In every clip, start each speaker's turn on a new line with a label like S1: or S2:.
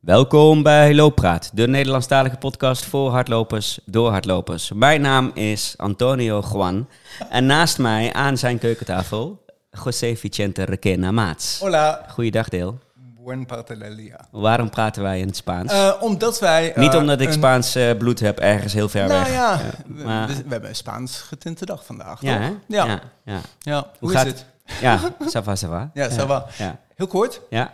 S1: Welkom bij Looppraat, de Nederlandstalige podcast voor hardlopers door hardlopers. Mijn naam is Antonio Juan en naast mij aan zijn keukentafel José Vicente Requena Maats.
S2: Hola,
S1: Goeiedag Deel.
S2: buen parte del día.
S1: Waarom praten wij in het Spaans?
S2: Eh, omdat wij... eh,
S1: Niet omdat ik
S2: een-
S1: Spaans eh, bloed heb ergens heel ver
S2: Nou
S1: weg.
S2: ja,
S1: Ja,
S2: we,
S1: maar-
S2: we- we hebben een Spaans getinte dag vandaag,
S1: Ja,
S2: toch?
S1: hè?
S2: Ja. ja.
S1: ja, ja.
S2: Hoe
S1: gaat-
S2: is het?
S1: Ja, ça va, ça va.
S2: Ja, ça va.
S1: Ja.
S2: Heel kort.
S1: Ja.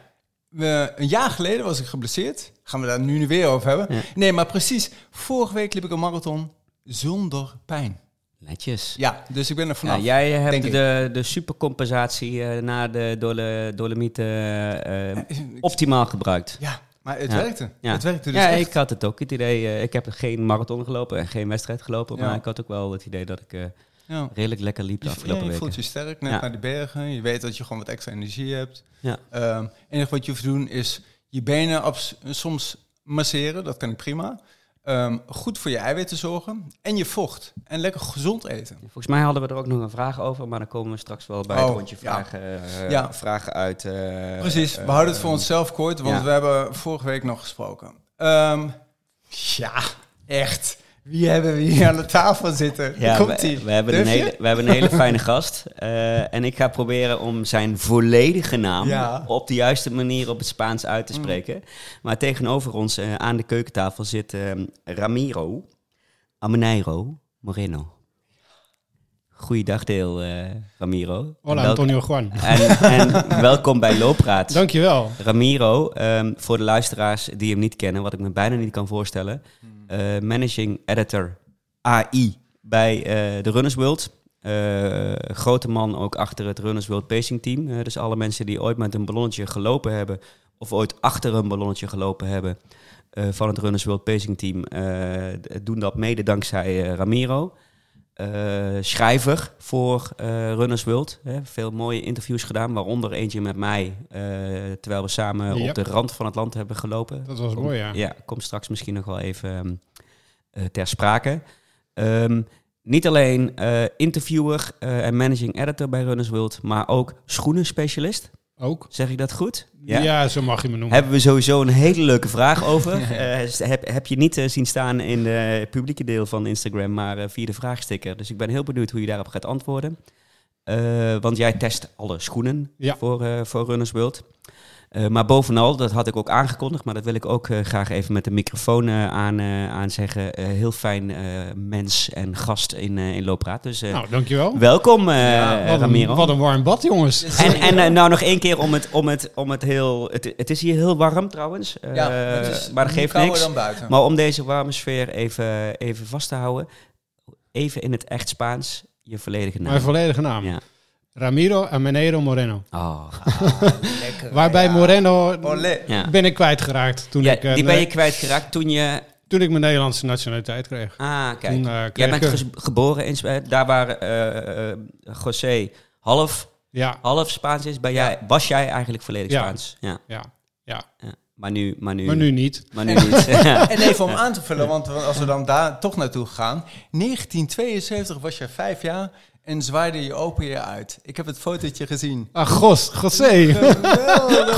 S2: We, een jaar geleden was ik geblesseerd. Gaan we daar nu weer over hebben?
S1: Ja.
S2: Nee, maar precies. Vorige week liep ik een marathon zonder pijn.
S1: netjes.
S2: Ja, dus ik ben er
S1: Ja,
S2: vanaf.
S1: jij eh,
S2: denk
S1: hebt
S2: ik.
S1: de, de supercompensatie eh, na de dole, Dolomieten eh, optimaal gebruikt.
S2: Ja, maar het
S1: Ja.
S2: werkte.
S1: Ja,
S2: Het werkte dus
S1: ja
S2: echt.
S1: ik had het ook. Het idee, eh, ik heb geen marathon gelopen en geen wedstrijd gelopen.
S2: Ja.
S1: Maar ik had ook wel het idee dat ik eh,
S2: Ja.
S1: redelijk lekker liep de
S2: Je,
S1: afgelopen
S2: ja, je
S1: weken.
S2: voelt je sterk, net
S1: Ja.
S2: naar de bergen. Je weet dat je gewoon wat extra energie hebt.
S1: Ja.
S2: Ehm, Het enige wat je hoeft te doen is je benen abs- soms masseren. Dat kan ik prima. Ehm, goed voor je eiwitten zorgen. En je vocht. En lekker gezond eten.
S1: Volgens mij hadden we er ook nog een vraag over, maar dan komen we straks wel bij het
S2: Oh,
S1: rondje
S2: ja.
S1: vragen, eh,
S2: Ja.
S1: vragen uit. eh,
S2: Precies.
S1: eh,
S2: We houden het voor onszelf kort, want
S1: ja.
S2: we hebben vorige week nog gesproken. Ehm, ja, echt. Wie hebben we hier aan de tafel zitten?
S1: Ja,
S2: Komt
S1: we,
S2: ie.
S1: we hebben een
S2: Durf je?
S1: hele, we hebben een hele fijne gast. eh, en ik ga proberen om zijn volledige naam
S2: Ja. Mm.
S1: op de juiste manier op het Spaans uit te spreken. Maar tegenover ons eh, aan de keukentafel zit ehm, Ramiro Ameneiro Moreno. Goeiedag deel, eh, Ramiro.
S3: Hola,
S1: Welk-
S3: Antonio Juan.
S1: En, en welkom bij Loopraad.
S3: Dankjewel.
S1: Ramiro, ehm, voor de luisteraars die hem niet kennen, wat ik me bijna niet kan voorstellen.
S2: Mm.
S1: eh, managing editor AI bij eh, de Runners World. Eh, grote man ook achter het Runners World Pacing Team. Eh, dus alle mensen die ooit met een ballonnetje gelopen hebben, of ooit achter een ballonnetje gelopen hebben eh, van het Runners World Pacing Team, eh, d- doen dat mede dankzij eh, Ramiro. Eh, schrijver voor eh, Runners World. Hè. Veel mooie interviews gedaan, waaronder eentje met mij, eh, terwijl we samen
S3: Ja.
S1: op de rand van het land hebben gelopen.
S3: Dat was
S1: Kom-
S3: mooi, ja.
S1: Oh, Ja, komt straks misschien nog wel even ehm, eh, ter sprake. Ehm, niet alleen eh, interviewer eh, en managing editor bij Runners World, maar ook schoenenspecialist.
S3: Ook?
S1: Zeg ik dat goed?
S3: Ja. zo mag je me noemen.
S1: Hebben we sowieso een hele leuke vraag over. Eh, s- heb, heb je niet eh, zien staan in eh, het publieke deel van Instagram, maar eh, via de vraagsticker. Dus ik ben heel benieuwd hoe je daarop gaat antwoorden. Eh, want jij test alle schoenen
S3: Ja.
S1: voor, eh, voor Runners World. Eh, maar bovenal, dat had ik ook aangekondigd, maar dat wil ik ook eh, graag even met de microfoon eh, aan, eh, aan zeggen. Eh, heel fijn eh, mens en gast in, eh in Loopraad. Dus eh,
S3: Nou, dankjewel.
S1: welkom, eh,
S3: Wat een,
S1: Ramiro.
S3: wat een warm bad, jongens.
S1: En, en eh, nou nog één keer om het, om het, om het heel... Het, het is hier heel warm trouwens, eh,
S2: Ja, het is
S1: maar dat
S2: nu
S1: geeft
S2: kouder
S1: niks.
S2: dan buiten.
S1: Maar om deze warme sfeer even, even vast te houden, even in het echt Spaans, je volledige naam.
S3: Mijn volledige naam.
S1: Ja.
S3: Ramiro Ameneiro Moreno.
S1: Oh,
S2: Lekker,
S3: Waarbij
S2: ja.
S3: Moreno
S2: Olé.
S1: ja.
S3: ben ik kwijtgeraakt toen,
S1: Ja,
S3: ik, eh,
S1: die ben je
S3: nee,
S1: kwijtgeraakt toen je...
S3: toen ik mijn Nederlandse nationaliteit kreeg.
S1: Ah, kijk.
S3: Toen, eh,
S1: Jij
S3: kreeg
S1: bent
S3: ik-
S1: ges- geboren in Spanje. Daar waar eh, eh, José half,
S3: Ja,
S1: half Spaans is, ben jij, was jij eigenlijk volledig
S3: Ja.
S1: Spaans. Ja.
S3: ja, ja.
S1: ja. Maar, nu, maar, nu,
S3: Maar nu niet.
S1: maar nu niet. ja.
S2: En even om aan te vullen, want als we dan daar toch naartoe gaan. 1972 was je vijf jaar en zwaaide je open je uit. Ik heb het fotootje gezien.
S3: Ah, gos, José.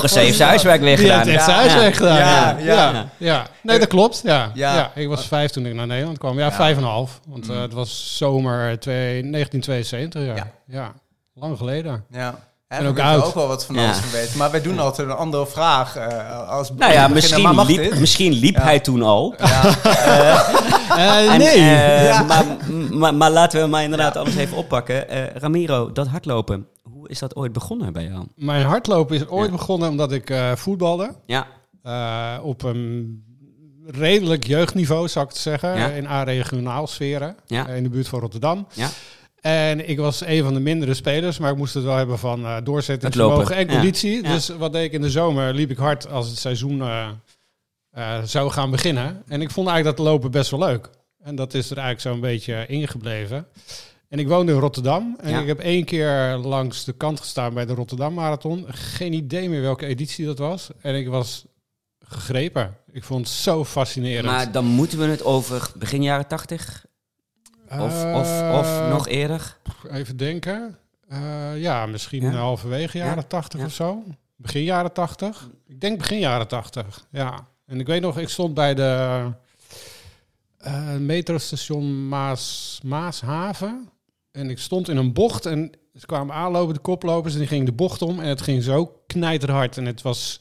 S1: José heeft zijn huiswerk weer
S3: Die
S1: gedaan.
S3: heeft echt
S2: Ja,
S3: zijn huiswerk gedaan.
S2: ja,
S3: Ja,
S2: ja.
S3: ja, ja. Nee, dat klopt. Ja.
S2: Ja.
S3: Ja. ik was vijf toen ik naar Nederland kwam. Ja, vijf en een half. Want eh, het was zomer twee- 1972. Ja.
S2: Ja.
S3: Ja. lang geleden.
S2: Ja.
S3: En
S2: En
S3: ook
S2: ook uit.
S3: oud.
S2: ook wel wat van
S1: Ja.
S2: alles van weten. Maar wij doen altijd een andere vraag. eh, als
S1: Nou ja,
S2: beginner. Maar
S1: misschien
S2: mag
S1: liep,
S2: dit?
S1: misschien liep
S2: Ja.
S1: hij toen al.
S3: Eh,
S1: En,
S3: Ah, nee.
S1: eh,
S2: Ja.
S1: maar, m- maar, maar laten we maar inderdaad alles even oppakken. Eh, Ramiro, dat hardlopen, hoe is dat ooit begonnen bij jou?
S3: Mijn hardlopen is ooit
S1: Ja.
S3: begonnen omdat ik eh, voetbalde.
S1: Ja,
S3: Eh, op een redelijk jeugdniveau, zou ik het zeggen.
S1: Ja.
S3: In A-regionaal sferen.
S1: Ja.
S3: eh, in de buurt van Rotterdam.
S1: Ja.
S3: En ik was een van de mindere spelers, maar ik moest het wel hebben van eh,
S1: Het
S3: doorzettingsvermogen
S1: lopen.
S3: en
S1: Ja.
S3: conditie.
S1: Ja.
S3: Dus wat deed ik in de zomer? Liep ik hard als het seizoen eh, eh, zou gaan beginnen. En ik vond eigenlijk dat lopen best wel leuk. En dat is er eigenlijk zo'n beetje ingebleven. En ik woonde in Rotterdam. En
S1: Ja.
S3: ik heb één keer langs de kant gestaan bij de Rotterdam Marathon. Geen idee meer welke editie dat was. En ik was gegrepen. Ik vond het zo fascinerend.
S1: maar dan moeten we het over begin jaren tachtig of, of, of
S3: Eh,
S1: nog eerder.
S3: Even denken. Eh, ja, misschien
S1: Ja?
S3: halverwege jaren
S1: Ja,
S3: 80
S1: ja.
S3: of zo. Begin jaren 80. Ik denk begin jaren 80. Ja. En ik weet nog, ik stond bij de eh, metrostation Maas, Maashaven. En ik stond in een bocht en ze kwamen aanlopen, de koplopers, en die gingen de bocht om. En het ging zo knijterhard. En het was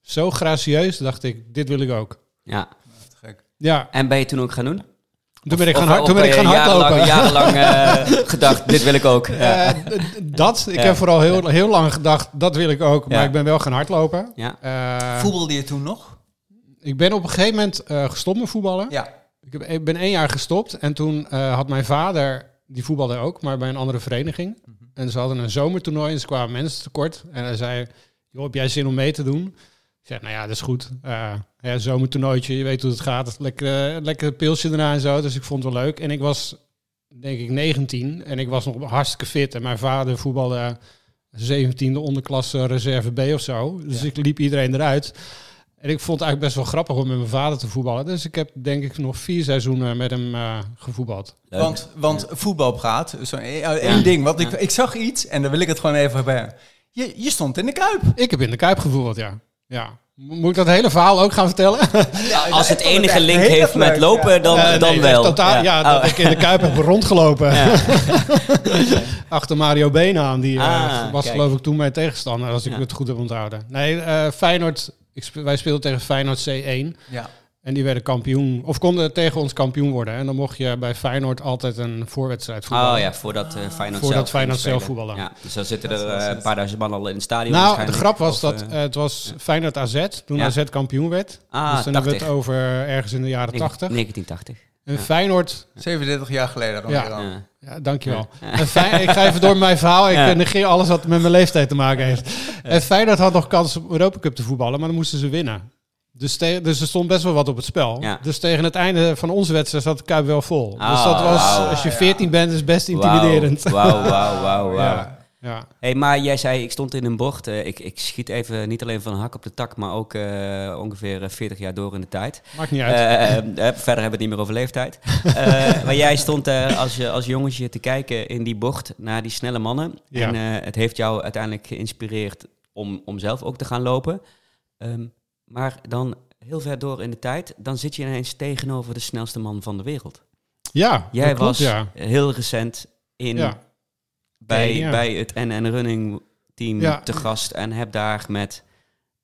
S3: zo gracieus, dacht ik, dit wil ik ook.
S1: Ja.
S2: Te gek.
S3: Ja,
S1: En ben je toen ook gaan doen?
S3: toen ben ik
S1: Of-
S3: gaan,
S1: of-
S3: hard,
S1: of
S3: toen ben
S1: ben
S3: ik
S1: je
S3: gaan hardlopen.
S1: Jarenlang, jarenlang eh, gedacht, dit wil ik ook. Ja.
S3: Eh, d- dat, ik
S1: Ja.
S3: heb vooral heel, heel lang gedacht, dat wil ik ook. Maar
S1: Ja.
S3: ik ben wel gaan hardlopen.
S1: Ja.
S3: Eh,
S2: Voetbalde je toen nog?
S3: ik ben op een gegeven moment eh, gestopt met voetballen.
S1: Hm?
S2: Ja.
S3: Ik, heb, ik ben één jaar gestopt en toen eh, had mijn vader, die voetbalde ook, maar bij een andere vereniging. En ze hadden een zomertoernooi en ze kwamen mensen tekort. En hij zei, joh, heb jij zin om mee te doen? Ik zei, nou ja, dat is goed. Eh ja, zomertoernooitje, je weet hoe het gaat. Lekker, eh, lekker pilsje erna en zo, dus ik vond het wel leuk. En ik was, denk ik, 19 en ik was nog hartstikke fit. En mijn vader voetbalde 17e onderklasse reserve B of zo. Dus
S2: Ja.
S3: ik liep iedereen eruit. En ik vond het eigenlijk best wel grappig om met mijn vader te voetballen. Dus ik heb denk ik nog vier seizoenen met hem eh, gevoetbald.
S1: Leuk.
S2: Want, want voetbalpraat, zo'n e- één
S1: Ja.
S2: ding. Want ik,
S1: Ja.
S2: ik zag iets en daar wil ik het gewoon even bij. Je, je stond in de kuip.
S3: Ik heb in de Kuip gevoetbald, ja. ja. Mo- Moet ik dat hele verhaal ook gaan vertellen?
S1: Als het
S2: Ik vond
S1: enige
S2: echt
S1: link
S2: heel
S1: heeft
S2: erg
S1: met
S2: leuk,
S1: lopen,
S2: ja.
S1: dan,
S3: Eh, nee,
S1: dan
S3: het is
S1: wel.
S3: Totaal, ja, dat
S1: Oh.
S3: ik in de Kuip heb rondgelopen.
S1: Ja.
S3: Achter Mario Bena aan. Die eh,
S1: Ah,
S3: was
S1: kijk.
S3: geloof ik toen mijn tegenstander, als ik
S1: Ja.
S3: het goed heb onthouden. Nee, eh, Feyenoord... Ik spe- wij speelden tegen Feyenoord C1.
S2: Ja.
S3: En die werden kampioen. Of konden tegen ons kampioen worden. En dan mocht je bij Feyenoord altijd een voorwedstrijd voetballen.
S1: Oh ja, voordat eh Feyenoord
S3: Voordat
S1: zelf
S3: Feyenoord
S1: ging
S3: zelf
S1: spelen.
S3: voetballen.
S1: Ja, dus dan zitten
S2: Dat
S1: er
S2: was
S1: eh,
S2: het.
S1: een paar duizend man al in het stadion
S3: Nou, de
S1: waarschijnlijk.
S3: grap was
S1: Of,
S3: dat
S1: eh,
S3: eh, het was Feyenoord AZ toen
S1: Ja.
S3: AZ kampioen werd.
S1: ah,
S3: dus
S1: 80.
S3: dan hebben we het over ergens in de jaren 80.
S1: 1980.
S3: En
S1: ja.
S3: Feyenoord,
S2: 37 jaar geleden dan
S3: Ja.
S2: weer al.
S1: Ja.
S3: ja, dankjewel.
S1: Ja.
S3: En Fey- ik ga even door mijn verhaal. Ik
S1: Ja.
S3: eh, negeer alles wat met mijn leeftijd te maken heeft. En Feyenoord had nog kans om Europa Cup te voetballen, maar dan moesten ze winnen. Dus, te- dus er stond best wel wat op het spel.
S1: Ja.
S3: Dus tegen het einde van onze wedstrijd zat de Kuip wel vol. dus
S1: Ah,
S3: dat was,
S1: wauw.
S3: als je
S2: Ja.
S3: 14 bent, is best intimiderend.
S1: Wauw, wauw, wauw, wauw.
S3: Ja. Ja.
S1: Hey, maar jij zei, ik stond in een bocht. eh, ik, ik schiet even niet alleen van hak op de tak, maar ook eh, ongeveer eh, 40 jaar door in de tijd.
S3: Maakt niet uit.
S1: Eh, eh, verder hebben we het niet meer over leeftijd. Eh, maar jij stond eh, als, eh, als jongetje te kijken in die bocht naar die snelle mannen.
S3: Ja.
S1: En eh, het heeft jou uiteindelijk geïnspireerd om, om zelf ook te gaan lopen. Ehm, maar dan heel ver door in de tijd, dan zit je ineens tegenover de snelste man van de wereld.
S3: ja,
S1: Jij
S3: dat klopt,
S1: was
S3: ja.
S1: heel recent in,
S3: ja.
S1: bij,
S3: Nee, ja.
S1: bij het NN Running team
S3: Ja.
S1: te gast en heb daar met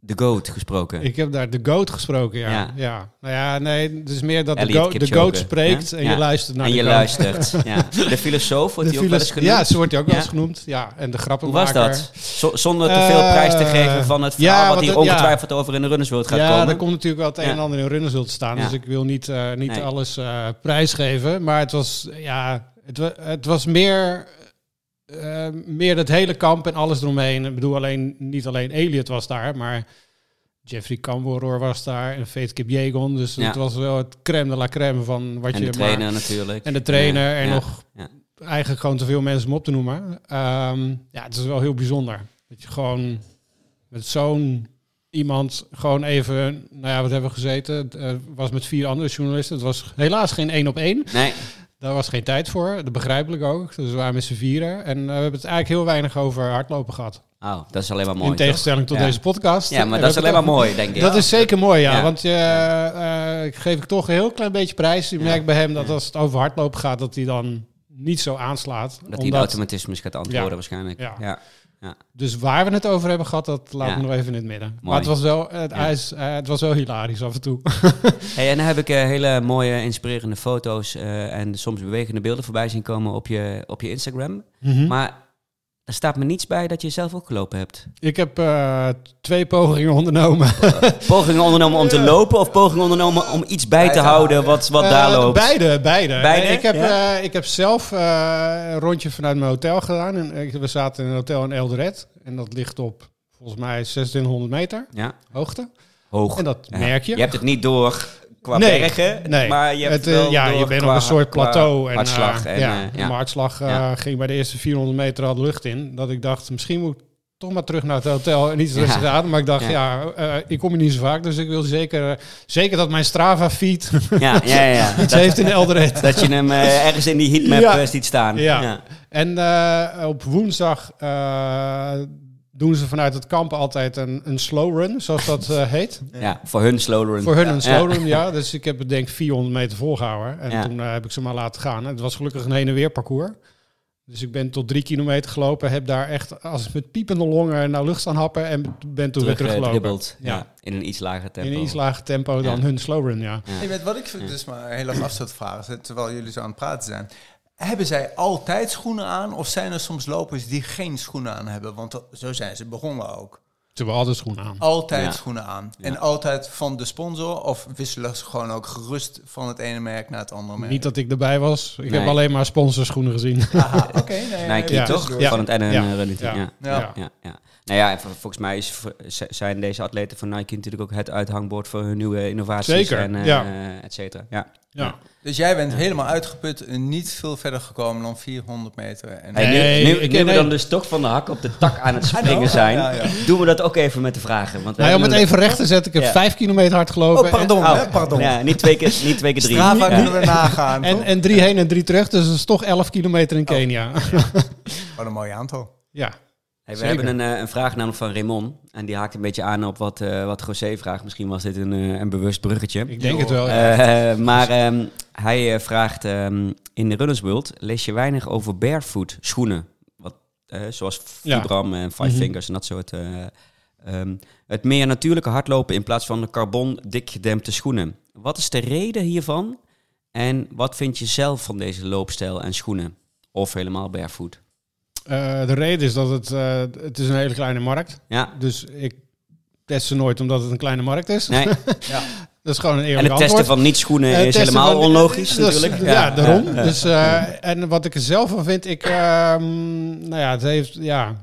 S1: de GOAT gesproken.
S3: Ik heb daar de goat gesproken, ja.
S1: Ja.
S3: ja. Nou ja, nee, het is meer dat de
S1: Elliot
S3: goat, de
S1: Kipchoge,
S3: goat spreekt
S1: hè?
S3: en
S1: Ja.
S3: je luistert naar
S1: en
S3: de
S1: je
S3: goat.
S1: luistert. ja. De filosoof wordt
S3: nou, De
S1: hij ook wel eens
S3: filos-
S1: genoemd.
S3: Ja, ze wordt hij ook wel eens
S1: Ja.
S3: genoemd. Ja, en de
S1: Hoe
S3: grappenmaker.
S1: was dat? Z- zonder te veel
S3: Eh,
S1: prijs te geven van het
S3: ja,
S1: verhaal wat
S3: want
S1: hier
S3: het- ja.
S1: ongetwijfeld over in de runnersworld gaat
S3: ja,
S1: komen.
S3: daar komt natuurlijk wel het een
S1: Ja.
S3: en ander in runnen zult staan.
S1: Ja.
S3: Dus ik wil niet, eh, niet
S1: Nee.
S3: alles eh, prijsgeven. Maar het was, ja, het, wa- het was meer, eh, meer dat hele kamp en alles eromheen. Ik bedoel, alleen, niet alleen Elliot was daar, maar Jeffrey Camboror was daar en Faith Kipjegon. Dus
S1: Ja.
S3: het was wel het crème de la crème van wat
S1: en
S3: je
S1: de
S3: maar-
S1: trainer natuurlijk.
S3: En de trainer
S1: Ja,
S3: en
S1: ja.
S3: nog
S1: ja.
S3: eigenlijk gewoon te veel mensen om op te noemen. Ehm, ja, het is wel heel bijzonder. Dat je gewoon met zo'n iemand gewoon even, nou ja, wat hebben we gezeten? Het eh, was met vier andere journalisten. Het was helaas geen één op één.
S1: Nee,
S3: Daar was geen tijd voor. Dat begrijpelijk ook. Dus we waren met z'n vieren. En eh, we hebben het eigenlijk heel weinig over hardlopen gehad.
S1: oh, dat is alleen maar mooi.
S3: In tegenstelling tot
S1: Ja.
S3: deze podcast.
S1: toch? Ja,
S3: En we
S1: maar dat is
S3: hebben
S1: alleen
S3: het
S1: maar mooi, denk ik.
S3: dat is zeker mooi, ja.
S1: Ja.
S3: Want je, eh, eh, geef ik toch een heel klein beetje prijs. Je
S1: Ja.
S3: merkt bij hem dat
S1: Ja.
S3: als het over hardlopen gaat, dat hij dan niet zo aanslaat.
S1: Dat hij de automatismes gaat antwoorden
S3: Ja.
S1: waarschijnlijk. Ja.
S3: Ja.
S1: Ja.
S3: Dus waar we het over hebben gehad, dat laat
S1: Ja.
S3: ik nog even in het midden. Maar
S1: Mooi.
S3: het was, wel, het,
S1: Ja.
S3: hij is- eh, het was wel hilarisch af en toe.
S1: Hey, en dan heb ik eh, hele mooie, inspirerende foto's eh, en soms bewegende beelden voorbij zien komen op je, op je Instagram.
S3: Maar
S1: Maar er staat me niets bij dat je zelf ook gelopen hebt.
S3: ik heb eh, twee pogingen ondernomen.
S1: Pogingen ondernomen om te lopen of pogingen ondernomen om iets bij te
S2: Bij te
S1: houden
S2: houden.
S1: wat, wat
S3: Eh,
S1: daar loopt?
S3: Beide, beide.
S1: Beide,
S3: Nee, ik, heb,
S1: ja?
S3: eh, ik heb zelf eh, een rondje vanuit mijn hotel gedaan. En, ik- we zaten in een hotel in Eldoret. En dat ligt op, volgens mij, 2600 meter
S1: Ja,
S3: hoogte.
S1: hoog.
S3: En dat
S1: Ja.
S3: merk je.
S1: Je hebt het niet door qua
S3: Nee,
S1: bergen,
S3: nee.
S1: maar je hebt
S3: Het,
S1: het,
S3: eh,
S1: wel
S3: ja,
S1: door
S3: je bent
S1: qua-
S3: op een soort
S1: qua
S3: plateau. En,
S1: hartslag
S3: eh,
S1: en,
S3: ja,
S1: eh, ja.
S3: Mijn hartslag eh,
S1: Ja.
S3: ging bij de eerste 400 meter al de lucht in. Dat ik dacht, misschien moet ik toch maar terug naar het hotel en iets
S1: Ja.
S3: rustig aan. Maar ik dacht,
S1: Ja.
S3: ja, eh, ik kom hier niet zo vaak. Dus ik wil zeker, eh, zeker dat mijn Strava-feed
S1: Ja, ja, ja.
S3: iets heeft in Eldoret.
S1: Dat je hem eh, ergens in die heatmap
S3: Ja.
S1: eh, ziet staan.
S3: Ja. En eh, op woensdag eh, doen ze vanuit het kamp altijd een, een slow run, zoals dat eh, heet.
S1: Ja, voor hun slow run.
S3: Voor hun een
S1: Ja.
S3: slow run, ja. Dus ik heb het denk ik 400 meter volgehouden. En
S1: Ja.
S3: toen eh, heb ik ze maar laten gaan. En het was gelukkig een heen en weer parcours. Dus ik ben tot drie kilometer gelopen. Heb daar echt als met piepende longen naar lucht staan happen. En ben toen
S1: terug, eh,
S3: weer teruggelopen.
S1: dribbelt. Ja.
S3: Ja.
S1: in een iets lager tempo.
S3: in een iets lager tempo dan
S1: Ja.
S3: hun slow run, ja.
S1: Ja.
S2: Hey, met wat ik dus maar heel erg af zat te vragen, terwijl jullie zo aan het praten zijn. Hebben zij altijd schoenen aan of zijn er soms lopers die geen schoenen aan hebben? Want dat- zo zijn ze begonnen ook.
S3: Ze hebben altijd schoenen aan.
S2: Altijd
S1: Ja.
S2: schoenen aan.
S1: Ja.
S2: En altijd van de sponsor of wisselen ze gewoon ook gerust van het ene merk naar het andere merk?
S3: Niet dat ik erbij was. Ik heb
S1: Oh, Nee.
S3: alleen maar sponsorschoenen gezien.
S2: Aha, Ah, oké. nee,
S1: Nike
S2: nee,
S3: Ja.
S1: toch?
S2: tussendoor.
S3: Ja.
S1: Van het NN
S3: Ja.
S1: Running Team, ja.
S2: Ja.
S1: Ja. Ja, Nou ja, en vol- volgens mij is, voor- z- zijn deze atleten van Nike natuurlijk ook het uithangbord voor hun nieuwe innovaties
S3: Zeker,
S1: en eh,
S3: ja.
S1: eh, et cetera. Ja.
S3: Ja.
S2: Dus jij bent helemaal uitgeput en niet veel verder gekomen dan 400 meter. En
S1: Hey,
S3: Nee,
S1: nu nu,
S3: ik-
S1: nu we
S3: nee.
S1: dan dus toch van de hak op de tak aan het springen zijn,
S2: Ja, ja.
S1: doen we dat ook even met de vragen. Want we
S3: Nou, ja, om het
S1: hebben
S3: even recht te zetten. Ik heb
S1: Ja.
S3: vijf kilometer hard gelopen.
S2: Oh, pardon.
S1: een-
S2: hè? Pardon.
S1: Ja, niet twee keer, niet twee keer drie.
S2: Strava
S1: Ja.
S2: kunnen we nagaan.
S3: En, en,
S2: toch?
S3: en drie heen en drie terug. Dus dat is toch elf kilometer
S1: Oh.
S3: in Kenia.
S2: Wat een mooi aantal.
S3: ja.
S1: Hey, we
S3: Zeker.
S1: hebben een, eh, een vraag namelijk van Raymond. En die haakt een beetje aan op wat, eh, wat José vraagt. Misschien was dit een, eh, een bewust bruggetje.
S3: Ik denk het wel. Oh, ja.
S1: Eh, maar ehm, hij eh, vraagt, ehm, in de Runners World lees je weinig over barefoot schoenen. Wat, eh, zoals
S3: Ja.
S1: Vibram en Five
S3: Mhm.
S1: Fingers en dat soort. eh, ehm, het meer natuurlijke hardlopen in plaats van de carbon dik gedempte schoenen. Wat is de reden hiervan? En wat vind je zelf van deze loopstijl en schoenen? Of helemaal barefoot?
S3: Eh, de reden is dat het, eh, het is een hele kleine markt
S1: Ja,
S3: Dus ik test ze nooit omdat het een kleine markt is.
S1: nee.
S3: Dat is gewoon een
S1: En
S3: eerlijk
S1: het testen
S3: antwoord.
S1: van niet-schoenen
S3: Eh,
S1: is
S3: testen
S1: helemaal
S3: van-
S1: onlogisch
S3: dat is-
S1: natuurlijk.
S3: Ja, daarom. Dus, eh, en wat ik er zelf van vind, ik, ehm, nou ja, het heeft, ja,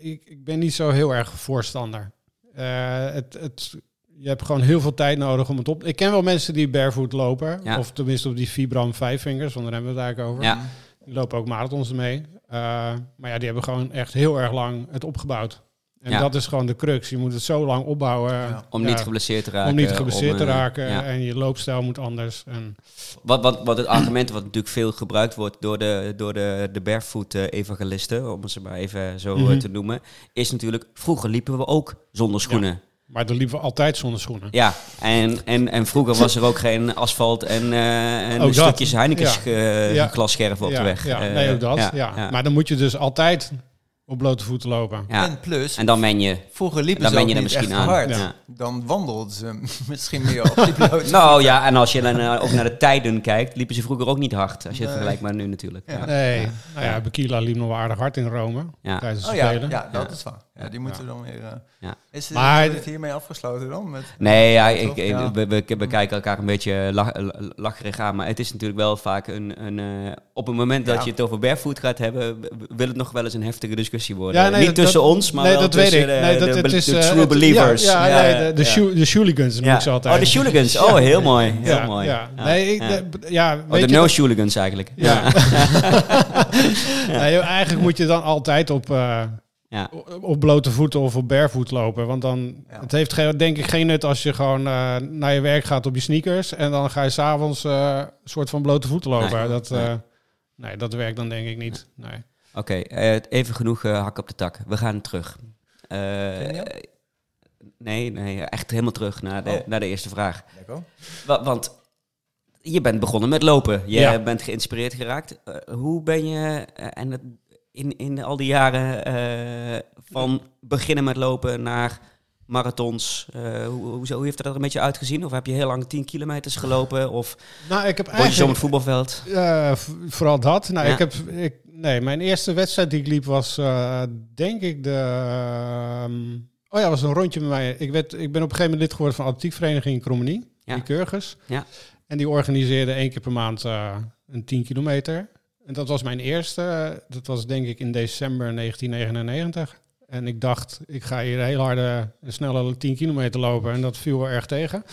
S3: ik, ik ben niet zo heel erg voorstander. Eh, het, het, je hebt gewoon heel veel tijd nodig om het op... Ik ken wel mensen die barefoot lopen.
S1: Ja.
S3: Of tenminste op die Vibram Five Fingers, want daar hebben we het eigenlijk over.
S1: Ja.
S3: Die lopen ook marathons mee. Eh, maar ja, die hebben gewoon echt heel erg lang het opgebouwd. En
S1: Ja.
S3: dat is gewoon de crux. Je moet het zo lang opbouwen.
S2: Ja.
S1: Om
S3: Ja,
S1: niet geblesseerd te raken.
S3: om niet geblesseerd te
S1: eh,
S3: raken.
S1: ja.
S3: En je loopstijl moet anders. En,
S1: Wat, wat, wat het argument wat natuurlijk veel gebruikt wordt door de, door de, de barefoot eh, evangelisten, om ze maar even zo eh,
S3: Mhm.
S1: te noemen, is natuurlijk, vroeger liepen we ook zonder schoenen.
S3: maar dan liepen we altijd zonder schoenen.
S1: Ja, en, en, en vroeger was er ook geen asfalt en, eh, en
S3: Ook dat.
S1: stukjes Heineken's
S3: Ja.
S1: eh,
S3: Ja.
S1: glasscherven op
S3: Ja,
S1: de weg.
S3: Ja,
S1: Eh,
S3: nee, ook dat. Ja,
S1: ja.
S3: Maar dan moet je dus altijd op blote voeten lopen.
S1: Ja.
S2: En plus,
S1: En dan men je.
S2: vroeger liepen
S1: dan
S2: ze
S1: ben
S2: ook
S1: je er
S2: niet
S1: misschien
S2: echt
S1: aan.
S2: hard.
S1: Ja.
S2: Dan wandelden ze misschien meer op die blote
S1: Nou ja, en als je dan eh, ook naar de tijden kijkt, liepen ze vroeger ook niet hard. Als je het
S2: Nee.
S1: vergelijkt met nu natuurlijk. Ja.
S3: Nee,
S1: Ja.
S3: nou ja, Bekila liep nog wel aardig hard in Rome
S1: Ja.
S3: tijdens de
S2: Oh ja,
S3: Spelen.
S2: ja dat
S1: Ja.
S2: is waar. Ja, die moeten dan weer... eh,
S1: Ja.
S2: Is het,
S3: Maar-
S2: wordt het hiermee afgesloten dan? Met,
S1: Nee, ja, ik,
S2: Toch?
S1: ik-
S2: Ja.
S1: We, we, we kijken elkaar een beetje lach- l- lacherig aan. Maar het is natuurlijk wel vaak een... een eh, op het moment dat
S2: Ja.
S1: je het over barefoot gaat hebben... w- w- wil het nog wel eens een heftige discussie worden.
S3: Ja, nee,
S1: Niet
S3: dat-
S1: tussen ons, maar
S3: nee,
S1: wel
S3: dat weet
S1: tussen
S3: ik.
S1: de,
S3: Nee, dat,
S1: de,
S3: het
S1: be-
S3: is,
S1: de
S3: eh,
S1: true
S3: het-
S1: believers.
S3: Ja, ja, nee, de, de,
S1: ja.
S3: shoe- de Shooligans noem
S1: Ja.
S3: ik ze altijd.
S1: Oh, de Shooligans. Oh, heel mooi. Heel
S3: ja,
S1: mooi.
S3: Ja.
S1: Ja.
S3: Nee, ik,
S1: Ja.
S3: de- ja,
S1: Oh,
S3: weet
S1: de
S3: je dat-
S1: no-Shooligans eigenlijk.
S3: Ja. Nee, eigenlijk moet je dan altijd op, eh,
S1: Ja.
S3: op blote voeten of op barefoot lopen. Want dan,
S2: Ja.
S3: het heeft geen- denk ik geen nut als je gewoon eh, naar je werk gaat op je sneakers. En dan ga je s'avonds eh soort van blote voeten lopen.
S1: Nee.
S3: dat, eh,
S1: Nee.
S3: nee. dat werkt dan denk ik niet. Nee.
S1: Oké, eh, even genoeg eh, hak op de tak. We gaan terug. Eh,
S2: Daniel?
S1: nee, nee, echt helemaal terug naar de,
S2: Oh.
S1: naar de eerste vraag.
S2: Lekker.
S1: Wa- Want je bent begonnen met lopen. Je
S3: Ja.
S1: bent geïnspireerd geraakt. Eh, hoe ben je eh, en het, in, in al die jaren eh, van beginnen met lopen naar marathons? eh, hoe, hoe, hoe heeft dat er een beetje uitgezien? Of heb je heel lang 10 kilometers gelopen? Of
S3: Nou, ik heb
S1: rond je zo op het
S3: eigenlijk...
S1: voetbalveld?
S3: eh, v- vooral dat. Nou,
S1: Ja.
S3: ik heb, ik, nee, mijn eerste wedstrijd die ik liep was, eh, denk ik, de... ehm, oh ja, was een rondje met mij. Ik, werd, ik ben op een gegeven moment lid geworden van de atletiekvereniging Cromenie.
S1: Ja.
S3: Die Kurgers.
S1: Ja.
S3: En die organiseerde één keer per maand eh, een 10 kilometer. En dat was mijn eerste. Dat was denk ik in december 1999. En ik dacht, ik ga hier een heel harde en snelle 10 kilometer lopen. En dat viel wel erg tegen.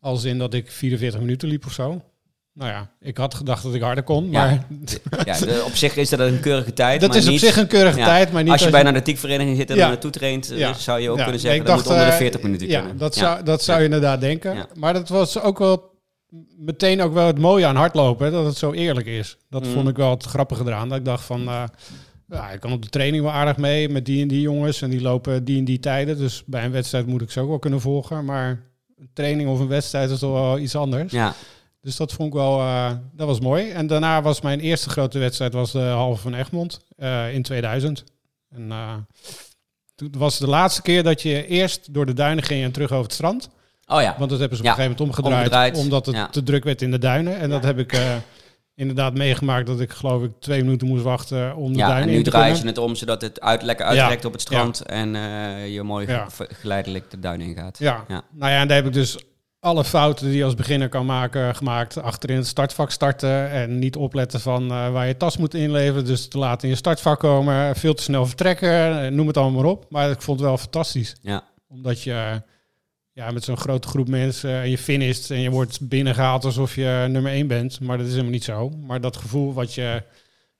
S3: Als in dat ik 44 minuten liep of zo. Nou ja, ik had gedacht dat ik harder
S1: Ja,
S3: kon. Maar
S1: eh, Ja, de- op zich is dat een keurige tijd.
S3: dat
S1: maar
S3: is op
S1: niet-
S3: zich een keurige
S1: ja,
S3: tijd. Maar niet
S1: als je bij
S3: bijna
S1: een atletiekvereniging zit en
S3: Ja.
S1: er naartoe traint, eh,
S3: Ja.
S1: zou je ook
S3: Ja,
S1: kunnen
S3: nee,
S1: zeggen
S3: ik
S1: dat
S3: dacht,
S1: moet onder de
S3: eh,
S1: 40 minuten
S3: ja,
S1: kunnen.
S3: Dat zou, dat zou
S1: Ja.
S3: je inderdaad denken.
S1: Ja.
S3: Maar dat was ook wel meteen ook wel het mooie aan hardlopen. hè, Dat het zo eerlijk is. Dat
S1: Mm.
S3: vond ik wel het grappige eraan. Dat ik dacht van, eh, Ja, ik kan op de training wel aardig mee met die en die jongens. En die lopen die en die tijden. Dus bij een wedstrijd moet ik ze ook wel kunnen volgen. Maar een training of een wedstrijd is toch wel iets anders.
S1: Ja,
S3: Dus dat vond ik wel, eh, dat was mooi. En daarna was mijn eerste grote wedstrijd was de halve van Egmond eh, in 2000. En eh, toen was het de laatste keer dat je eerst door de duinen ging en terug over het strand.
S1: oh ja.
S3: Want dat hebben ze op
S1: Ja,
S3: een gegeven moment omgedraaid,
S1: omgedraaid.
S3: omdat het
S1: Ja.
S3: te druk werd in de duinen. En dat heb ik eh, inderdaad meegemaakt dat ik geloof ik twee minuten moest wachten om de
S1: Ja, en
S3: duinen
S1: nu
S3: in te
S1: draai
S3: kunnen.
S1: je het om zodat het uit, lekker
S3: Ja.
S1: uitrekt op het strand en eh, je mooi
S3: Ja.
S1: ge- geleidelijk de duin ingaat.
S3: Ja.
S1: Ja.
S3: nou ja, en daar heb ik dus alle fouten die je als beginner kan maken gemaakt. Achterin het startvak starten en niet opletten van eh, waar je tas moet inleveren. Dus te laat in je startvak komen, veel te snel vertrekken, eh, noem het allemaal maar op. Maar ik vond het wel fantastisch.
S1: Ja.
S3: Omdat je eh, ja, met zo'n grote groep mensen eh, en je finisht en je wordt binnengehaald alsof je nummer één bent. Maar dat is helemaal niet zo. Maar dat gevoel wat je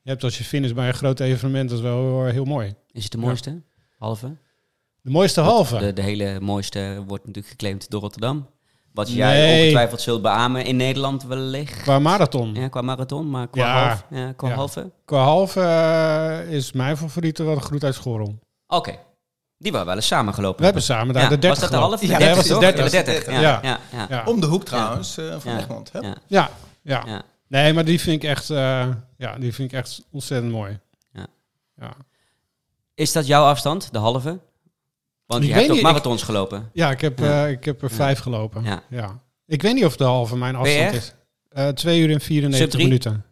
S3: hebt als je finisht bij een groot evenement, dat is wel eh, heel, heel mooi.
S1: Is het de mooiste? Halve?
S3: De mooiste halve.
S1: De, de hele mooiste wordt natuurlijk geclaimd door Rotterdam. Wat jij
S3: Nee.
S1: ongetwijfeld zult beamen in Nederland wellicht.
S3: Qua marathon.
S1: Ja, qua marathon, maar qua,
S3: Ja.
S1: half, ja, qua
S3: Ja.
S1: halve.
S3: Qua halve eh, is mijn favoriete wel de groet uit Schorl.
S1: Oké. Die waren wel eens samen gelopen.
S3: We hebben samen daar de 30
S1: Was dat de halve?
S3: gelopen.
S2: Ja,
S3: Ja,
S2: dat
S3: was de
S2: is
S3: 30.
S1: Ja, de 30. Ja, ja.
S3: Ja.
S1: ja,
S3: Ja.
S2: Om de hoek trouwens, eh, van
S1: Ja.
S2: Egmond. Hè?
S1: Ja.
S3: Ja, ja.
S1: Ja.
S3: Nee, maar die vind ik echt, eh, ja, die vind ik echt ontzettend mooi.
S1: Ja.
S3: Ja.
S1: Is dat jouw afstand, de halve? Want
S3: Ik
S1: je hebt
S3: weet
S1: ook
S3: niet,
S1: marathons gelopen.
S3: Ja, ik heb,
S1: Ja.
S3: eh, ik heb er vijf gelopen.
S1: Ja.
S3: Ja. Ik weet niet of de halve mijn afstand
S1: PR?
S3: is. Eh 2 uur en
S1: Sub
S3: 94
S1: drie?
S3: minuten.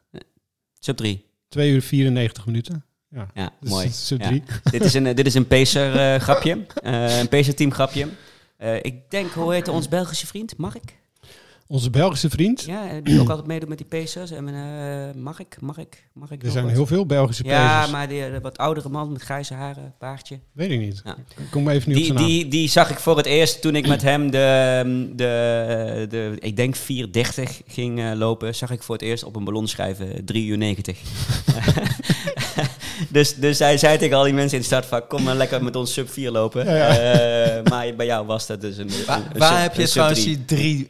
S1: Sub 3.
S3: 2 uur 94 minuten.
S1: Ja,
S3: Dus
S1: mooi.
S3: Sub
S1: Ja.
S3: 3.
S1: dit, is een, eh, dit is een pacer eh, grapje. Eh, een pacer team grapje. Eh, ik denk, hoe heette ons Belgische vriend? Mark?
S3: Onze Belgische vriend.
S1: Ja, eh, die ook altijd meedoet met die pacers. En eh, Mark, Mark, Mark.
S3: Er
S1: nog
S3: zijn
S1: Oh, wat.
S3: heel veel Belgische
S1: Ja,
S3: pezers.
S1: maar die, eh, wat oudere man met grijze haren, baardje.
S3: Weet ik niet.
S1: Ja.
S3: Ik Kom even nu op
S1: Die,
S3: zijn naam.
S1: die, die zag ik voor het eerst toen ik met hem de, ehm, de, de ik denk 430 ging eh, lopen. Zag ik voor het eerst op een ballon schrijven 3 uur 90. dus, dus hij zei tegen al die mensen in het startvak, kom maar lekker met ons sub 4 lopen.
S3: Ja, ja.
S1: Eh, maar bij jou was dat dus een, een-
S2: Waar,
S1: een
S2: waar
S1: sub-
S2: heb je
S1: een sub
S2: trouwens
S1: drie.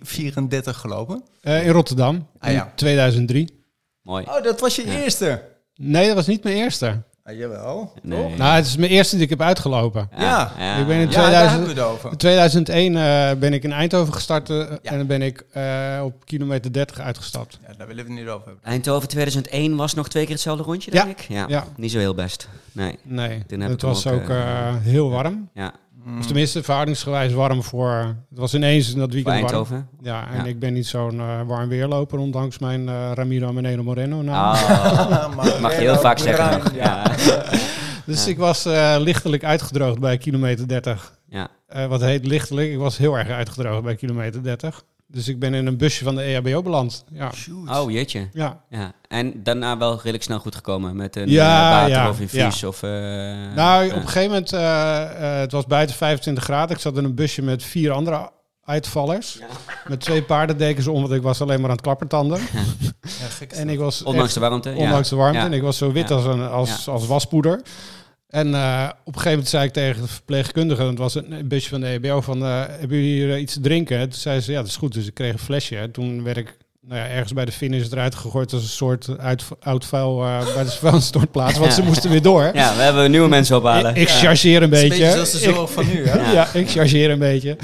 S2: die 3,34 gelopen?
S3: Eh, in Rotterdam.
S2: Ah, ja.
S3: In 2003.
S1: Mooi.
S2: Oh, dat was je
S1: Ja.
S2: eerste.
S3: Nee, dat was niet mijn eerste.
S2: Ah, jawel.
S1: Nee.
S2: Toch?
S3: Nou, het is mijn eerste die ik heb uitgelopen.
S2: Ja.
S3: Ik ben in
S2: Ja,
S3: 2000
S2: daar hebben we het over.
S3: In 2001 eh, ben ik in Eindhoven gestart eh, en dan ben ik eh, op kilometer 30 uitgestapt.
S2: Ja, daar willen we het niet over hebben.
S1: Eindhoven 2001 was nog twee keer hetzelfde rondje, denk
S3: Ja.
S1: ik. Ja.
S3: Ja.
S1: Niet zo heel best. Nee.
S3: Nee,
S1: Toen heb ik
S3: het
S1: hem
S3: was
S1: ook,
S3: ook,
S1: eh,
S3: eh, heel warm.
S1: Ja.
S2: Mm.
S3: Of tenminste, verhoudingsgewijs warm voor... Het was ineens in dat
S1: Voor
S3: weekend warm.
S1: Eindhoven.
S3: Ja, en
S1: Ja.
S3: ik ben niet zo'n eh, warm weerloper, ondanks mijn eh, Ramiro Meneno Moreno naam.
S1: Ah,
S2: Ah, maar-
S1: mag je heel vaak zeggen. nog.
S2: Ja.
S1: Ja.
S3: Dus
S1: ja.
S3: ik was eh, lichtelijk uitgedroogd bij kilometer 30.
S1: Ja.
S3: Eh, wat heet lichtelijk? Ik was heel erg uitgedroogd bij kilometer 30. Dus ik ben in een busje van de E EHBO beland. Ja,
S2: Shoot.
S1: Oh, jeetje.
S3: ja.
S1: Ja, en daarna wel redelijk snel goed gekomen met een
S3: Ja,
S1: eh, water
S3: ja,
S1: of infuus of... eh,
S3: Nou,
S1: eh,
S3: op een gegeven moment, eh, eh, het was buiten 25 graden. Ik zat in een busje met vier andere uitvallers.
S1: Ja.
S3: Met twee paardendekens om, want ik was alleen maar aan het klappertanden.
S2: Ja, gek is
S3: En
S2: dat.
S3: ik was
S1: ondanks
S3: echt-
S1: de warmte. ja.
S3: ondanks de warmte.
S1: Ja.
S3: En ik was zo wit
S1: Ja.
S3: als, een, als, als waspoeder. En eh, op een gegeven moment zei ik tegen de verpleegkundige, want het was een een busje van de EBO, van eh, hebben jullie hier eh, iets te drinken? Toen zei ze, ja, dat is goed. Dus ik kreeg een flesje. En Toen werd ik nou ja, ergens bij de finish eruit gegooid als een soort uit, oud vuil eh, bij de vuilnistortplaats, want ze moesten weer door.
S1: Ja, we hebben nieuwe mensen ophalen.
S3: Ik, ik chargeer een
S2: Het is
S3: beetje.
S2: zoals de zorg van nu, hè?
S3: Ik- ja, ik chargeer een beetje.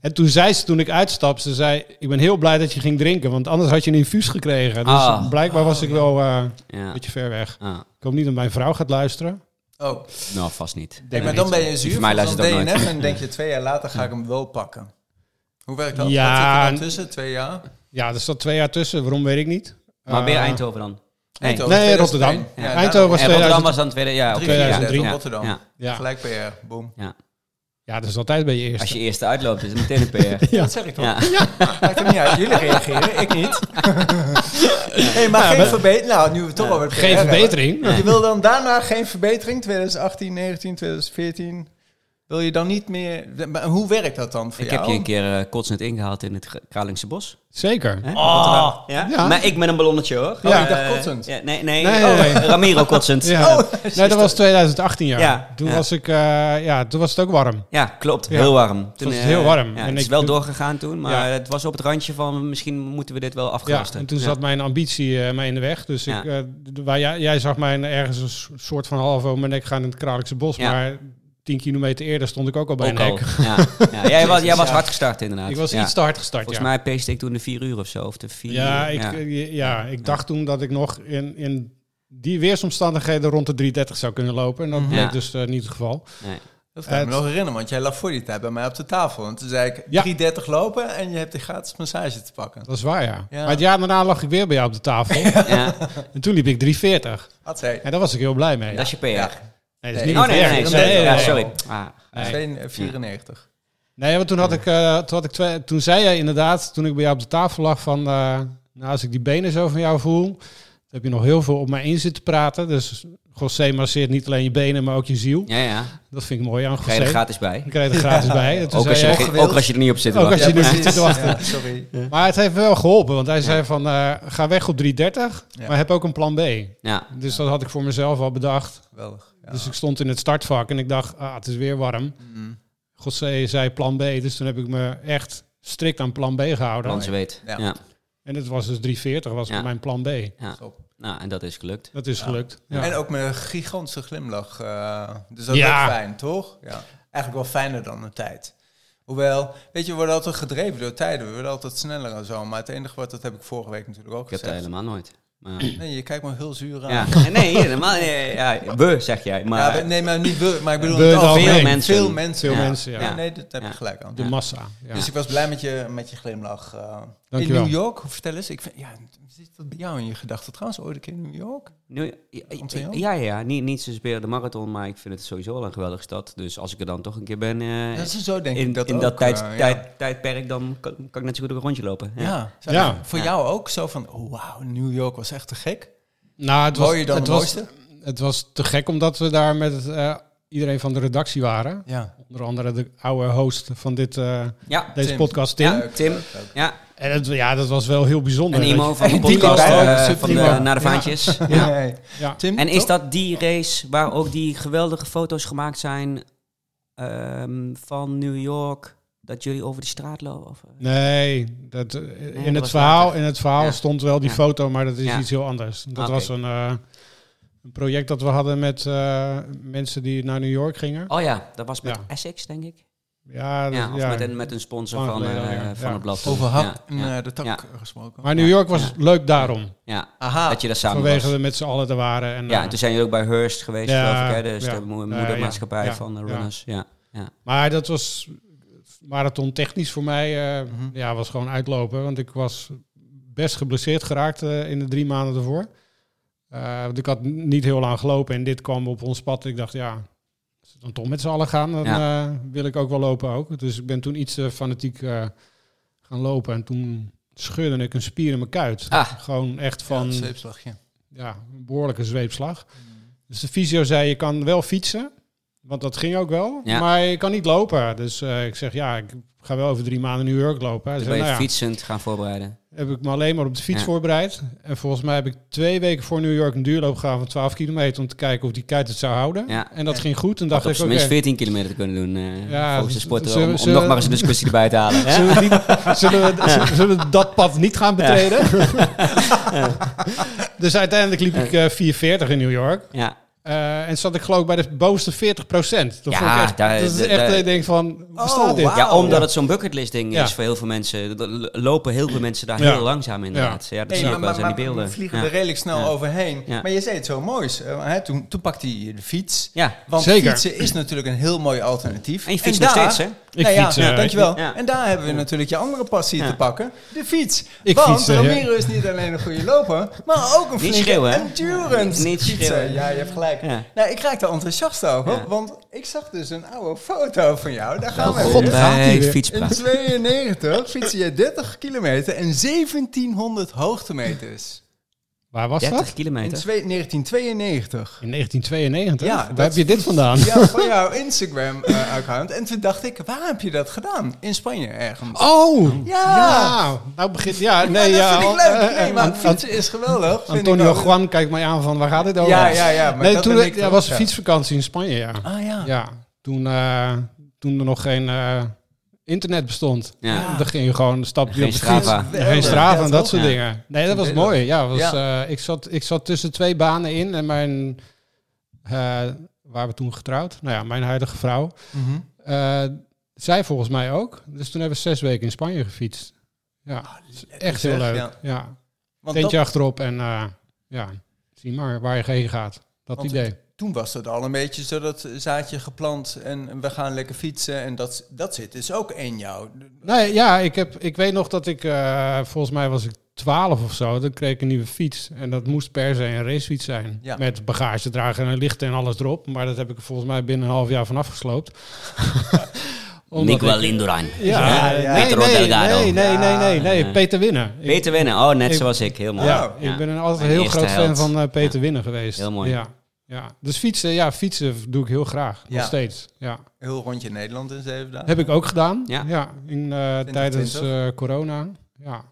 S3: En toen zei ze, toen ik uitstapte, ze zei... Ik ben heel blij dat je ging drinken, want anders had je een infuus gekregen. Dus
S1: Ah.
S3: blijkbaar was ik wel eh,
S1: Ja.
S3: een beetje ver weg.
S1: Ah,
S3: Ik hoop niet dat mijn vrouw gaat luisteren.
S2: Oh,
S1: nou, vast niet.
S2: nee, maar dan ben je
S1: Voor
S2: zuur.
S1: mij
S2: want
S1: luistert
S2: Dan
S1: dat nooit.
S2: DNF en denk je twee jaar later ga ik hem wel pakken. Hoe werkt dat?
S3: Ja,
S2: Wat zit er
S3: en-
S2: dan tussen? Twee jaar?
S3: Ja, er zat twee jaar tussen. Waarom, weet ik niet.
S1: Maar weer
S3: Eh,
S1: Eindhoven dan? Nee.
S2: Eindhoven,
S3: Nee,
S2: 2001.
S3: Rotterdam.
S2: Ja, daarom.
S3: Eindhoven was
S1: En Rotterdam
S3: 2000.
S1: was dan tweede... Ja, oké.
S2: 2003
S1: ja, ja,
S2: Rotterdam.
S1: ja.
S3: Ja.
S2: Gelijk PR, boom.
S3: ja, dat is altijd bij je eerste.
S1: Als je eerste uitloopt, is het meteen een PR.
S3: Ja.
S2: Dat zeg ik toch?
S1: Ja.
S2: Maakt hem niet uit. Jullie reageren, ik niet. hey, maar geen verbetering. Nou, nu we toch alweer
S3: Geen verbetering.
S2: Je wil dan daarna geen verbetering? 2018, 19, 2014? Wil je dan niet meer... maar Hoe werkt dat dan voor
S1: Ik
S2: jou?
S1: heb je een keer eh, kotsend ingehaald in het G- Kralingse Bos.
S3: Zeker.
S1: Hè?
S2: Oh,
S1: Ja?
S3: Ja.
S1: Maar ik met een ballonnetje hoor.
S2: Ja.
S1: Eh,
S2: Oh, ik dacht kotsend. Oh,
S1: ja, nee, nee.
S3: Nee,
S1: Oh,
S3: nee, nee.
S1: Ramiro kotsend. Ja,
S3: Ja. nee, dat was 2018 jaar.
S1: Ja,
S3: Toen
S1: ja.
S3: was ik, eh, ja, toen was het ook warm.
S1: klopt.
S3: Ja.
S1: Heel warm.
S3: was
S1: eh,
S3: heel warm.
S1: Ja,
S3: En
S1: het is
S3: ik-
S1: wel doorgegaan toen, maar
S3: Ja.
S1: het was op het randje van misschien moeten we dit wel
S3: Ja,
S1: afgasten.
S3: en toen zat mijn ambitie eh, mij in de weg. Dus
S1: Ja.
S3: ik, eh, d- waar jij, jij zag mij ergens een s- soort van half over mijn nek gaan in het Kralingse bos.
S1: Ja.
S3: Maar tien kilometer eerder stond ik ook al bij
S1: Ook
S3: een
S1: al.
S3: hek.
S1: Ja. Ja, Jij, was, jij was hard gestart inderdaad.
S3: Ik was
S1: Ja.
S3: iets te hard gestart,
S1: Volgens
S3: ja.
S1: mij peeste ik toen de vier uur of zo. Of de vier
S3: ja,
S1: uur,
S3: ik,
S1: ja.
S3: eh, ja, ik dacht toen dat ik nog in, in die weersomstandigheden rond de 330 zou kunnen lopen. En dat bleek
S1: Mhm. Ja.
S3: dus eh, niet het geval.
S1: Nee.
S2: Dat kan ik me
S3: Het-
S2: nog herinneren, want jij lag voor die tijd bij mij op de tafel. En toen zei ik,
S3: Ja.
S2: 3.30 lopen en je hebt die gratis massage te pakken.
S3: Dat is waar, ja.
S2: Ja.
S3: Maar het jaar daarna lag ik weer bij jou op de tafel.
S1: Ja,
S3: En toen liep ik 340.
S2: Had zij
S3: En daar was ik heel blij mee.
S1: dat is je PR.
S2: Nee.
S3: Nee, dat is niet
S1: Oh
S3: het
S1: nee, nee,
S3: werk.
S1: nee,
S2: dat
S1: sorry.
S2: is-
S1: Ja,
S2: nee.
S1: sorry. Ah,
S3: Nee.
S2: eh, 94.
S3: Nee, want toen had ik, eh, toen had ik twee, toen zei jij inderdaad, toen ik bij jou op de tafel lag van, eh, nou als ik die benen zo van jou voel, dan heb je nog heel veel op mij in zitten praten. Dus José masseert niet alleen je benen, maar ook je ziel.
S1: ja, ja.
S3: Dat vind ik mooi aan
S1: Ga je er
S3: José.
S1: gratis bij.
S3: Ik kreeg er gratis bij. En toen
S1: Ook
S3: zei
S1: als, je
S3: jij- Oh,
S1: er, geen- ook als je er niet op zit. te
S3: Ook als
S1: wachten.
S3: je er
S2: precies.
S3: zit te wachten.
S2: Ja, sorry.
S3: Maar het heeft me wel geholpen, want hij zei van, eh, ga weg op 330,
S2: Ja.
S3: maar heb ook een plan B.
S1: Ja.
S3: Dus dat had ik voor mezelf al bedacht.
S2: Geweldig. Ja.
S3: Dus ik stond in het startvak en ik dacht, ah, het is weer warm.
S2: Mm.
S3: José zei plan B, dus toen heb ik me echt strikt aan plan B gehouden.
S1: Plan ze weet. Ja.
S2: Ja.
S3: En het was dus 340, was
S1: Ja.
S3: mijn plan B.
S1: Nou, en dat is gelukt.
S3: Dat is gelukt. Ja.
S2: En ook met een gigantische glimlach. eh, dus dat
S3: Ja.
S2: is ook fijn, toch? Ja. Eigenlijk wel fijner dan de tijd. Hoewel, weet je, we worden altijd gedreven door tijden. We worden altijd sneller en zo. Maar het enige wat, dat heb ik vorige week natuurlijk ook
S1: Ik heb dat
S2: gezegd.
S1: helemaal nooit. Maar,
S2: Nee, je kijkt me heel zuur aan.
S1: ja. Nee, helemaal nee, ja, We, zeg jij.
S2: Ja,
S1: Maar,
S2: we- nee, maar niet we, maar ik bedoel
S3: We
S2: het
S3: dan
S2: algemeen.
S3: veel
S1: mensen.
S2: Veel mensen.
S3: Veel
S1: Ja.
S3: mensen, ja.
S1: Ja.
S2: Nee, dat heb
S1: Ja.
S2: je gelijk aan.
S3: De massa. Ja.
S2: Dus ik was blij met je, met je glimlach. eh. in
S3: Dankjewel.
S2: New York, vertel eens. Ik vind, ja, zit dat bij jou in je gedachten trouwens? Ooit een keer in New York?
S1: Nu, ja,
S2: Komt hij
S1: ja,
S2: aan?
S1: ja, ja. Niet, niet zozeer de marathon, maar ik vind het sowieso wel een geweldige stad. Dus als ik er dan toch een keer ben eh,
S2: Dat is zo denk
S1: in,
S2: ik dat
S1: in
S2: ook,
S1: dat tijd,
S2: eh, ja.
S1: tijd, tijdperk, dan kan, kan ik net zo goed ook een rondje lopen.
S2: Ja. Zou
S3: Ja.
S2: dat Voor
S1: Ja.
S2: jou ook zo van, oh, wauw, New York was echt te gek.
S3: Nou, het was,
S2: Hoor je dan
S3: het,
S2: de
S3: was,
S2: mooiste?
S3: het was te gek omdat we daar met eh, iedereen van de redactie waren.
S2: Ja.
S3: Onder andere de oude host van dit, eh,
S1: Ja,
S3: deze
S2: Tim.
S3: podcast, Tim.
S1: Ja. Tim. ja.
S3: En het, ja, dat was wel heel bijzonder.
S1: en Imo
S3: dat
S1: van de
S2: En die
S1: podcast,
S2: bij-
S1: eh,
S2: Sub
S1: van de,
S2: Imo.
S1: naar de vaantjes.
S3: je- ja.
S2: Nee.
S3: Ja.
S2: Tim,
S1: En is
S2: toch?
S1: dat die race waar ook die geweldige foto's gemaakt zijn ehm, van New York, dat jullie over de straat lopen? Of, eh?
S3: Nee, dat, eh,
S1: dat
S3: in, het
S1: was
S3: verhaal,
S1: later.
S3: in het verhaal
S1: Ja.
S3: stond wel die
S1: Ja.
S3: foto, maar dat is
S1: Ja.
S3: iets heel anders. Dat
S1: Oké.
S3: was een, eh, een project dat we hadden met eh, mensen die naar New York gingen.
S1: Oh ja, dat was met
S3: Ja.
S1: Essex, denk ik.
S3: Ja, dat-
S1: Oh. Ja, of
S3: ja.
S1: Met, een, met een sponsor
S3: Lang
S1: van,
S3: geleden
S1: eh,
S3: alweer.
S1: van
S3: Ja.
S1: het blad.
S2: Over hak
S1: Ja,
S2: en
S1: ja,
S2: eh, de tak
S1: Ja.
S2: gesproken.
S3: Maar New York was
S1: Ja.
S3: leuk daarom.
S1: ja.
S2: Aha.
S1: dat je daar samen
S3: vanwege
S1: was.
S3: dat we met z'n allen er waren. En,
S1: Ja, dus-
S3: eh,
S1: en toen zijn jullie ook bij Hearst geweest,
S3: Ja,
S1: geloof ik, hè? Dus
S3: ja.
S1: de moe-
S3: Ja,
S1: moedermaatschappij
S3: ja.
S1: van de
S3: Ja.
S1: runners. Ja.
S3: Maar dat was marathon technisch voor mij. eh,
S2: Mhm.
S3: Ja, was gewoon uitlopen. Want ik was best geblesseerd geraakt eh, in de drie maanden ervoor. Eh, want ik had n- niet heel lang gelopen en dit kwam op ons pad. Ik dacht, ja, als we dan toch met z'n allen gaan, dan eh, wil ik ook wel lopen ook. Dus ik ben toen iets eh, fanatiek eh, gaan lopen. En toen scheurde ik een spier in mijn kuit.
S1: Ah.
S3: Gewoon echt
S2: Ja,
S3: van
S2: een zweepslagje.
S3: ja, een behoorlijke zweepslag. Dus de fysio zei, je kan wel fietsen, want dat ging ook wel,
S1: Ja.
S3: maar je kan niet lopen. Dus eh, ik zeg, ja, ik ga wel over drie maanden New York lopen.
S1: Toen
S3: Hij zei,
S1: ben je
S3: nou ja,
S1: fietsend gaan voorbereiden.
S3: heb ik me alleen maar op de fiets
S1: Ja.
S3: voorbereid. En volgens mij heb ik twee weken voor New York een duurloop gegaan van 12 kilometer om te kijken of die kuit het zou houden.
S1: Ja. Oh,
S3: En dat ging goed
S1: Had
S3: en Hm? dacht
S1: op
S3: ik,
S1: zijn
S3: oké,
S1: minst 14 kilometer te kunnen doen, eh,
S3: Ja,
S1: volgens de sporter, om,
S3: zullen we-
S1: om
S3: zullen
S1: nog
S3: we-
S1: maar eens een discussie erbij te halen. hè?
S3: zullen, we die- zullen, we, zullen- zullen we dat pad niet gaan betreden? dus uiteindelijk liep ik eh 440 in New York.
S1: Ja.
S3: Eh, en zat ik geloof ik bij de bovenste 40 procent. Dat,
S1: Ja,
S3: vond ik echt,
S1: daar-
S3: dat is
S1: daar-
S3: echt dat
S1: daar-
S3: ik denk van, hoe staat dit?
S2: Oh, wauw.
S1: Ja, omdat
S3: Ja.
S1: het zo'n bucketlist ding
S3: Ja.
S1: is voor heel veel mensen. Er l- lopen heel veel mensen daar
S3: Ja.
S1: heel langzaam inderdaad. Ja, dat
S2: Nee,
S1: zie je
S2: maar,
S1: ook wel eens
S2: maar-
S1: aan die
S2: maar
S1: beelden.
S2: we vliegen
S1: Ja.
S2: er redelijk snel
S1: Ja.
S2: overheen.
S1: Ja.
S2: Maar je zei het zo moois. eh, hè, toen, toen pakte hij de fiets.
S1: Ja.
S2: Want
S3: Zeker.
S2: fietsen is natuurlijk een heel mooi alternatief.
S1: En je fietst nog steeds, hè?
S3: Ik
S2: nou ja,
S3: fiets, eh,
S2: ja, dankjewel.
S1: ja.
S2: En daar hebben we natuurlijk je andere passie
S1: Ja.
S2: te pakken. De fiets.
S3: Ik
S2: Want
S3: fiets, eh,
S2: Ramiro is niet alleen een goede loper, maar ook een
S1: Niet
S2: flinke
S1: schreeuwen, hè?
S2: endurance
S1: Niet
S2: fietser.
S1: schreeuwen.
S2: Ja, je hebt gelijk.
S1: Ja.
S2: Nou, ik raakte enthousiast ook, hoor,
S1: Ja. Oh,
S2: want ik zag dus een oude foto van jou. Daar gaan we
S3: God,
S2: weer.
S3: daar gaat hij
S1: bij
S3: weer.
S2: In
S1: fietspraat.
S2: 92 fietste je 30 kilometer en 1700 hoogtemeters.
S3: Waar was
S1: 30
S3: dat?
S2: In
S1: kilometer.
S2: twee- 1992.
S3: In 1992?
S2: Ja,
S3: Ja, Waar
S2: dat-
S3: heb je dit vandaan?
S2: Ja, van jouw Instagram-account. en toen dacht ik, waar heb je dat gedaan? In Spanje ergens.
S3: Oh!
S2: Ja.
S3: Nou begint... Ja, nee,
S2: Ja,
S3: ja.
S2: dat vind ik
S3: al-
S2: leuk.
S3: eh,
S2: Nee,
S3: eh,
S2: maar
S3: Ant-
S2: fietsen is geweldig. vind ik
S3: Antonio
S2: ook.
S3: Juan kijkt mij aan van waar gaat dit over?
S2: Ja, ja, ja. maar
S3: nee,
S2: dat
S3: toen
S2: ben
S3: ik,
S2: dan.
S3: ja, was
S2: Ja.
S3: fietsvakantie in Spanje, ja.
S2: Ah ja.
S3: Ja, toen, eh, toen er nog geen eh, internet bestond.
S1: Ja.
S3: Dan ging je gewoon een stapje
S1: Geen
S3: op de fiets.
S1: Strava.
S2: Ja,
S3: Geen Strava
S2: ja,
S3: en dat
S2: toch?
S3: soort
S1: Ja.
S3: dingen. Nee, dat was
S2: Toen deed
S3: mooi. Ja, was, eh, ik, zat, ik zat tussen twee banen in en mijn... eh waren we toen getrouwd? Nou ja, mijn huidige vrouw.
S2: Mhm.
S3: eh, zij volgens mij ook. Dus toen hebben we zes weken in Spanje gefietst. Ja, echt heel
S2: Ah, zeg,
S3: leuk.
S2: ja.
S3: Ja.
S2: Want
S3: Tentje
S2: dat-
S3: achterop en eh, ja, zie maar waar je heen gaat. Dat
S2: Want-
S3: idee.
S2: toen was het al een beetje zo dat zaadje geplant en we gaan lekker fietsen. En dat, dat zit dus ook in jou.
S3: Nee, ja, ik, heb, ik weet nog dat ik, eh, volgens mij was ik 12 of zo, dan kreeg ik een nieuwe fiets. En dat moest per se een racefiets zijn.
S2: Ja.
S3: Met bagagedrager en lichten en alles erop. Maar dat heb ik er volgens mij binnen een half jaar van afgesloopt. Omdat
S1: Miguel
S3: ik-
S1: Indurain.
S3: Ja,
S2: Ja, ja.
S3: Nee,
S1: Peter
S3: nee,
S1: Delgado.
S3: nee, nee, nee, nee, nee,
S1: Ja.
S3: Peter Winnen. Ik-
S1: Peter Winnen. Oh, net
S3: Ik-
S1: zoals ik. Heel mooi.
S3: Ja,
S1: Ja.
S3: ik ben een altijd
S1: Mijn
S3: heel
S1: eerste
S3: groot fan
S1: held.
S3: van eh, Peter Winnen geweest.
S1: Heel mooi.
S3: Ja. Ja. Dus fietsen, ja, fietsen doe ik heel graag.
S2: Ja.
S3: Nog steeds. Ja.
S2: Heel rondje Nederland in zeven dagen.
S3: Heb ik ook gedaan.
S1: Ja.
S3: Ja. in, eh,
S2: 2020?
S3: tijdens eh, corona. Ja.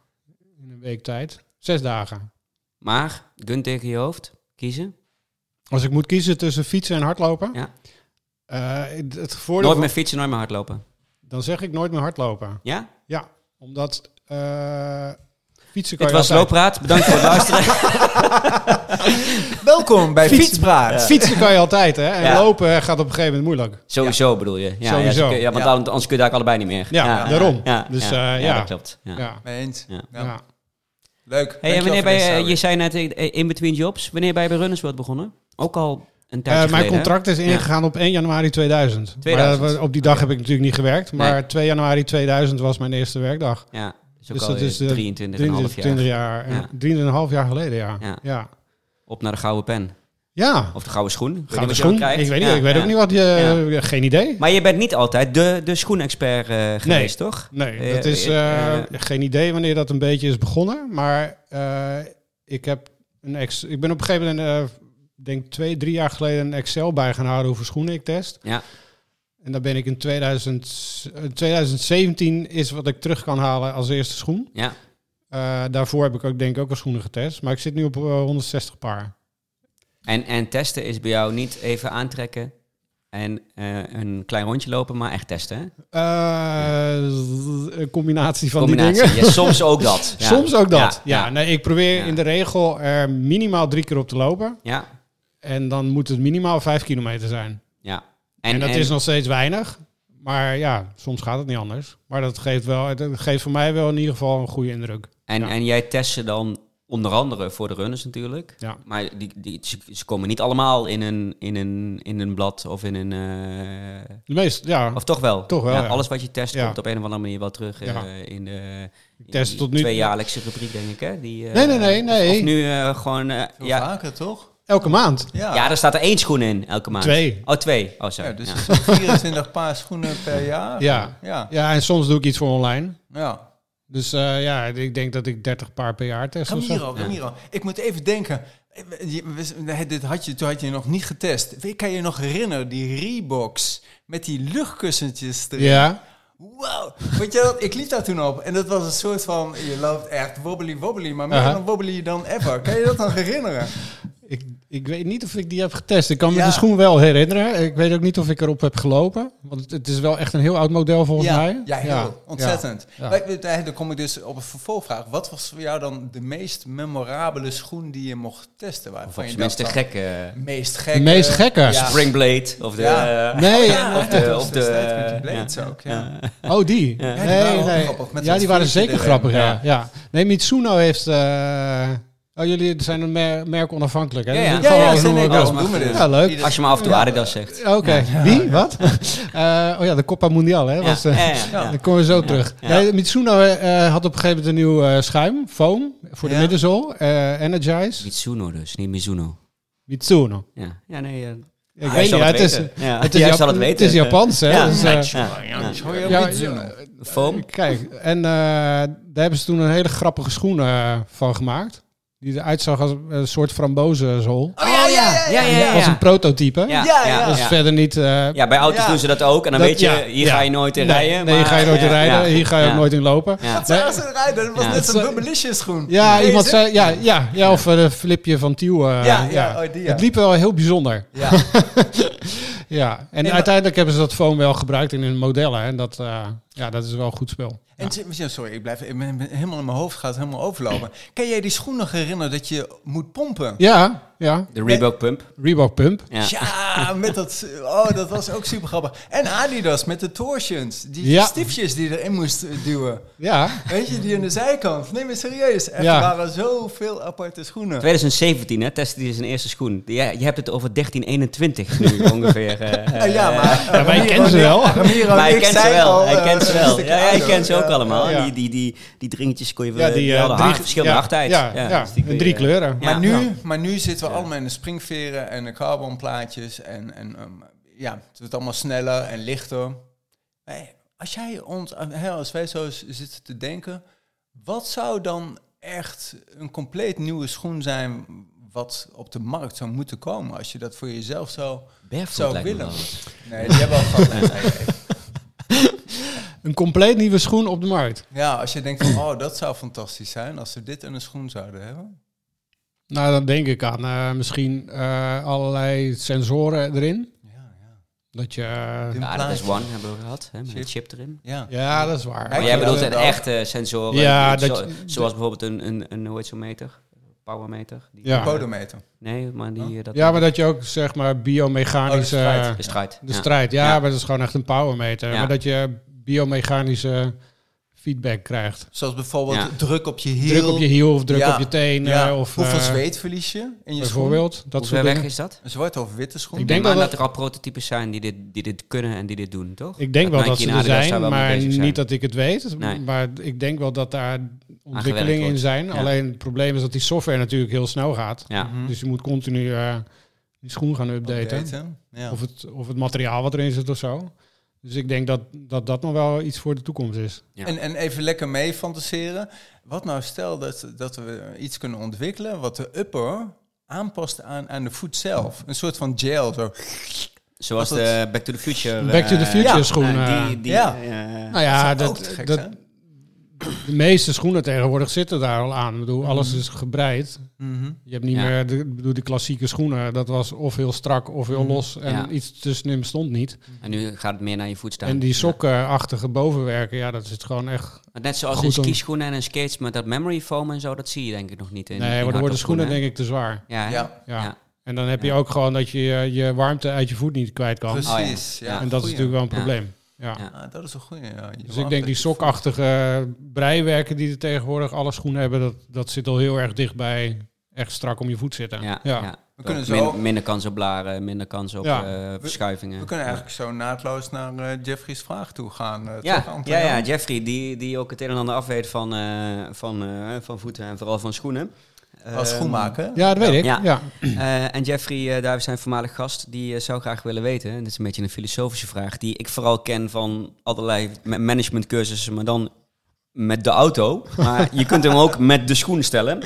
S3: In een week tijd. Zes dagen.
S1: Maar, gun tegen je hoofd. Kiezen.
S3: Als ik moet kiezen tussen fietsen en hardlopen.
S1: Ja.
S3: eh, het- het voordeel
S1: Nooit
S3: van-
S1: meer fietsen, nooit meer hardlopen.
S3: Dan zeg ik nooit meer hardlopen.
S1: Ja?
S3: Ja. Omdat eh, fietsen kan
S1: Dit
S3: je
S1: was
S3: altijd-
S1: Looppraat. Bedankt voor het luisteren.
S2: Welkom bij
S3: Fiets-
S2: Fietspraat.
S3: Fietsen kan je altijd, hè. En
S1: Ja.
S3: lopen gaat op een gegeven moment moeilijk.
S1: Sowieso bedoel je. Ja, Ja,
S3: Sowieso.
S1: ze kun- ja, want
S2: Ja.
S1: dan- anders kun je daar allebei niet meer.
S3: Ja, daarom. Dus,
S1: ja,
S3: eh,
S1: ja,
S3: ja.
S1: dat klopt. Ja.
S3: Ja.
S2: Mee eens.
S1: Ja.
S2: Ja.
S3: ja. Eh,
S2: Leuk.
S1: Hey, en
S2: Dankjewel
S1: wanneer
S2: voor
S1: ben
S2: deze
S1: je, je
S2: samenwerking.
S1: zei net eh, in between jobs, wanneer ben je bij Runners World begonnen? Ook al een
S3: Eh,
S1: tijdje
S3: mijn
S1: geleden, hè?
S3: contract is ingegaan op 1 januari 2000.
S1: 2000.
S3: Maar, eh, op die dag heb ik natuurlijk niet gewerkt. Maar
S1: Nee.
S3: 2 januari 2000 was mijn eerste werkdag.
S1: Ja, dus ook
S3: Dus
S1: al
S3: dat is de
S1: 23 en
S3: 20,
S1: half jaar.
S3: 20 jaar. en
S1: Ja.
S3: 3,5 jaar geleden, ja.
S1: Ja.
S3: Ja. ja.
S1: Op naar de gouden pen. Of de gouden schoen. Ik weet niet
S3: Gaan we
S1: wat je dan
S3: schoen?
S1: krijgt.
S3: Ik weet niet,
S1: Ja,
S3: ik weet
S1: ja.
S3: ook niet wat je... eh, Geen idee.
S1: Maar je bent niet altijd de, de schoenexpert eh geweest, toch?
S3: Nee,
S1: Eh,
S3: dat is
S1: eh,
S3: eh,
S1: eh,
S3: geen idee wanneer dat een beetje is begonnen. Maar eh, ik heb een ex. Ik ben op een gegeven moment, eh, denk twee, drie jaar geleden, een Excel bij gaan houden hoeveel schoenen ik test.
S1: Ja.
S3: En daar ben ik in 2000, eh, 2017 is wat ik terug kan halen als eerste schoen.
S1: Ja.
S3: Eh, daarvoor heb ik ook denk ik ook wel schoenen getest. Maar ik zit nu op eh, 160 paar.
S1: En, en testen is bij jou niet even aantrekken en eh, een klein rondje lopen, maar echt testen, hè?
S3: Eh, Een combinatie van die
S1: Combinatie.
S3: dingen.
S1: Ja, soms ook dat. Ja.
S3: Soms ook dat. Ja,
S1: Ja, ja.
S3: Nee, ik probeer
S1: Ja.
S3: in de regel er minimaal drie keer op te lopen.
S1: ja.
S3: En dan moet het minimaal vijf kilometer zijn.
S1: ja.
S3: En, dat is nog steeds weinig. Maar ja, soms gaat het niet anders. Maar dat geeft, wel, het geeft voor mij wel in ieder geval een goede indruk.
S1: En,
S3: Ja.
S1: en jij test ze dan onder andere voor de runners natuurlijk.
S3: Ja.
S1: Maar die, die, ze, ze komen niet allemaal in een, in een, in een blad of in een... eh,
S3: De meeste, ja.
S1: of toch wel?
S3: Toch wel, ja.
S1: Alles wat je test
S3: Ja.
S1: komt op een of andere manier wel terug eh,
S3: Ja.
S1: in de in
S3: test
S1: die
S3: tot nu-
S1: tweejaarlijkse rubriek, denk ik. Hè? Die, eh,
S3: Nee, nee, nee, nee.
S1: Of, nu eh, gewoon... eh,
S2: Veel
S1: ja,
S2: vaker, toch?
S3: Elke maand.
S2: Ja.
S1: ja, daar staat er één schoen in elke maand.
S3: Twee.
S1: Oh, twee. Oh, sorry.
S2: Ja, dus
S1: Ja.
S2: het zijn 24 paar schoenen per jaar.
S3: Ja.
S2: Ja.
S3: Ja, en soms doe ik iets voor online.
S2: ja.
S3: Dus eh, ja, ik denk dat ik 30 paar per jaar test. of zo.
S2: Ramiro, Ramiro. Ik moet even denken. Je- we- Dit had je, toen had je nog niet getest. Ik kan je nog herinneren, die Reeboks met die luchtkussentjes erin.
S3: Ja.
S2: Wauw. Weet je dat? Ik liep daar toen op. En dat was een soort van, je loopt echt wobbly wobbly, maar meer
S3: Aha.
S2: dan wobbly dan ever. Kan je dat dan herinneren?
S3: Ik, ik weet niet of ik die heb getest. Ik kan me
S2: Ja.
S3: de schoen wel herinneren. Ik weet ook niet of ik erop heb gelopen. Want het- het is wel echt een heel oud model volgens
S2: ja,
S3: mij.
S2: ja, heel. Ontzettend.
S3: Ja.
S2: Maar ik- daar- dan kom ik dus op een vervolgvraag. Wat was voor jou dan de meest memorabele schoen die je mocht testen? Waarvan
S1: Volgens
S2: je
S1: mensen de
S2: dacht
S1: gekke eh,
S2: van, Meest
S3: Ja.
S2: gek.
S3: De meest gekke.
S1: Springblade of de...
S2: eh, Ja.
S1: eh,
S3: Nee,
S1: Of de... Of de
S2: de
S1: ja.
S2: blades ook, ja.
S3: Oh, die? Nee,
S2: die waren wel
S3: nee.
S2: grappig, met
S3: ja,
S2: dat
S3: die waren
S2: vuurtje
S3: zeker
S2: erin.
S3: grappig, ja.
S2: Ja.
S3: ja. Nee, Mitsuno heeft... eh, Oh, jullie zijn een mer- merk onafhankelijk, hè?
S1: Ja, ja.
S3: Dus
S2: Ja,
S3: gewoon
S2: ja,
S3: alles
S2: nee, nee,
S3: noemen we
S2: daarom
S3: elkaar.
S2: doen we dit.
S3: Ja, leuk.
S2: Ieder-
S1: Als je maar af en toe Adidas zegt.
S3: Oké, wie? Wat? Eh, oh ja, de Coppa Mundial, hè? Was, eh,
S1: Ja, ja, ja.
S3: Daar komen we zo terug.
S1: ja.
S3: Nee, Mitsuno eh, had op een gegeven moment een nieuw eh, schuim, foam, voor de
S2: Ja.
S3: middenzol, eh, Energize.
S1: Mitsuno dus, niet Mizuno.
S3: Mitsuno.
S1: Ja, ja nee. eh,
S3: Ik
S1: jij
S3: weet
S1: zal
S3: niet,
S1: het
S3: het is,
S1: weten. Ja,
S3: het is,
S1: jij
S3: Jap-
S1: zal het weten.
S3: is Japans, hè?
S1: Ja.
S3: Dus, eh,
S1: Ja, ja.
S3: ja,
S2: Ja.
S1: Foam.
S3: Kijk, en eh, daar hebben ze toen een hele grappige schoen eh, van gemaakt. Die eruit zag als een soort frambozenzol.
S1: Oh ja, ja, ja, ja.
S3: Als een prototype.
S1: Ja,
S2: Ja, ja.
S1: ja.
S3: Dat is verder niet... eh,
S1: Ja, bij auto's
S2: Ja.
S1: doen ze dat ook. En dan
S3: Dat-
S1: weet je,
S3: ja,
S1: hier
S3: ja.
S1: ga je nooit in
S3: nee,
S1: rijden.
S3: Nee,
S1: maar-
S3: hier ga je nooit in
S1: Ja,
S3: rijden.
S1: ja,
S3: Hier ga je
S1: ja.
S3: ook nooit in lopen.
S1: Ja.
S2: Wat zagen ze eruit? Dat was
S1: Ja.
S2: net zo'n
S3: Dat-
S2: bummelisje schoen.
S3: Ja,
S2: Deze.
S3: iemand zei... Ja, ja, ja of eh, Flipje van Tiel. eh,
S2: Ja, ja, oh, die, ja.
S3: Het liep wel heel bijzonder.
S2: Ja.
S3: Ja, en
S2: maar-
S3: uiteindelijk hebben ze dat foam wel gebruikt in hun modellen. En dat, eh, ja, dat is wel een goed spel.
S2: En
S3: Ja.
S2: t- ja, sorry, ik blijf ik ben- ben helemaal in mijn hoofd gaat helemaal overlopen. Kan jij die schoen nog herinneren dat je moet pompen?
S3: ja, ja.
S1: De Reebok Pump.
S3: Reebok Pump.
S1: Ja.
S2: Ja, met dat. Oh, dat was ook super grappig. En Adidas met de torsions. Die
S3: Ja.
S2: stiefjes die erin moest eh, duwen.
S3: Ja,
S2: Weet je, die aan de zijkant. Nee, maar serieus. Echt,
S3: Ja.
S2: Er waren zoveel aparte schoenen.
S1: 2017, hè, testte hij zijn eerste schoen. Ja, je hebt het over 1321 nu ongeveer. eh,
S2: Eh, ja, maar.
S3: Ja, wij
S2: Ramiro
S3: kennen ze
S2: Nick-
S3: wel.
S2: Ramiro
S1: Maar hij
S2: Nick
S1: kent ze
S2: zei
S1: wel.
S2: al,
S1: Hij
S2: eh,
S1: kent ze
S2: een
S1: wel.
S2: stuk
S1: Ja, hij
S2: ouder.
S1: kent ze ook
S2: Ja.
S1: allemaal.
S3: Ja.
S1: Die, die, die, die dringetjes kon je
S3: ja
S1: wel. Die,
S3: eh,
S1: hadden haar- verschillende
S3: ja,
S1: hardheid.
S3: Ja, ja,
S1: dus die kun
S3: en
S1: je-
S3: drie kleuren.
S1: Ja.
S2: Maar, nu, maar nu zitten we allemaal in de springveren en de carbonplaatjes. En, en ehm, ja, het wordt allemaal sneller en lichter. Maar als jij ons, eh, hè, als wij zo z- zitten te denken, wat zou dan echt een compleet nieuwe schoen zijn wat op de markt zou moeten komen als je dat voor jezelf zou,
S1: Barefoot
S2: zou
S1: lijkt me
S2: willen?
S1: wel.
S2: Nee, die hebben we al gehad. eigenlijk.
S3: Een compleet nieuwe schoen op de markt.
S2: Ja, als je denkt van, oh, dat zou fantastisch zijn als we dit in een schoen zouden hebben.
S3: Nou, dan denk ik aan eh, misschien eh, allerlei sensoren erin.
S2: Ja, ja.
S3: Dat je... eh,
S2: Dim-
S3: ja.
S1: Ja, dat is One hebben we gehad. Hè, met
S2: Chip.
S1: een chip erin.
S2: ja.
S3: dat is waar.
S2: Maar
S1: Maar jij
S2: Ja,
S1: bedoelt
S2: dat
S1: een
S2: ook.
S1: echte sensoren.
S3: Ja,
S1: Zo-
S3: dat je-
S1: zoals bijvoorbeeld een, een, een, hoe heet zo'n meter? Powermeter? Die-
S3: Ja.
S2: Podometer.
S1: Nee, maar die... eh, Dat
S3: Ja, maar dat je ook, zeg maar,
S2: Oh,
S3: biomechanische...
S2: de strijd.
S3: eh,
S1: De strijd.
S3: de
S1: ja.
S3: strijd, ja,
S1: Ja.
S3: maar dat is gewoon echt een powermeter.
S1: Ja.
S3: Maar dat je biomechanische feedback krijgt.
S2: Zoals bijvoorbeeld
S1: Ja.
S2: druk op je hiel.
S3: Druk op je hiel of druk
S2: Ja.
S3: op je teen.
S2: Ja,
S3: eh, of,
S2: Hoeveel
S3: eh,
S2: zweet verlies je in je schoen?
S3: Bijvoorbeeld,
S1: Hoe
S3: dat
S1: ver
S3: soort
S1: weg
S3: dingen.
S1: is dat?
S2: Een zwarte of witte schoen?
S3: Ik
S1: Ik
S3: denk
S1: denk
S3: dat
S1: maar
S3: dat-
S1: dat er al prototypes zijn die dit, die dit kunnen en die dit doen, toch?
S3: Ik denk wel dat
S1: Nike en
S3: ze er
S1: Adidas daar
S3: zijn,
S1: wel mee
S3: maar
S1: bezig zijn.
S3: niet dat ik het weet.
S1: Nee.
S3: Maar ik denk wel dat daar ontwikkelingen in
S1: wordt.
S3: zijn.
S1: Ja.
S3: Alleen het probleem is dat die software natuurlijk heel snel gaat.
S1: Ja.
S2: Mhm.
S3: Dus je moet continu eh, die schoen gaan updaten.
S2: Updaten, Ja.
S3: Of, het, of het materiaal wat erin zit of zo. Dus ik denk dat dat, dat nog wel iets voor de toekomst is.
S1: Ja.
S2: En, en even lekker mee fantaseren. Wat nou stel dat, dat we iets kunnen ontwikkelen wat de upper aanpast aan, aan de voet zelf. Een soort van gel. Zo.
S1: Zoals
S2: Dat
S1: de Back to the Future.
S3: Back to the
S1: eh,
S3: Future
S1: ja,
S3: schoen,
S1: eh,
S3: eh.
S1: die, die,
S2: Ja.
S1: eh,
S3: Nou ja,
S2: zou ook
S3: dat,
S2: te gek
S3: dat,
S2: zijn.
S3: de meeste schoenen tegenwoordig zitten daar al aan. Ik bedoel, alles is gebreid.
S2: Mhm.
S3: Je hebt niet
S1: Mhm. Ja.
S3: meer, de, ik bedoel, die klassieke schoenen, dat was of heel strak of heel los. En
S1: Mhm. Ja.
S3: iets tussenin bestond niet.
S1: eh, en nu gaat het meer naar je voet staan.
S3: En die sokkenachtige bovenwerken, ja, dat is gewoon echt...
S1: Ja. Maar Net zoals
S3: Goed
S1: in
S3: om-
S1: skischoenen en in skates met dat memory foam en zo, dat zie je denk ik nog niet in.
S3: nee, maar dan worden schoenen denk ik te zwaar.
S1: Ja, hè?
S2: Ja,
S3: Ja.
S1: Ja.
S3: En dan heb je
S1: Ja.
S3: ook gewoon dat je eh, je warmte uit je voet niet kwijt kan.
S1: oh ja.
S2: precies. ja.
S1: Ja,
S3: en dat is
S2: Goeie.
S3: natuurlijk wel een
S1: Ja.
S3: probleem. Ja.
S1: Ja.
S2: Ah, dat is een goeie. Ja. Je
S3: Dus ik
S2: warmt
S3: denk die
S2: het-
S3: sokachtige breiwerken die er tegenwoordig alle schoenen hebben, dat, dat zit al heel erg dicht bij echt strak om je voet zitten.
S1: Ja,
S3: ja.
S1: ja.
S2: We kunnen
S1: Min-
S2: zo-
S1: minder kans op blaren, minder kans op
S3: Ja.
S1: eh, verschuivingen.
S2: We kunnen eigenlijk zo naadloos naar eh, Jeffrey's vraag toe gaan. eh, toch,
S1: ja, ja,
S2: Antonio?
S1: ja, Jeffrey, die, die ook het een en ander af weet van, eh, van, eh, van voeten en vooral van schoenen.
S2: Als
S1: Ehm,
S2: schoenmaker.
S3: Ja, dat weet ik.
S1: Ja.
S3: Ja.
S1: Eh, en Jeffrey, eh daar zijn voormalig gast, die eh, zou graag willen weten. En dit is een beetje een filosofische vraag, die ik vooral ken van allerlei ma- managementcursussen, maar dan met de auto. Maar je kunt hem ook met de schoen stellen.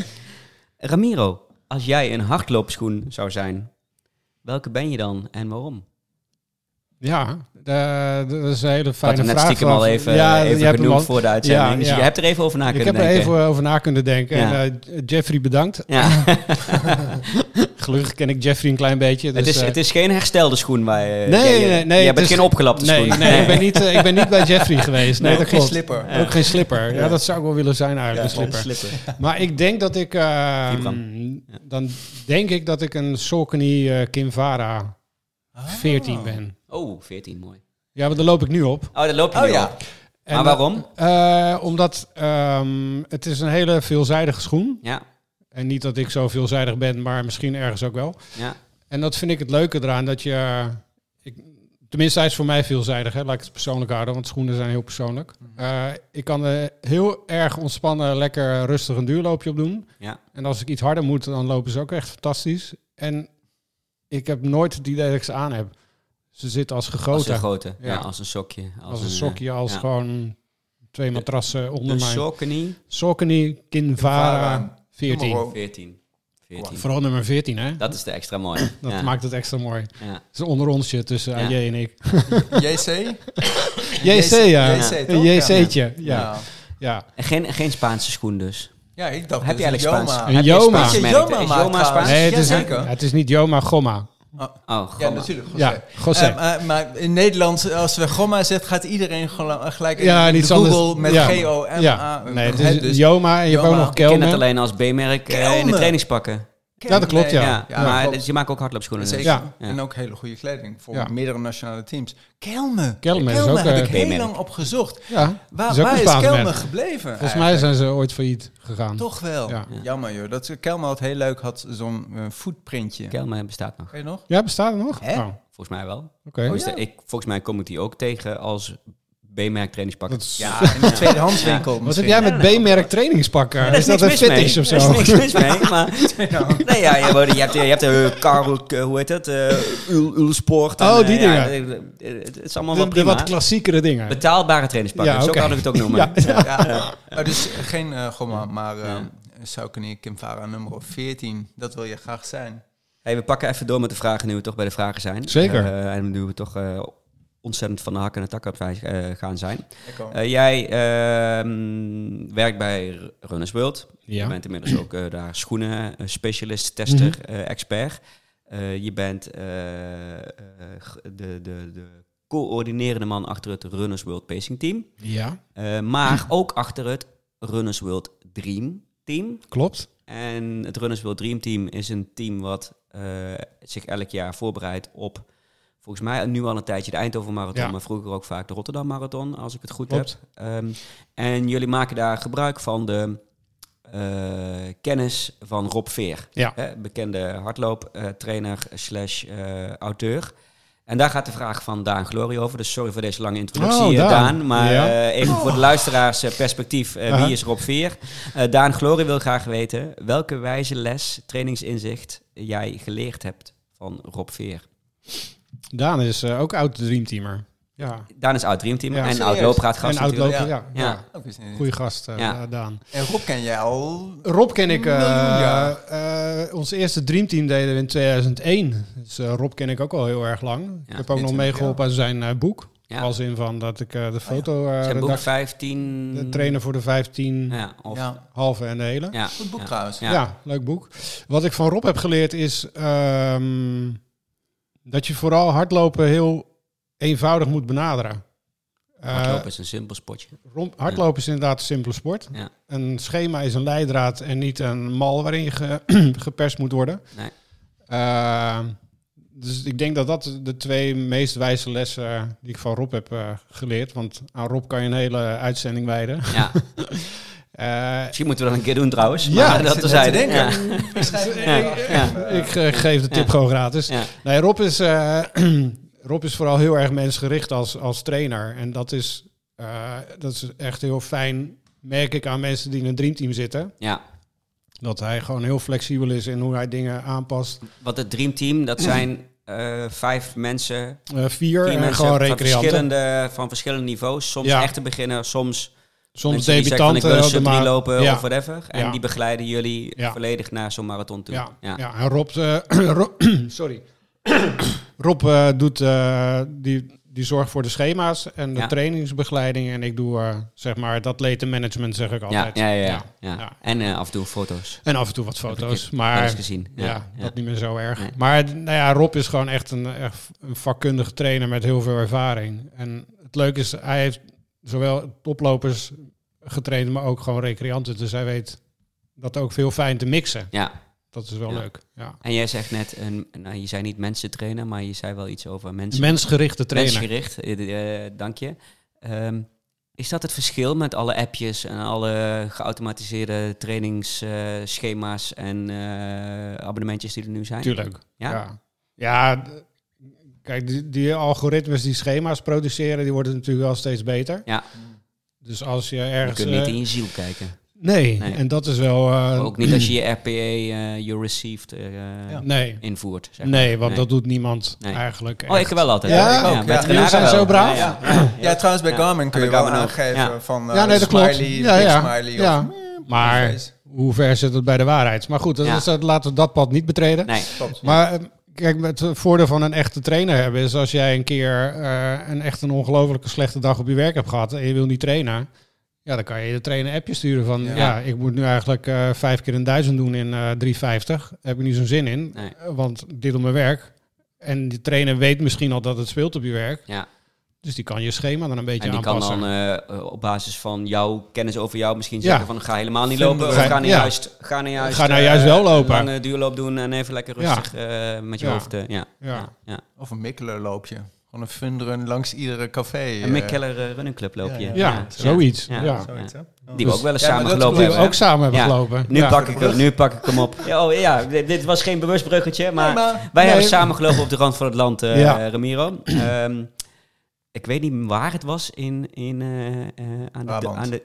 S1: Ramiro, als jij een hardloopschoen zou zijn, welke ben je dan en waarom?
S3: Ja, eh, dat is een hele
S1: Ik had
S3: fijne
S1: hem net
S3: vraag.
S1: stiekem
S3: van-
S1: al even,
S3: ja, je
S1: even
S3: hebt hem
S1: benoemd
S3: al-
S1: voor de uitzending.
S3: Ja,
S1: Dus
S3: ja.
S1: je hebt er even over na
S3: Ik
S1: kunnen
S3: heb er
S1: denken.
S3: even over na kunnen denken.
S1: Ja.
S3: En, eh, Jeffrey, bedankt.
S1: Ja.
S3: Gelukkig ken ik Jeffrey een klein beetje. Dus,
S1: het, is,
S3: eh,
S1: het is geen herstelde schoen waar je...
S3: Nee,
S1: jij-
S3: nee, nee, nee,
S1: Jij
S3: het
S1: bent
S3: is-
S1: geen opgelapte
S3: nee,
S1: schoen.
S3: Nee, Ik, ben niet, eh, ik ben niet bij Jeffrey geweest. Nee,
S2: Nee,
S3: dat
S2: geen
S3: klopt.
S2: slipper.
S3: Ook geen slipper. Ja,
S1: Ja.
S3: dat zou ik wel willen zijn
S2: Ja,
S3: eigenlijk, een slipper. Maar ik denk dat ik... eh,
S1: Vibram.
S3: dan denk ik dat ik een Saucony eh, Kinvara
S2: Ah.
S3: 14 ben.
S1: Oh, 14, mooi.
S3: Ja, want daar loop ik nu op.
S1: Oh, daar loop je
S2: Oh
S1: nu
S2: ja.
S1: op. maar waarom?
S3: eh, omdat ehm, het is een hele veelzijdige schoen.
S1: Ja,
S3: En niet dat ik zo veelzijdig ben, maar misschien ergens ook wel.
S1: ja.
S3: En dat vind ik het leuke eraan, dat je... eh, Ik, tenminste, hij is voor mij veelzijdig, hè, laat ik het persoonlijk houden, want schoenen zijn heel persoonlijk. Eh, ik kan eh, heel erg ontspannen, lekker eh, rustig een duurloopje op doen.
S1: Ja.
S3: En als ik iets harder moet, dan lopen ze ook echt fantastisch. En ik heb nooit het idee dat ik ze aan heb. Ze zitten als
S1: Als
S3: gegoten.
S1: een grote. Ja.
S3: Ja.
S1: als een sokje. Als,
S3: als een
S1: eh,
S3: sokje, als
S1: ja.
S3: gewoon twee matrassen onder
S1: Een
S3: mij.
S1: sokkenie.
S3: Sokkeny, Kinvara,
S2: Kinvara. Kom maar
S3: 14.
S2: op.
S1: 14. 14.
S3: Vooral nummer 14, hè?
S1: Dat is de extra mooi.
S3: Dat
S1: ja.
S3: maakt het extra mooi.
S1: Ja.
S3: Het is onder onsje tussen AJ
S1: Ja.
S3: en ik.
S2: JC?
S3: JC, ja.
S2: JC, toch?
S3: Een JC'tje, ja.
S2: Ja.
S3: ja.
S1: En geen, geen Spaanse schoen dus.
S2: Ja, ik dacht
S1: Heb
S2: dus
S1: je eigenlijk
S2: Joma.
S1: Spaans?
S3: Een
S1: Heb je
S3: Joma.
S1: Spaans
S2: Is je
S1: merken?
S2: Joma
S1: Is
S2: maakt
S1: Joma
S2: trouwens?
S1: Spaans?
S3: Nee, het is,
S2: Jazeker.
S3: het is niet Joma, Gomma.
S1: Oh, god.
S2: Ah, Ja, natuurlijk. José.
S3: Ja, José.
S2: Eh, maar, maar in Nederland, als we Gomma zegt, gaat iedereen gel- gelijk in
S3: ja,
S2: de
S3: niet
S2: Google
S3: anders.
S2: met
S3: ja.
S2: G-O-M-A.
S3: Ja. Nee, het
S2: Hè,
S3: is
S2: dus-
S3: Joma en je hebt ook
S2: Joma.
S3: nog
S1: Ik ken het
S3: Kelme. alleen.
S1: alleen als B-merk eh, in de
S2: Kelme.
S1: trainingspakken.
S3: Ja, dat klopt,
S1: Ja,
S3: Ja.
S1: maar
S2: klopt.
S1: dus je maakt ook hardloopschoenen. dus.
S2: Zeker.
S3: Ja.
S1: Ja.
S2: En ook hele goede kleding voor
S3: Ja.
S2: meerdere nationale teams. Kelme.
S3: Kelme is ook,
S2: heb
S3: eh,
S2: ik heel
S1: B-merk.
S2: lang op gezocht.
S3: Ja,
S2: Waar
S3: is
S2: is,
S3: ook
S2: waar
S3: een
S2: is
S3: Spaans
S2: Kelme
S3: merk.
S2: gebleven? Eh,
S3: volgens mij zijn ze ooit failliet gegaan.
S2: Toch wel.
S3: Ja.
S2: Jammer joh. Dat, Kelme had heel leuk had zo'n eh, footprintje.
S1: Kelme bestaat nog.
S2: Weet je nog?
S3: Ja, bestaat het nog?
S2: Hè?
S3: Oh, oké.
S1: Volgens mij wel.
S2: Oh,
S1: Dus
S2: ja.
S1: de- ik, volgens mij kom ik die ook tegen als B-merk trainingspakken.
S3: Dat is-
S2: Ja, in de tweedehandswinkel
S3: Wat zit
S2: misschien.
S3: jij met
S1: Nee, nee, nee.
S3: B-merk trainingspakken?
S1: Daar
S3: is
S1: niks
S3: dat een
S1: mis mee.
S3: fetish of zo?
S1: Daar is niks mis mee, maar...
S2: Ja.
S1: Nee, ja, je, wordt- je hebt, je hebt eh, Karel, eh, hoe heet het? eh Ul, Ulsport. en,
S3: Oh, die
S1: eh, ja, eh, het, het is allemaal wel
S3: De, de
S1: prima.
S3: wat klassiekere dingen.
S1: Betaalbare trainingspakken,
S3: Ja,
S1: zo
S3: oké.
S1: kan ik het ook noemen.
S3: Ja.
S2: Ja. Maar dus geen eh, Gomma, maar eh Saucony Kimvara nummer 14. Dat wil je graag zijn.
S1: Hey, we pakken even door met de vragen nu we toch bij de vragen zijn.
S3: Zeker.
S1: Eh, en nu we toch eh, ontzettend van de hak en de tak af eh, gaan zijn.
S2: Lekker.
S1: Eh, jij ehm, werkt bij R- Runners World. Je
S3: Ja.
S1: bent inmiddels ook eh, daar schoenen, eh, specialist, tester, eh, expert. Eh, je bent eh, eh, g- de, de, de coördinerende man achter het Runners World Pacing Team.
S3: ja,
S1: Eh, maar ook achter het Runners World Dream Team.
S3: klopt.
S1: En het Runners World Dream Team is een team wat eh, zich elk jaar voorbereidt op, volgens mij nu al een tijdje, de Eindhoven Marathon,
S3: Ja.
S1: maar vroeger ook vaak de Rotterdam Marathon, als ik het goed
S3: Klopt.
S1: heb. Ehm, en jullie maken daar gebruik van de eh, kennis van Rob Veer,
S3: Ja.
S1: hè, bekende hardlooptrainer slash eh, auteur. En daar gaat de vraag van Daan Glory over. Dus sorry voor deze lange introductie,
S3: Oh,
S1: eh,
S3: Daan.
S1: Daan. Maar
S3: Ja.
S1: eh, even voor de luisteraars eh, perspectief. eh,
S3: Aha.
S1: Wie is Rob Veer? Eh, Daan Glory wil graag weten welke wijze les, trainingsinzicht jij geleerd hebt van Rob Veer.
S3: Daan is eh, ook oud dreamteamer. Ja.
S1: Daan is oud dreamteam
S3: Ja.
S1: en
S2: Serieus?
S1: oud loopraadgast
S3: En oud
S1: natuurlijk.
S3: lopen, ja.
S1: Ja.
S3: ja.
S2: Ook is niet-
S3: Goeie gast, eh,
S1: Ja.
S3: Daan.
S2: En Rob ken jij al.
S3: Rob ken ik. eh,
S2: Miljoen jaar.
S3: eh, ons eerste dreamteam deden we in 2001. Dus eh, Rob ken ik ook al heel erg lang. ik heb ook nog
S2: 20
S3: meegeholpen aan zijn eh, boek.
S1: Ja. Oh
S3: Als in van dat ik eh, de foto eh
S1: Zijn boek
S3: redactie-
S1: 15...
S3: de trainer voor de 15
S1: Ja, of, ja.
S2: Ja,
S3: halve en de hele.
S1: Ja.
S2: goed boek
S1: Ja.
S2: trouwens.
S3: Ja. leuk boek. Wat ik van Rob heb geleerd is ehm, dat je vooral hardlopen heel eenvoudig moet benaderen. Eh,
S1: Hardlopen is een simpel spotje.
S3: rond- hardlopen is inderdaad een simpele sport.
S1: Ja.
S3: Een schema is een leidraad en niet een mal waarin je ge- geperst moet worden.
S1: Nee.
S3: Eh, dus ik denk dat dat de twee meest wijze lessen die ik van Rob heb eh, geleerd. Want aan Rob kan je een hele uitzending wijden.
S1: Ja.
S3: Eh,
S1: Misschien moeten we dat een keer doen trouwens.
S3: Ja,
S1: maar
S3: ik
S1: dat
S2: zit
S1: te
S2: net te
S1: zijn. Ja.
S2: denken. Ik schrijf
S1: Ja.
S2: het neer.
S1: Ja.
S3: ik eh, geef de tip
S1: Ja.
S3: gewoon gratis.
S1: Ja.
S3: Nee, Rob is, eh, Rob is vooral heel erg mensgericht als, als trainer. En dat is, eh, dat is echt heel fijn, merk ik aan mensen die in een dreamteam zitten.
S1: Ja.
S3: Dat hij gewoon heel flexibel is in hoe hij dingen aanpast.
S1: Want het Dream Team, dat zijn eh, vijf mensen
S3: Eh, vier
S1: Vier
S3: en
S1: mensen
S3: gewoon
S1: van
S3: recreanten.
S1: verschillende, van verschillende niveaus. Soms
S3: Ja.
S1: echte beginners, soms,
S3: Soms
S1: mensen die zeggen van, ik
S3: debutanten.
S1: wil een
S3: op de
S1: sub
S3: ma-
S1: 3 lopen
S3: ja.
S1: of whatever. En
S3: Ja.
S1: die begeleiden jullie
S3: Ja.
S1: volledig naar zo'n marathon toe.
S3: Ja, ja.
S1: ja.
S3: en Rob, eh, Ro- sorry. Rob eh, doet, eh, die, die zorgt voor de schema's en de
S1: Ja.
S3: trainingsbegeleiding. En ik doe, eh, zeg maar, het atletenmanagement, zeg ik
S1: Ja,
S3: altijd.
S1: ja, ja, ja.
S3: Ja.
S1: Ja. En eh, af en toe foto's.
S3: En af en toe wat
S1: Heb ik
S3: foto's,
S1: het wel
S3: maar
S1: eens gezien.
S3: ja, dat niet meer zo erg.
S1: Nee.
S3: Maar d- nou ja, Rob is gewoon echt een, echt een vakkundige trainer met heel veel ervaring. En het leuke is, hij heeft zowel toplopers getraind, maar ook gewoon recreanten. Dus hij weet dat ook veel fijn te mixen.
S1: Ja.
S3: Dat is wel
S1: Ja.
S3: leuk. Ja.
S1: En jij zegt net, een, nou, je zei niet mensen trainen, maar je zei wel iets over mensen.
S3: Mensgerichte trainer.
S1: Mensgericht, eh, eh, dank je. Ehm, is dat het verschil met alle appjes en alle geautomatiseerde trainingsschema's en eh, abonnementjes die er nu zijn?
S3: Tuurlijk.
S1: Ja?
S3: Ja, Ja, d- kijk, die, die algoritmes die schema's produceren, die worden natuurlijk wel steeds beter.
S1: Ja.
S3: Dus als je
S1: Je
S3: ergens...
S1: kunt niet
S3: eh,
S1: in je ziel kijken.
S3: nee.
S1: Nee.
S3: en dat is wel... eh,
S1: ook niet als je je RPA, eh you received, eh,
S3: Nee,
S1: invoert. Zeg maar.
S3: nee want
S1: Nee.
S3: dat doet niemand
S1: Nee.
S3: eigenlijk.
S1: Oh,
S3: echt.
S1: ik wel altijd.
S3: Ja?
S1: hoor.
S2: Ik ook,
S1: bij
S2: ja.
S1: Trenara
S3: Jullie zijn
S1: wel.
S3: zo braaf.
S1: Ja, ja.
S2: Ja, trouwens bij
S1: Ja.
S2: Garmin kun
S1: En
S2: je
S1: bij
S2: wel
S1: Garmin ook.
S2: aangeven
S1: Ja.
S2: van eh,
S3: Ja, nee, dat klopt.
S2: smiley,
S3: ja,
S2: big
S3: ja.
S2: smiley. of-
S3: ja. Maar
S2: face.
S3: hoe ver zit het bij de waarheid? Maar goed, dat,
S1: Ja.
S3: is- dat- laten we dat pad niet betreden.
S1: Nee,
S2: Klopt.
S3: Maar ehm, kijk, het voordeel van een echte trainer hebben is als jij een keer eh, een echt een ongelofelijke slechte dag op je werk hebt gehad en je wil niet trainen, ja, dan kan je de trainer een appje sturen van,
S2: Ja.
S3: ja, ik moet nu eigenlijk eh, vijf keer een duizend doen in eh 350. Daar heb ik niet zo'n zin in,
S1: Nee.
S3: eh, want dit op mijn werk. En die trainer weet misschien al dat het speelt op je werk,
S1: ja.
S3: dus die kan je schema dan een beetje
S1: En die kan
S3: aanpassen.
S1: dan eh, op basis van jouw kennis over jou misschien
S3: Ja.
S1: zeggen van ga helemaal niet
S2: Vinden
S1: lopen.
S2: we-
S1: Of ga nou
S3: Ja.
S1: juist, ga nou juist,
S3: Ga nou
S1: eh,
S3: juist wel lopen.
S1: Een lange duurloop doen en even lekker
S3: Ja.
S1: rustig eh, met je
S3: Ja.
S1: hoofd. eh, ja.
S3: Ja.
S1: Ja. Ja.
S2: Of een mikkelerloopje. Gewoon een funderen langs iedere café. eh.
S1: Een Mick Keller eh, Running Club loop je.
S2: Ja,
S3: ja, zoiets.
S1: Ja.
S3: Ja.
S2: Zoiets, hè? Oh.
S1: Die we ook wel eens
S2: Ja, maar
S1: samen
S2: dat
S1: gelopen
S3: Die we
S1: hebben.
S3: ook samen hebben
S1: Ja.
S3: gelopen.
S1: Nu,
S3: Ja.
S1: pak ik hem, nu pak ik hem op. Ja, Oh ja, dit, dit was geen bewust bruggetje, maar
S2: Nee, maar-
S1: wij
S3: Nee.
S1: hebben samen gelopen op de rand van het land, eh,
S3: Ja.
S1: Ramiro. Ehm, ik weet niet waar het was in, in, eh, eh, aan, de,
S2: Brabant.
S1: aan de...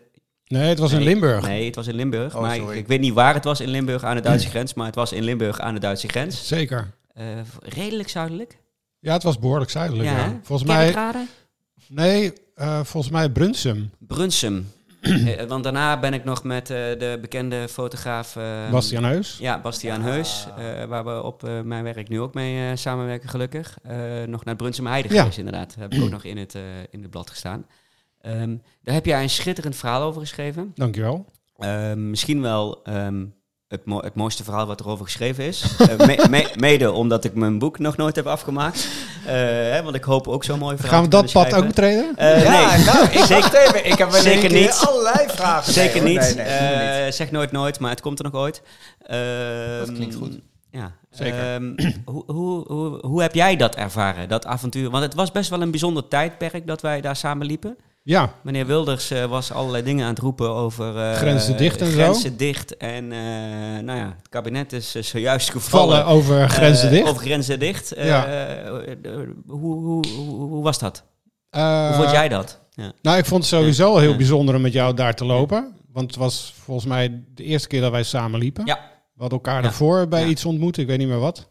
S3: Nee, het was in
S1: Nee.
S3: Limburg.
S1: Nee, het was in Limburg.
S2: Oh,
S1: maar ik,
S2: sorry.
S1: ik weet niet waar het was in Limburg aan de Duitse grens, maar het was in Limburg aan de Duitse grens.
S3: Zeker.
S1: Eh, redelijk zuidelijk.
S3: Ja, het was behoorlijk zuidelijk.
S1: Ja,
S3: ja.
S1: hè?
S3: Volgens mij,
S1: Kerkrade?
S3: Nee, eh, volgens mij Brunsum.
S1: Brunsum. Eh, want daarna ben ik nog met eh, de bekende fotograaf... eh,
S3: Bastiaan Heus.
S1: Ja, Bastiaan Heus, eh, waar we op eh, mijn werk nu ook mee eh, samenwerken, gelukkig. Eh, nog naar Brunsum Heide
S3: Ja.
S1: geweest, inderdaad. Heb ik ook nog in het, eh, in het blad gestaan. Ehm, daar heb jij een schitterend verhaal over geschreven.
S3: Dankjewel.
S1: Ehm, misschien wel ehm, het, mo- het mooiste verhaal wat erover geschreven is. Eh, me- me- mede omdat ik mijn boek nog nooit heb afgemaakt. Eh, hè, want ik hoop ook zo'n mooi verhaal
S3: Gaan we
S1: te
S3: dat
S1: kunnen
S3: pad ook
S1: schrijven.
S3: betreden?
S1: Eh,
S2: ja,
S1: nee,
S2: nou, ik
S1: Zeker-
S2: wacht even. Ik heb wel
S1: zeker
S2: een keer
S1: niet.
S2: allerlei vragen.
S1: zeker
S2: Nee,
S1: niet.
S2: hoor, Nee, nee, helemaal niet.
S1: Eh, zeg nooit nooit, maar het komt er nog ooit.
S2: Dat
S1: Ehm,
S2: klinkt goed.
S1: Ja,
S3: Zeker.
S1: Ehm, hoe, hoe, hoe, hoe heb jij dat ervaren, dat avontuur? Want het was best wel een bijzonder tijdperk dat wij daar samen liepen.
S3: Ja,
S1: Meneer Wilders eh, was allerlei dingen aan het roepen over... eh,
S3: Grenzen dicht en zo.
S1: Grenzen dicht en, eh, nou ja, het kabinet is eh, zojuist gevallen.
S3: vallen over grenzen
S1: eh,
S3: dicht.
S1: Over grenzen dicht. Eh,
S3: Ja.
S1: eh, eh, hoe, hoe, hoe, hoe was dat?
S3: Eh,
S1: Hoe vond jij dat? Ja.
S3: Nou, ik vond het sowieso heel
S1: Ja.
S3: bijzonder om met jou daar te lopen. Want het was volgens mij de eerste keer dat wij samen liepen.
S1: Ja.
S3: We hadden elkaar
S1: Ja.
S3: daarvoor bij
S1: Ja.
S3: iets ontmoet, ik weet niet meer wat.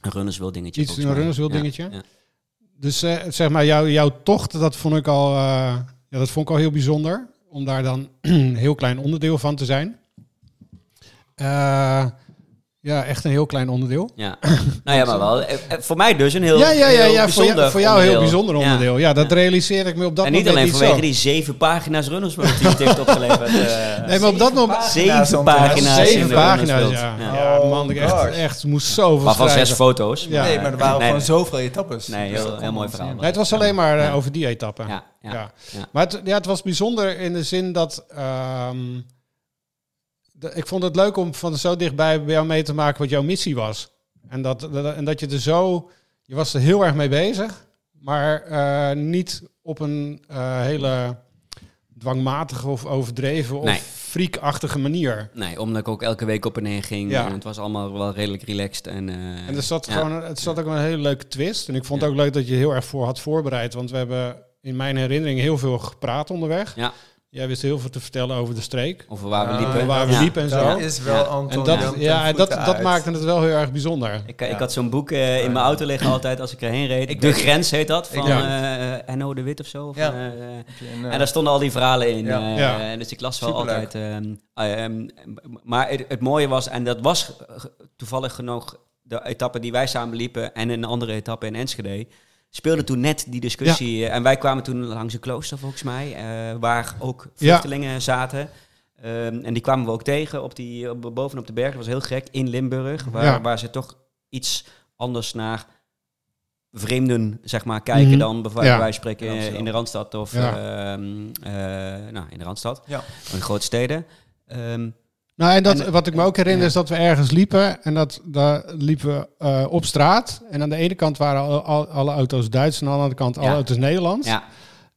S1: Een runnerswil dingetje.
S3: Iets,
S1: volgens
S3: een
S1: mij.
S3: runnerswil
S1: Ja,
S3: dingetje.
S1: ja.
S3: Dus eh, zeg maar, jou, jouw tocht, dat vond, ik al, eh, ja, dat vond ik al heel bijzonder. Om daar dan een heel klein onderdeel van te zijn. Eh, ja, echt een heel klein onderdeel.
S1: Ja. nou ja, maar wel. eh, eh, Voor mij dus een heel
S3: ja, ja,
S1: heel
S3: ja, ja voor, jou,
S1: bijzonder
S3: voor jou een heel bijzonder
S1: Ja.
S3: onderdeel. Ja, dat realiseer ik me op dat
S1: en
S3: moment
S1: niet alleen
S3: niet
S1: vanwege
S3: zo.
S1: die zeven pagina's runners die het heeft opgeleverd. eh.
S3: Nee, maar op dat moment...
S2: Pagina's
S1: zeven
S2: om te
S1: pagina's. in
S2: hebben.
S3: Zeven
S1: de
S3: pagina's,
S1: runnersbeeld.
S3: ja.
S1: Ja.
S3: ja. man, ik echt,
S2: God.
S3: echt moest zoveel
S1: Maar van zes
S3: schrijven.
S1: foto's.
S3: Ja.
S2: nee, maar er waren
S1: nee,
S2: gewoon
S1: nee.
S2: zoveel etappes. Dus
S1: Nee, heel-
S2: dat
S1: heel
S2: kon
S1: mooi
S2: ons
S1: verhaal.
S2: niet.
S3: Nee, het was alleen maar eh,
S1: Ja.
S3: over die etappe. Ja.
S1: Ja, ja. ja.
S3: Maar het, ja, het was bijzonder in de zin dat... ehm, de- ik vond het leuk om van zo dichtbij bij jou mee te maken wat jouw missie was. En dat, dat- en dat je er zo... Je was er heel erg mee bezig, maar eh, niet op een eh, hele dwangmatige of overdreven of
S1: Nee.
S3: friekachtige manier.
S1: Nee, omdat ik ook elke week op en neer ging.
S3: Ja.
S1: En het was allemaal wel redelijk relaxed. En, eh,
S3: En er zat
S1: ja.
S3: gewoon, een- het zat ook een hele leuke twist. En ik vond
S1: Ja.
S3: ook leuk dat je heel erg voor had voorbereid. Want we hebben in mijn herinnering heel veel gepraat onderweg.
S1: Ja.
S3: Jij wist heel veel te vertellen over de streek.
S1: Of waar we
S2: Ah,
S1: liepen.
S3: eh, waar we
S1: Ja.
S3: liepen en zo.
S2: Dat is wel
S1: Ja.
S2: Anton.
S3: en dat,
S2: Jan
S3: ja.
S2: ten
S3: en dat,
S2: voeten
S3: dat
S2: uit.
S3: maakte het wel heel erg bijzonder.
S1: Ik,
S2: Ja.
S1: ik had zo'n boek eh, in mijn auto liggen altijd als ik erheen reed.
S2: Ik
S1: de
S2: weet-
S1: grens heet dat, van
S3: weet-
S1: eh, eh, NO de Wit of zo. Of,
S2: Ja.
S1: eh, eh,
S2: En, eh,
S1: En daar stonden al die verhalen in.
S2: Ja.
S1: eh,
S3: Ja.
S1: en dus ik las wel
S2: Superleuk.
S1: altijd. ehm, ah, ehm, maar het, het mooie was, en dat was eh, toevallig genoeg de etappe die wij samen liepen en een andere etappe in Enschede. Speelde toen net die discussie. eh, En wij kwamen toen langs een klooster, volgens mij, eh, waar ook vluchtelingen zaten. Ehm, en die kwamen we ook tegen op die, op, bovenop de berg. Dat was heel gek, in Limburg, waar,
S3: Ja.
S1: waar ze toch iets anders naar vreemden, zeg maar, kijken
S3: Mhm.
S1: dan bijvoorbeeld
S3: Ja.
S1: wij spreken
S2: In
S1: eh,
S2: Amsterdam.
S1: in de Randstad of
S3: Ja.
S1: ehm, eh, nou, in de Randstad,
S2: Ja.
S1: of in grote steden. Ehm,
S3: Nou, en, dat,
S1: En-
S3: wat ik me ook herinner
S1: ja.
S3: is dat we ergens liepen. En dat daar liepen we eh, op straat. En aan de ene kant waren al, al- alle auto's Duits. En aan de andere kant alle
S1: Ja.
S3: auto's Nederlands.
S1: ja,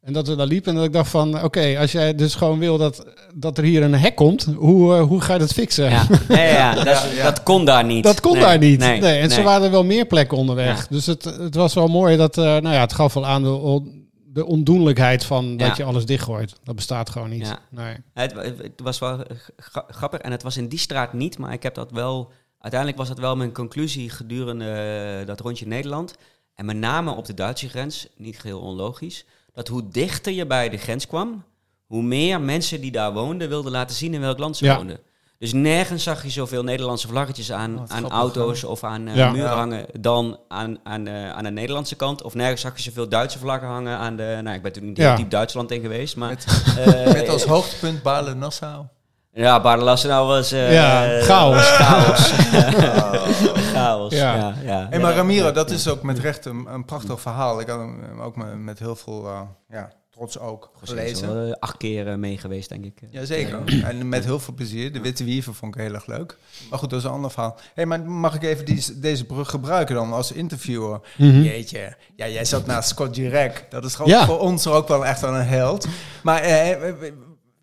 S3: En dat we daar liepen en dat ik dacht van... Oké, als jij dus gewoon wil dat, dat er hier een hek komt... Hoe, eh, hoe ga je dat fixen?
S1: ja. Nee, ja, dat, is-
S2: Ja, ja.
S1: dat kon daar niet.
S3: Dat kon
S1: Nee,
S3: daar niet. Nee, en
S1: nee.
S3: ze waren er wel meer plekken onderweg.
S1: Ja.
S3: Dus het, het was wel mooi dat, eh, nou ja, het gaf wel aan de, on- de ondoenlijkheid van dat
S1: Ja.
S3: je alles dichtgooit. Dat bestaat gewoon niet.
S1: Ja.
S3: Nee.
S1: Het, wa- het was wel eh, gra- grappig en het was in die straat niet, maar ik heb dat wel. Uiteindelijk was dat wel mijn conclusie gedurende eh, dat rondje Nederland. En met name op de Duitse grens, niet geheel onlogisch. Dat hoe dichter je bij de grens kwam, hoe meer mensen die daar woonden wilden laten zien in welk land ze
S3: Ja.
S1: woonden. Dus nergens zag je zoveel Nederlandse vlaggetjes aan,
S2: Wat
S1: aan
S2: grappig,
S1: auto's of aan eh,
S3: Ja.
S1: muren
S2: Ja.
S1: hangen dan aan, aan, eh, aan de Nederlandse kant. Of nergens zag je zoveel Duitse vlaggen hangen aan de... Nou, ik ben toen niet heel
S3: Ja.
S1: diep Duitsland in geweest, maar...
S2: Met-
S1: eh,
S2: Met als hoogtepunt Balen-Nassau.
S1: Ja, Baardelassenau was... eh,
S3: Ja, chaos.
S1: Chaos. chaos, ja.
S3: Ja.
S1: ja,
S2: Hey, maar Ramiro, dat is ook met recht een, een prachtig verhaal. Ik had hem eh, ook me- met heel veel eh, ja, trots ook
S1: Gelezen.
S2: gelezen.
S1: acht keer eh, mee geweest, denk ik.
S2: Jazeker. En met heel veel plezier. De Witte Wieven vond ik heel erg leuk. Maar goed, dat is een ander verhaal. Hey, maar mag ik even die, deze brug gebruiken dan als interviewer? Jeetje. Ja, jij zat naast Scott Jurek. Dat is gewoon
S3: Ja.
S2: voor ons ook wel echt wel een held. Maar eh,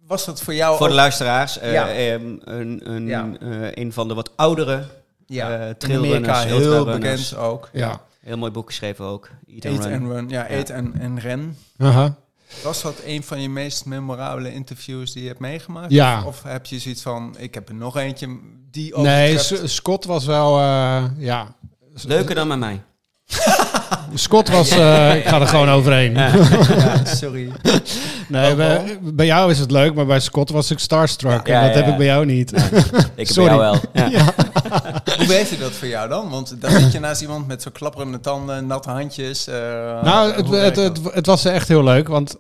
S2: was dat voor jou
S1: Voor de
S2: ook-
S1: luisteraars, eh,
S2: Ja.
S1: ehm, een, een,
S2: Ja.
S1: eh, een van de wat oudere
S2: ja,
S1: eh,
S2: in Amerika
S1: trailrunners,
S2: heel
S1: ultrarunners.
S2: bekend ook.
S3: Ja.
S1: Heel mooi boek geschreven ook. Eat and
S2: Eat
S1: Run.
S2: and Run. Ja, Eat en en Ren.
S3: Aha.
S2: Was dat een van je meest memorabele interviews die je hebt meegemaakt?
S3: Ja.
S2: Of, of heb je zoiets van, ik heb er nog eentje die ook...
S3: Nee, S- Scott was wel... eh, ja. S-
S1: Leuker dan met mij.
S3: Scott was... eh, ik ga er gewoon overheen.
S2: Ja, sorry.
S3: Nee, bij, bij jou is het leuk, maar bij Scott was ik starstruck.
S1: Ja,
S3: en dat
S1: ja,
S3: heb
S1: ja.
S3: ik bij jou niet.
S1: Ik heb bij
S3: Sorry.
S1: jou wel. Ja.
S2: Hoe weet je dat voor jou dan? Want dan zit je naast iemand met zo klapperende tanden, natte handjes. eh,
S3: nou,
S2: hoe
S3: het,
S2: werkt
S3: het,
S2: dat?
S3: het, het was echt heel leuk, want...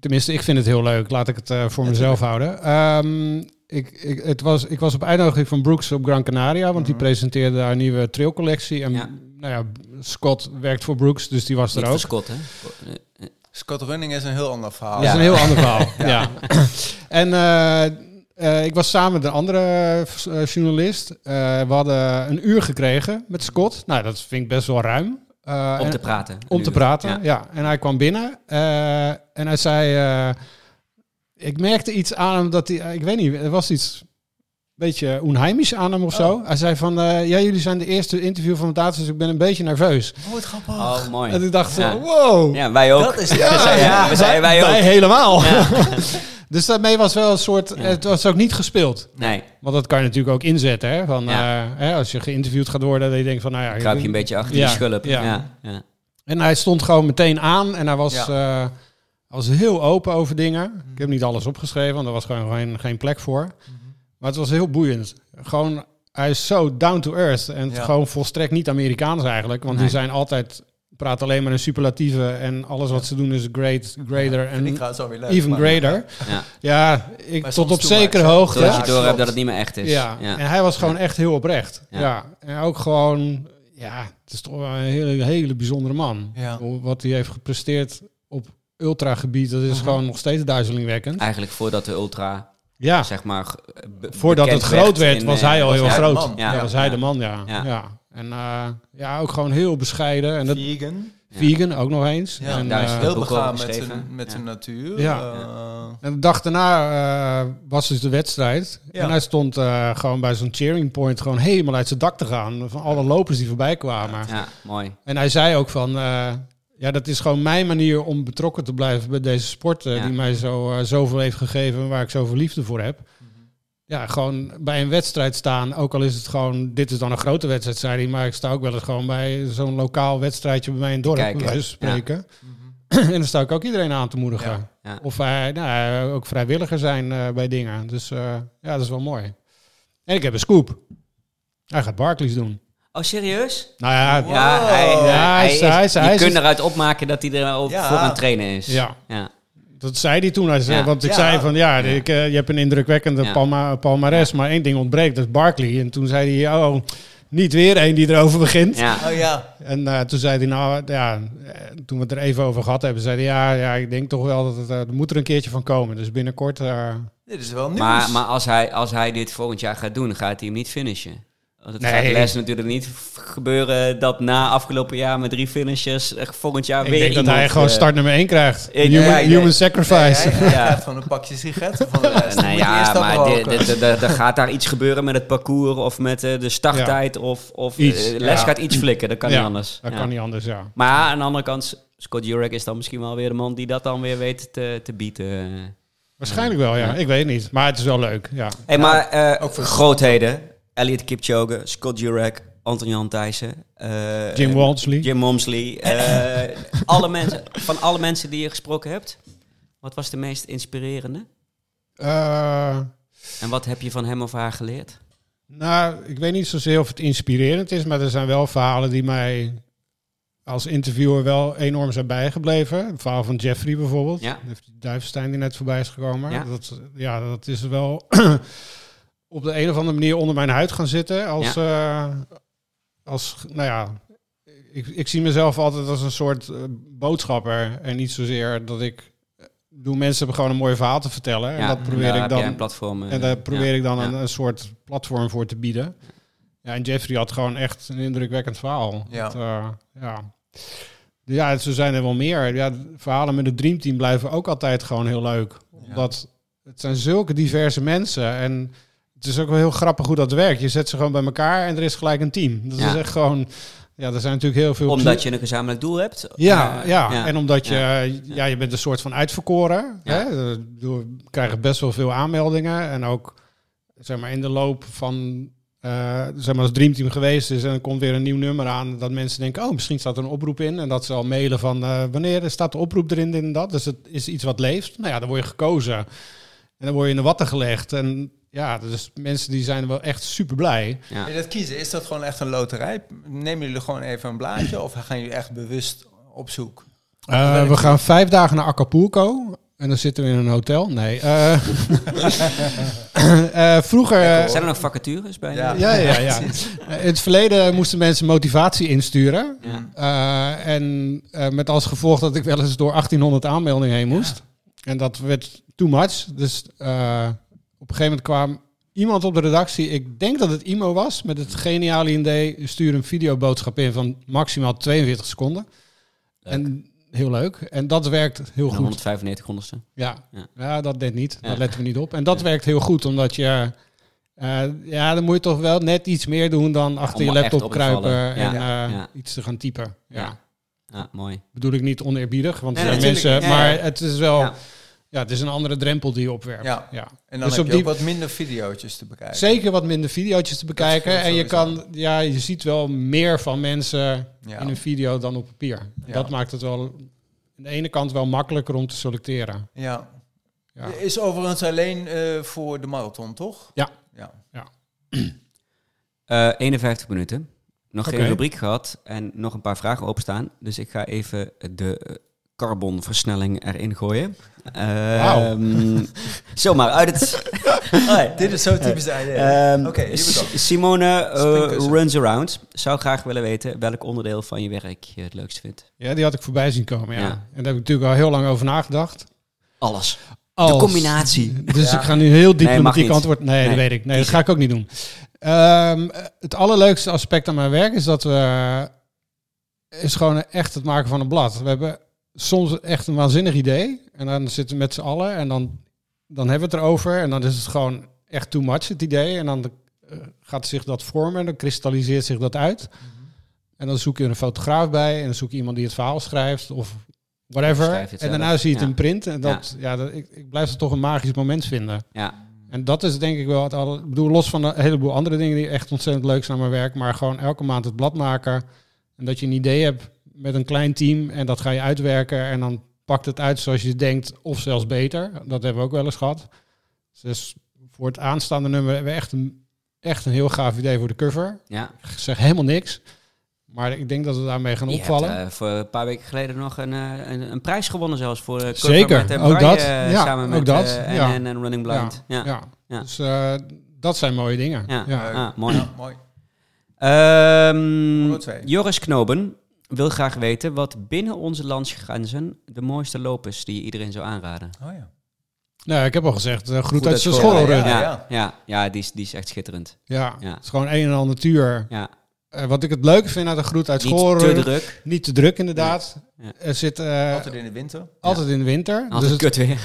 S3: Tenminste, ik vind het heel leuk. Laat ik het eh, voor mezelf houden. Ehm, ik, ik, het was, ik was op uitnodiging van Brooks op Gran Canaria, want die
S2: Mhm.
S3: presenteerde haar nieuwe trailcollectie. En
S1: Ja.
S3: nou ja, Scott werkt voor Brooks, dus die was
S1: Niet
S3: er
S1: voor
S3: ook.
S1: Scott,
S3: Eh,
S1: hè?
S2: Scott Running is een heel ander
S1: Oh,
S2: verhaal.
S3: Dat is een heel ander verhaal. ja. En eh, eh, ik was samen met een andere eh, journalist. Eh, we hadden een uur gekregen met Scott. Nou, dat vind ik best wel ruim. Eh,
S1: Om
S3: en-
S1: te praten.
S3: om te
S1: Nu.
S3: praten,
S1: Ja.
S3: ja. En hij kwam binnen eh, en hij zei... eh, ik merkte iets aan hem dat hij... eh, ik weet niet, er was iets... Een beetje onheimisch aan hem of zo.
S1: Oh.
S3: Hij zei van... eh, ja, jullie zijn de eerste interview van het data, dus ik ben een beetje nerveus.
S2: Oh, wat grappig.
S1: Oh, mooi.
S3: En ik dacht,
S1: Ja.
S3: wow.
S1: Ja, wij ook.
S2: Dat is-
S1: We zijn,
S3: ja,
S1: we zijn wij
S3: Wij
S1: ook.
S3: helemaal.
S1: Ja.
S3: Dus daarmee was wel een soort. Het was ook niet gespeeld.
S1: Nee,
S3: Want dat kan je natuurlijk ook inzetten. Hè? Van,
S1: Ja.
S3: eh, hè, als je geïnterviewd gaat worden, dat je denkt van nou ja.
S1: kruip je een beetje achter
S3: Ja,
S1: die schulp.
S3: ja.
S1: Ja, ja.
S3: En hij stond gewoon meteen aan en hij was, eh, hij was heel open over dingen. Ik heb niet alles opgeschreven, want er was gewoon geen, geen plek voor.
S2: Mm-hmm.
S3: Maar het was heel boeiend. Gewoon, hij is zo down to earth. En
S2: Ja.
S3: gewoon volstrekt niet Amerikaans eigenlijk. Want
S1: Nee.
S3: die zijn altijd, praat alleen maar in superlatieven. En alles wat ze doen is great, greater
S2: Vind ik
S3: en
S2: trouwens alweer leuk.
S3: even
S2: maar-
S3: greater.
S1: Ja.
S3: Ja, ik,
S2: Maar
S3: tot
S2: soms
S3: op
S2: too much,
S3: zekere
S2: hè?
S3: hoogte.
S1: Zodat je
S2: Ja,
S1: door hebt
S2: klopt.
S1: dat het niet meer echt is.
S3: Ja. en hij was gewoon echt heel oprecht.
S1: Ja.
S3: Ja. en ook gewoon, ja, het is toch wel een hele, hele bijzondere man.
S2: Ja.
S3: Hoe- Wat hij heeft gepresteerd op ultragebied, dat is
S2: Mhm.
S3: gewoon nog steeds duizelingwekkend.
S1: Eigenlijk voordat de ultra,
S3: Ja,
S1: zeg maar... ge- eh, be-
S3: voordat het
S1: bekend
S3: groot werd,
S1: in,
S3: was
S1: eh,
S3: hij al heel
S2: hij de
S3: groot.
S2: man?
S1: Ja.
S3: Ja, was hij
S1: Ja.
S3: de man, ja.
S1: Ja.
S3: ja. En eh, ja, ook gewoon heel bescheiden. En dat
S2: Vegan.
S1: Ja.
S3: vegan ook nog eens.
S2: Ja,
S3: en,
S1: daar is
S3: eh,
S1: het
S2: heel
S1: boek over
S2: begaan met
S1: geschreven.
S2: zijn, met
S1: Ja.
S2: zijn natuur.
S3: Ja.
S2: Eh,
S3: En de dag daarna eh, was dus de wedstrijd.
S2: Ja.
S3: En hij stond eh, gewoon bij zo'n cheering point gewoon helemaal uit zijn dak te gaan. Van alle lopers die voorbij kwamen.
S1: Ja, mooi.
S3: En hij zei ook van... eh, ja, dat is gewoon mijn manier om betrokken te blijven bij deze sport... eh,
S1: Ja.
S3: die mij zo, eh, zoveel heeft gegeven en waar ik zoveel liefde voor heb. Ja, gewoon bij een wedstrijd staan. Ook al is het gewoon... Dit is dan een grote wedstrijd, zei hij. Maar ik sta ook wel eens gewoon bij zo'n lokaal wedstrijdje bij mij in het dorp.
S1: kijken.
S3: bij wijze van
S1: Ja. Mhm.
S3: spreken. en dan sta ik ook iedereen aan te moedigen.
S2: Ja.
S1: Ja.
S3: Of wij nou, ja, ook vrijwilliger zijn eh, bij dingen. Dus eh, ja, dat is wel mooi. En ik heb een scoop. Hij gaat Barclays doen.
S1: Oh, serieus?
S3: Nou ja,
S2: Wow.
S1: Ja, hij,
S2: Ja,
S1: hij,
S3: hij is-
S1: is,
S3: hij is-
S1: je
S3: hij is- dus-
S1: kunt eruit opmaken dat hij er ook
S2: Ja.
S1: voor aan het trainen is.
S3: ja.
S1: Ja.
S3: Dat zei hij toen. Hij zei,
S1: Ja.
S3: Want ik
S2: Ja.
S3: zei van, ja, ik, eh, je hebt een indrukwekkende
S1: Ja.
S3: palma, palmares, maar één ding ontbreekt, dat is Barkley. En toen zei hij, oh, niet weer één die erover begint.
S1: Ja.
S2: Oh ja.
S3: En eh, toen zei hij, nou, ja, eh, toen we het er even over gehad hebben, zei hij, ja, ja ik denk toch wel dat het, eh, er moet er een keertje van komen. Dus binnenkort, eh,
S2: Dit is wel nieuws.
S1: Maar, maar als, hij, als hij dit volgend jaar gaat doen, gaat hij hem niet finishen. Want het
S3: Nee.
S1: gaat les natuurlijk niet f- gebeuren dat na afgelopen jaar met drie finishes echt volgend jaar
S3: ik
S1: weer
S3: denk dat
S1: iemand,
S3: hij gewoon
S1: eh,
S3: start nummer één krijgt.
S1: ik-
S3: human
S2: ja, ik-
S3: human
S2: Nee, hij,
S3: sacrifice.
S2: hij
S1: Ja.
S2: krijgt gewoon een pakje sigaretten van de rest.
S1: nou
S2: Moet je
S1: ja,
S2: eerst
S1: maar
S2: afroken.
S1: dit- dit- dit- er gaat daar iets gebeuren met het parcours of met eh, de starttijd of, of eh,
S3: Iets,
S1: les
S3: ja.
S1: gaat iets flikken. Dat kan
S3: Ja,
S1: niet anders.
S3: Dat
S1: Ja.
S3: kan niet anders, ja.
S1: Maar aan de andere kant, Scott Jurek is dan misschien wel weer de man die dat dan weer weet te, te bieden.
S3: Waarschijnlijk wel, ja. Ik weet niet. Maar het is wel leuk, ja.
S1: Hey, maar eh,
S2: Nou, ook voor-
S1: grootheden. Elliot Kipchoge, Scott Jurek, Anton Jan Thijssen. eh,
S3: Jim
S1: eh,
S3: Walmsley.
S1: Jim Walmsley. eh, alle mensen, van alle mensen die je gesproken hebt, wat was de meest inspirerende?
S3: Eh,
S1: En wat heb je van hem of haar geleerd?
S3: Nou, ik weet niet zozeer of het inspirerend is, maar er zijn wel verhalen die mij als interviewer wel enorm zijn bijgebleven. Het verhaal van Jeffrey bijvoorbeeld.
S1: Ja.
S3: Heeft Duivenstein die net voorbij is gekomen.
S1: Ja.
S3: Dat, ja, dat is wel op de een of andere manier onder mijn huid gaan zitten. Als, eh, als nou ja, ik, ik zie mezelf altijd als een soort eh, boodschapper. En niet zozeer dat ik... Doe mensen hebben gewoon een mooi verhaal te vertellen. en
S1: Ja, Nou,
S3: dat probeer
S1: daar
S3: ik
S1: heb jij
S3: dan
S1: een platform. eh,
S3: en daar probeer
S1: ja.
S3: ik dan
S1: ja.
S3: een, een soort platform voor te bieden. Ja, en Jeffrey had gewoon echt een indrukwekkend verhaal.
S2: Ja.
S3: Dat, eh, ja. ja, zo zijn er wel meer. Ja, de verhalen met het Dream Team blijven ook altijd gewoon heel leuk. Omdat het zijn zulke diverse mensen. En het is ook wel heel grappig hoe dat werkt. Je zet ze gewoon bij elkaar en er is gelijk een team. Dat
S1: Ja.
S3: is echt gewoon... Ja, er zijn natuurlijk heel veel...
S1: Omdat je een gezamenlijk doel hebt.
S3: Ja,
S1: Eh,
S3: ja. en omdat je,
S1: ja.
S3: ja. je bent een soort van uitverkoren.
S1: Ja.
S3: Hè? We krijgen best wel veel aanmeldingen. En ook, zeg maar, in de loop van, eh, zeg maar, als Dream Team geweest is en er komt weer een nieuw nummer aan, dat mensen denken, oh, misschien staat er een oproep in. En dat ze al mailen van, eh, wanneer staat de oproep erin, dit en dat. Dus het is iets wat leeft. Nou ja, dan word je gekozen. En dan word je in de watten gelegd. En ja, dus mensen die zijn wel echt super blij.
S1: Ja.
S2: Ja, dat kiezen, is dat gewoon echt een loterij? Nemen jullie gewoon even een blaadje of gaan jullie echt bewust op zoek?
S3: Eh,
S2: werkt
S3: we
S2: het?
S3: gaan vijf dagen naar Acapulco. En dan zitten we in een hotel. Nee. eh, eh, vroeger. eh,
S1: Zijn er nog vacatures bij?
S2: Ja.
S3: ja, ja, ja. Eh, In het verleden moesten mensen motivatie insturen.
S1: Ja.
S3: Eh, en eh, met als gevolg dat ik wel eens door 1800 aanmeldingen heen moest. En dat werd too much. Dus eh, op een gegeven moment kwam iemand op de redactie. Ik denk dat het Imo was. Met het geniale idee. Stuur een videoboodschap in van maximaal 42 seconden.
S1: Leuk.
S3: En heel leuk. En dat werkt heel
S1: En
S3: goed.
S1: 195 honderdste.
S3: Ja,
S1: Ja.
S3: ja. dat deed niet.
S1: Ja.
S3: Dat letten we niet op. En dat werkt heel goed, omdat je... eh, ja, dan moet je toch wel net iets meer doen dan achter
S1: Om
S3: je
S1: echt
S3: laptop
S1: op te vallen.
S3: kruipen
S1: Ja.
S3: en eh,
S1: Ja.
S3: iets te gaan typen. Ja.
S1: Ja. Ja, mooi.
S3: Bedoel ik niet oneerbiedig, want
S1: Nee,
S3: er zijn
S1: natuurlijk.
S3: mensen...
S1: Ja, ja.
S3: Maar het is wel...
S1: Ja.
S3: Ja. het is een andere drempel die je opwerpt.
S2: Ja.
S3: Ja.
S2: En dan
S3: Dus
S2: heb
S3: op
S2: je ook
S3: die-
S2: wat minder video's te bekijken.
S3: Zeker wat minder video's te bekijken.
S2: scheelt
S3: En je,
S2: sowieso.
S3: kan, ja, je ziet wel meer van mensen
S2: Ja.
S3: in een video dan op papier.
S2: Ja.
S3: Dat maakt het wel aan de ene kant wel makkelijker om te selecteren.
S2: Ja.
S3: Ja.
S2: Is overigens alleen eh, voor de marathon, toch?
S3: Ja.
S2: ja.
S1: Eh, 51 minuten. Nog geen
S3: Oké.
S1: rubriek gehad en nog een paar vragen openstaan. Dus ik ga even de eh, carbonversnelling erin gooien.
S3: Wauw.
S1: Ehm, Zomaar uit het... Hoi.
S2: Dit is zo typisch de idee.
S1: Ehm,
S2: Oké, hier we
S1: S-
S2: gaan.
S1: Simone eh,
S2: Springkussen.
S1: Runs Around zou graag willen weten welk onderdeel van je werk je het leukst vindt.
S3: Ja, die had ik voorbij zien komen, ja.
S1: Ja.
S3: En daar heb ik natuurlijk al heel lang over nagedacht.
S1: Alles.
S3: Als-
S1: De combinatie.
S3: Dus
S2: Ja.
S3: ik ga nu heel
S1: mag
S3: diplomatiek
S1: niet.
S3: antwoord... Nee,
S1: Nee,
S3: dat weet ik. Nee, dat
S1: kiezen.
S3: ga ik ook niet doen. Ehm, het allerleukste aspect aan mijn werk is dat we... is gewoon echt het maken van een blad. We hebben soms echt een waanzinnig idee. En dan zitten we met z'n allen en dan, dan hebben we het erover. En dan is het gewoon echt too much, het idee. En dan eh, gaat zich dat vormen en dan kristalliseert zich dat uit.
S1: Mhm.
S3: En dan zoek je een fotograaf bij en dan zoek je iemand die het verhaal schrijft of whatever.
S1: Schrijf je het
S3: en
S1: zelf,
S3: daarna zie je het
S1: ja.
S3: in print. En dat, ja. dat, ik, ik blijf het toch een magisch moment vinden.
S1: Ja,
S3: En dat is denk ik wel het alle, ik bedoel, los van een heleboel andere dingen die echt ontzettend leuk zijn aan mijn werk, maar gewoon elke maand het blad maken. En dat je een idee hebt met een klein team en dat ga je uitwerken en dan pakt het uit zoals je denkt of zelfs beter. Dat hebben we ook wel eens gehad. Dus voor het aanstaande nummer hebben we echt een, echt een heel gaaf idee voor de cover.
S1: ja.
S3: Ik zeg helemaal niks. Maar ik denk dat we daarmee gaan
S1: Je hebt,
S3: opvallen.
S1: eh, voor een paar weken geleden nog een, eh, een, een prijs gewonnen zelfs voor eh, cover
S3: Zeker,
S1: met, eh,
S3: ook
S1: Braille,
S3: dat.
S1: eh,
S3: Ja,
S1: samen
S3: ook
S1: met
S3: dat,
S1: eh, en,
S3: ja.
S1: en, en Running Blind. Ja.
S3: ja.
S1: Ja.
S3: Dus eh, dat zijn mooie dingen.
S1: Ja.
S3: Ja.
S1: Ah, mooi.
S2: Ja, mooi.
S1: Ehm,
S2: Nummer twee.
S1: Joris Knoben wil graag weten wat binnen onze landsgrenzen de mooiste loop is die je iedereen zou aanraden.
S2: Oh ja.
S3: Nou, ik heb al gezegd, eh, groet uit
S1: dat
S3: zijn
S1: school.
S3: schoolrun.
S1: Ja,
S3: Ja.
S1: ja,
S2: ja.
S1: ja, ja, die, is, die is echt schitterend. Ja.
S3: Het is gewoon een en al natuur.
S1: Ja.
S3: Eh, wat ik het leuke vind aan de groet uit
S1: Niet te
S3: schoolrun...
S1: druk.
S3: niet te druk inderdaad.
S1: Nee. Ja.
S3: Er zit eh, altijd,
S2: Altijd in de winter.
S3: in de winter.
S1: Altijd
S3: Dus het-
S1: kut weer.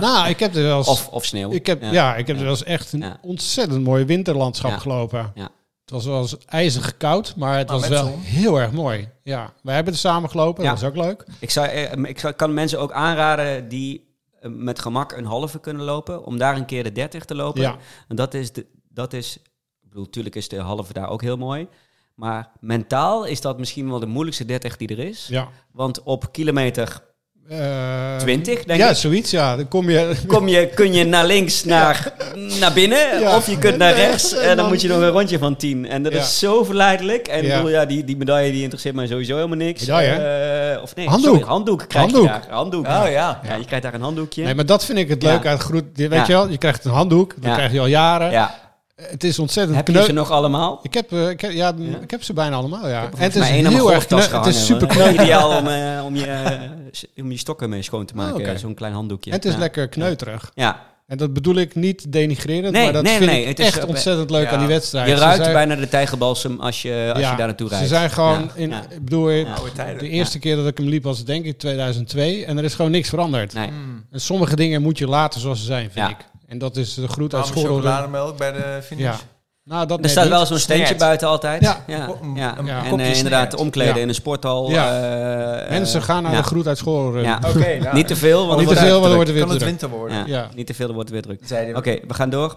S3: nou, ik heb er wel eens,
S1: Of, of sneeuw.
S3: ik heb, ja. ik heb
S1: Ja.
S3: er wel eens echt een
S1: Ja.
S3: ontzettend mooi winterlandschap
S1: Ja.
S3: gelopen.
S1: Ja.
S3: Het was wel eens ijzig koud, maar het
S2: Maar
S3: was
S2: met
S3: wel
S2: zon.
S3: heel erg mooi. Ja, wij hebben er samen gelopen,
S1: Ja.
S3: dat was ook leuk.
S1: Ik, zou, eh, ik zou, kan mensen ook aanraden die eh, met gemak een halve kunnen lopen, om daar een keer de 30 te lopen.
S3: Ja.
S1: En dat is, de, dat is, ik bedoel, natuurlijk is de halve daar ook heel mooi. Maar mentaal is dat misschien wel de moeilijkste 30 die er is.
S3: Ja.
S1: Want op kilometer
S3: eh,
S1: 20, denk
S3: Ja,
S1: ik.
S3: zoiets, ja. Dan kom je...
S1: Kom je, kun je naar links, naar, naar binnen,
S3: Ja.
S1: of je kunt naar rechts.
S3: En
S1: En dan
S3: dan-
S1: moet je nog een rondje van 10. En dat
S3: Ja.
S1: is zo verleidelijk. En ik
S3: Ja.
S1: bedoel, ja, die, die medaille die interesseert mij sowieso helemaal niks. Eh, of nee,
S3: Handdoek.
S1: sorry, handdoek krijg
S3: Handdoek.
S1: je daar. Handdoek.
S2: Oh ja.
S1: Ja, je krijgt daar een handdoekje.
S3: Nee, maar dat vind ik het
S1: Ja.
S3: leuk uit groet. Weet
S1: Ja.
S3: je wel, je krijgt een handdoek. Dat
S1: Ja.
S3: krijg je al jaren.
S1: ja.
S3: Eh, Het is ontzettend
S1: Heb je ze
S3: kneu.
S1: nog allemaal?
S3: Ik heb, eh, ik, heb, ja, m-
S1: Ja?
S3: ik heb ze bijna allemaal, ja. En
S1: Volgens
S3: het is
S1: mij één aan mijn
S3: heel erg
S1: golftas
S3: kneu. Het is
S1: gehangen,
S3: super
S1: hoor.
S3: kneuterig.
S1: Ideaal om, eh, om, je, eh, s- om je stokken mee schoon te maken. eh,
S3: Oh, oké.
S1: Zo'n klein handdoekje.
S3: En het is
S1: Ja.
S3: lekker kneuterig.
S1: Ja,
S3: En dat bedoel ik niet denigrerend,
S1: Nee,
S3: maar dat
S1: nee,
S3: vind
S1: nee,
S3: ik
S1: het is
S3: echt
S1: op-
S3: ontzettend leuk
S2: ja.
S3: aan die wedstrijd.
S1: je
S3: Ze
S1: ruikt
S3: zijn-
S1: bijna de tijgerbalsem als je, als
S3: ja,
S1: je daar naartoe rijdt.
S3: Ze zijn gewoon,
S1: Ja,
S3: in,
S1: ja.
S3: ik bedoel, ik-
S2: Oude tijden.
S3: de eerste keer dat ik hem liep was denk ik 2002. En er is gewoon niks veranderd.
S1: Nee.
S2: Mm.
S3: En sommige dingen moet je laten zoals ze zijn, vind
S1: Ja.
S3: ik. En dat is de groet uit
S2: Warme
S3: school.
S2: chocolademelk bij de finish.
S3: Ja. Nou, dat
S1: Er
S3: net
S1: staat
S3: niet.
S1: wel zo'n steentje
S2: Snared.
S1: buiten altijd.
S3: Ja.
S1: ja.
S2: Een-
S1: ja.
S2: een
S1: En
S2: kopje
S1: eh, inderdaad,
S2: snared.
S1: omkleden
S3: Ja.
S1: in een sporthal.
S3: Ja.
S1: eh, eh,
S3: Mensen gaan naar
S1: ja.
S3: de groet uit school.
S1: Ja.
S3: Ja.
S2: Oké, nou,
S1: Niet te veel, want
S3: Niet
S1: dan
S3: te veel, want dan wordt
S1: wordt
S3: het
S2: kan het
S3: weer druk.
S2: winter worden.
S1: het- Ja.
S3: Ja.
S1: Niet te veel, dan wordt het weer druk.
S2: Zeiden
S1: Oké, we gaan door.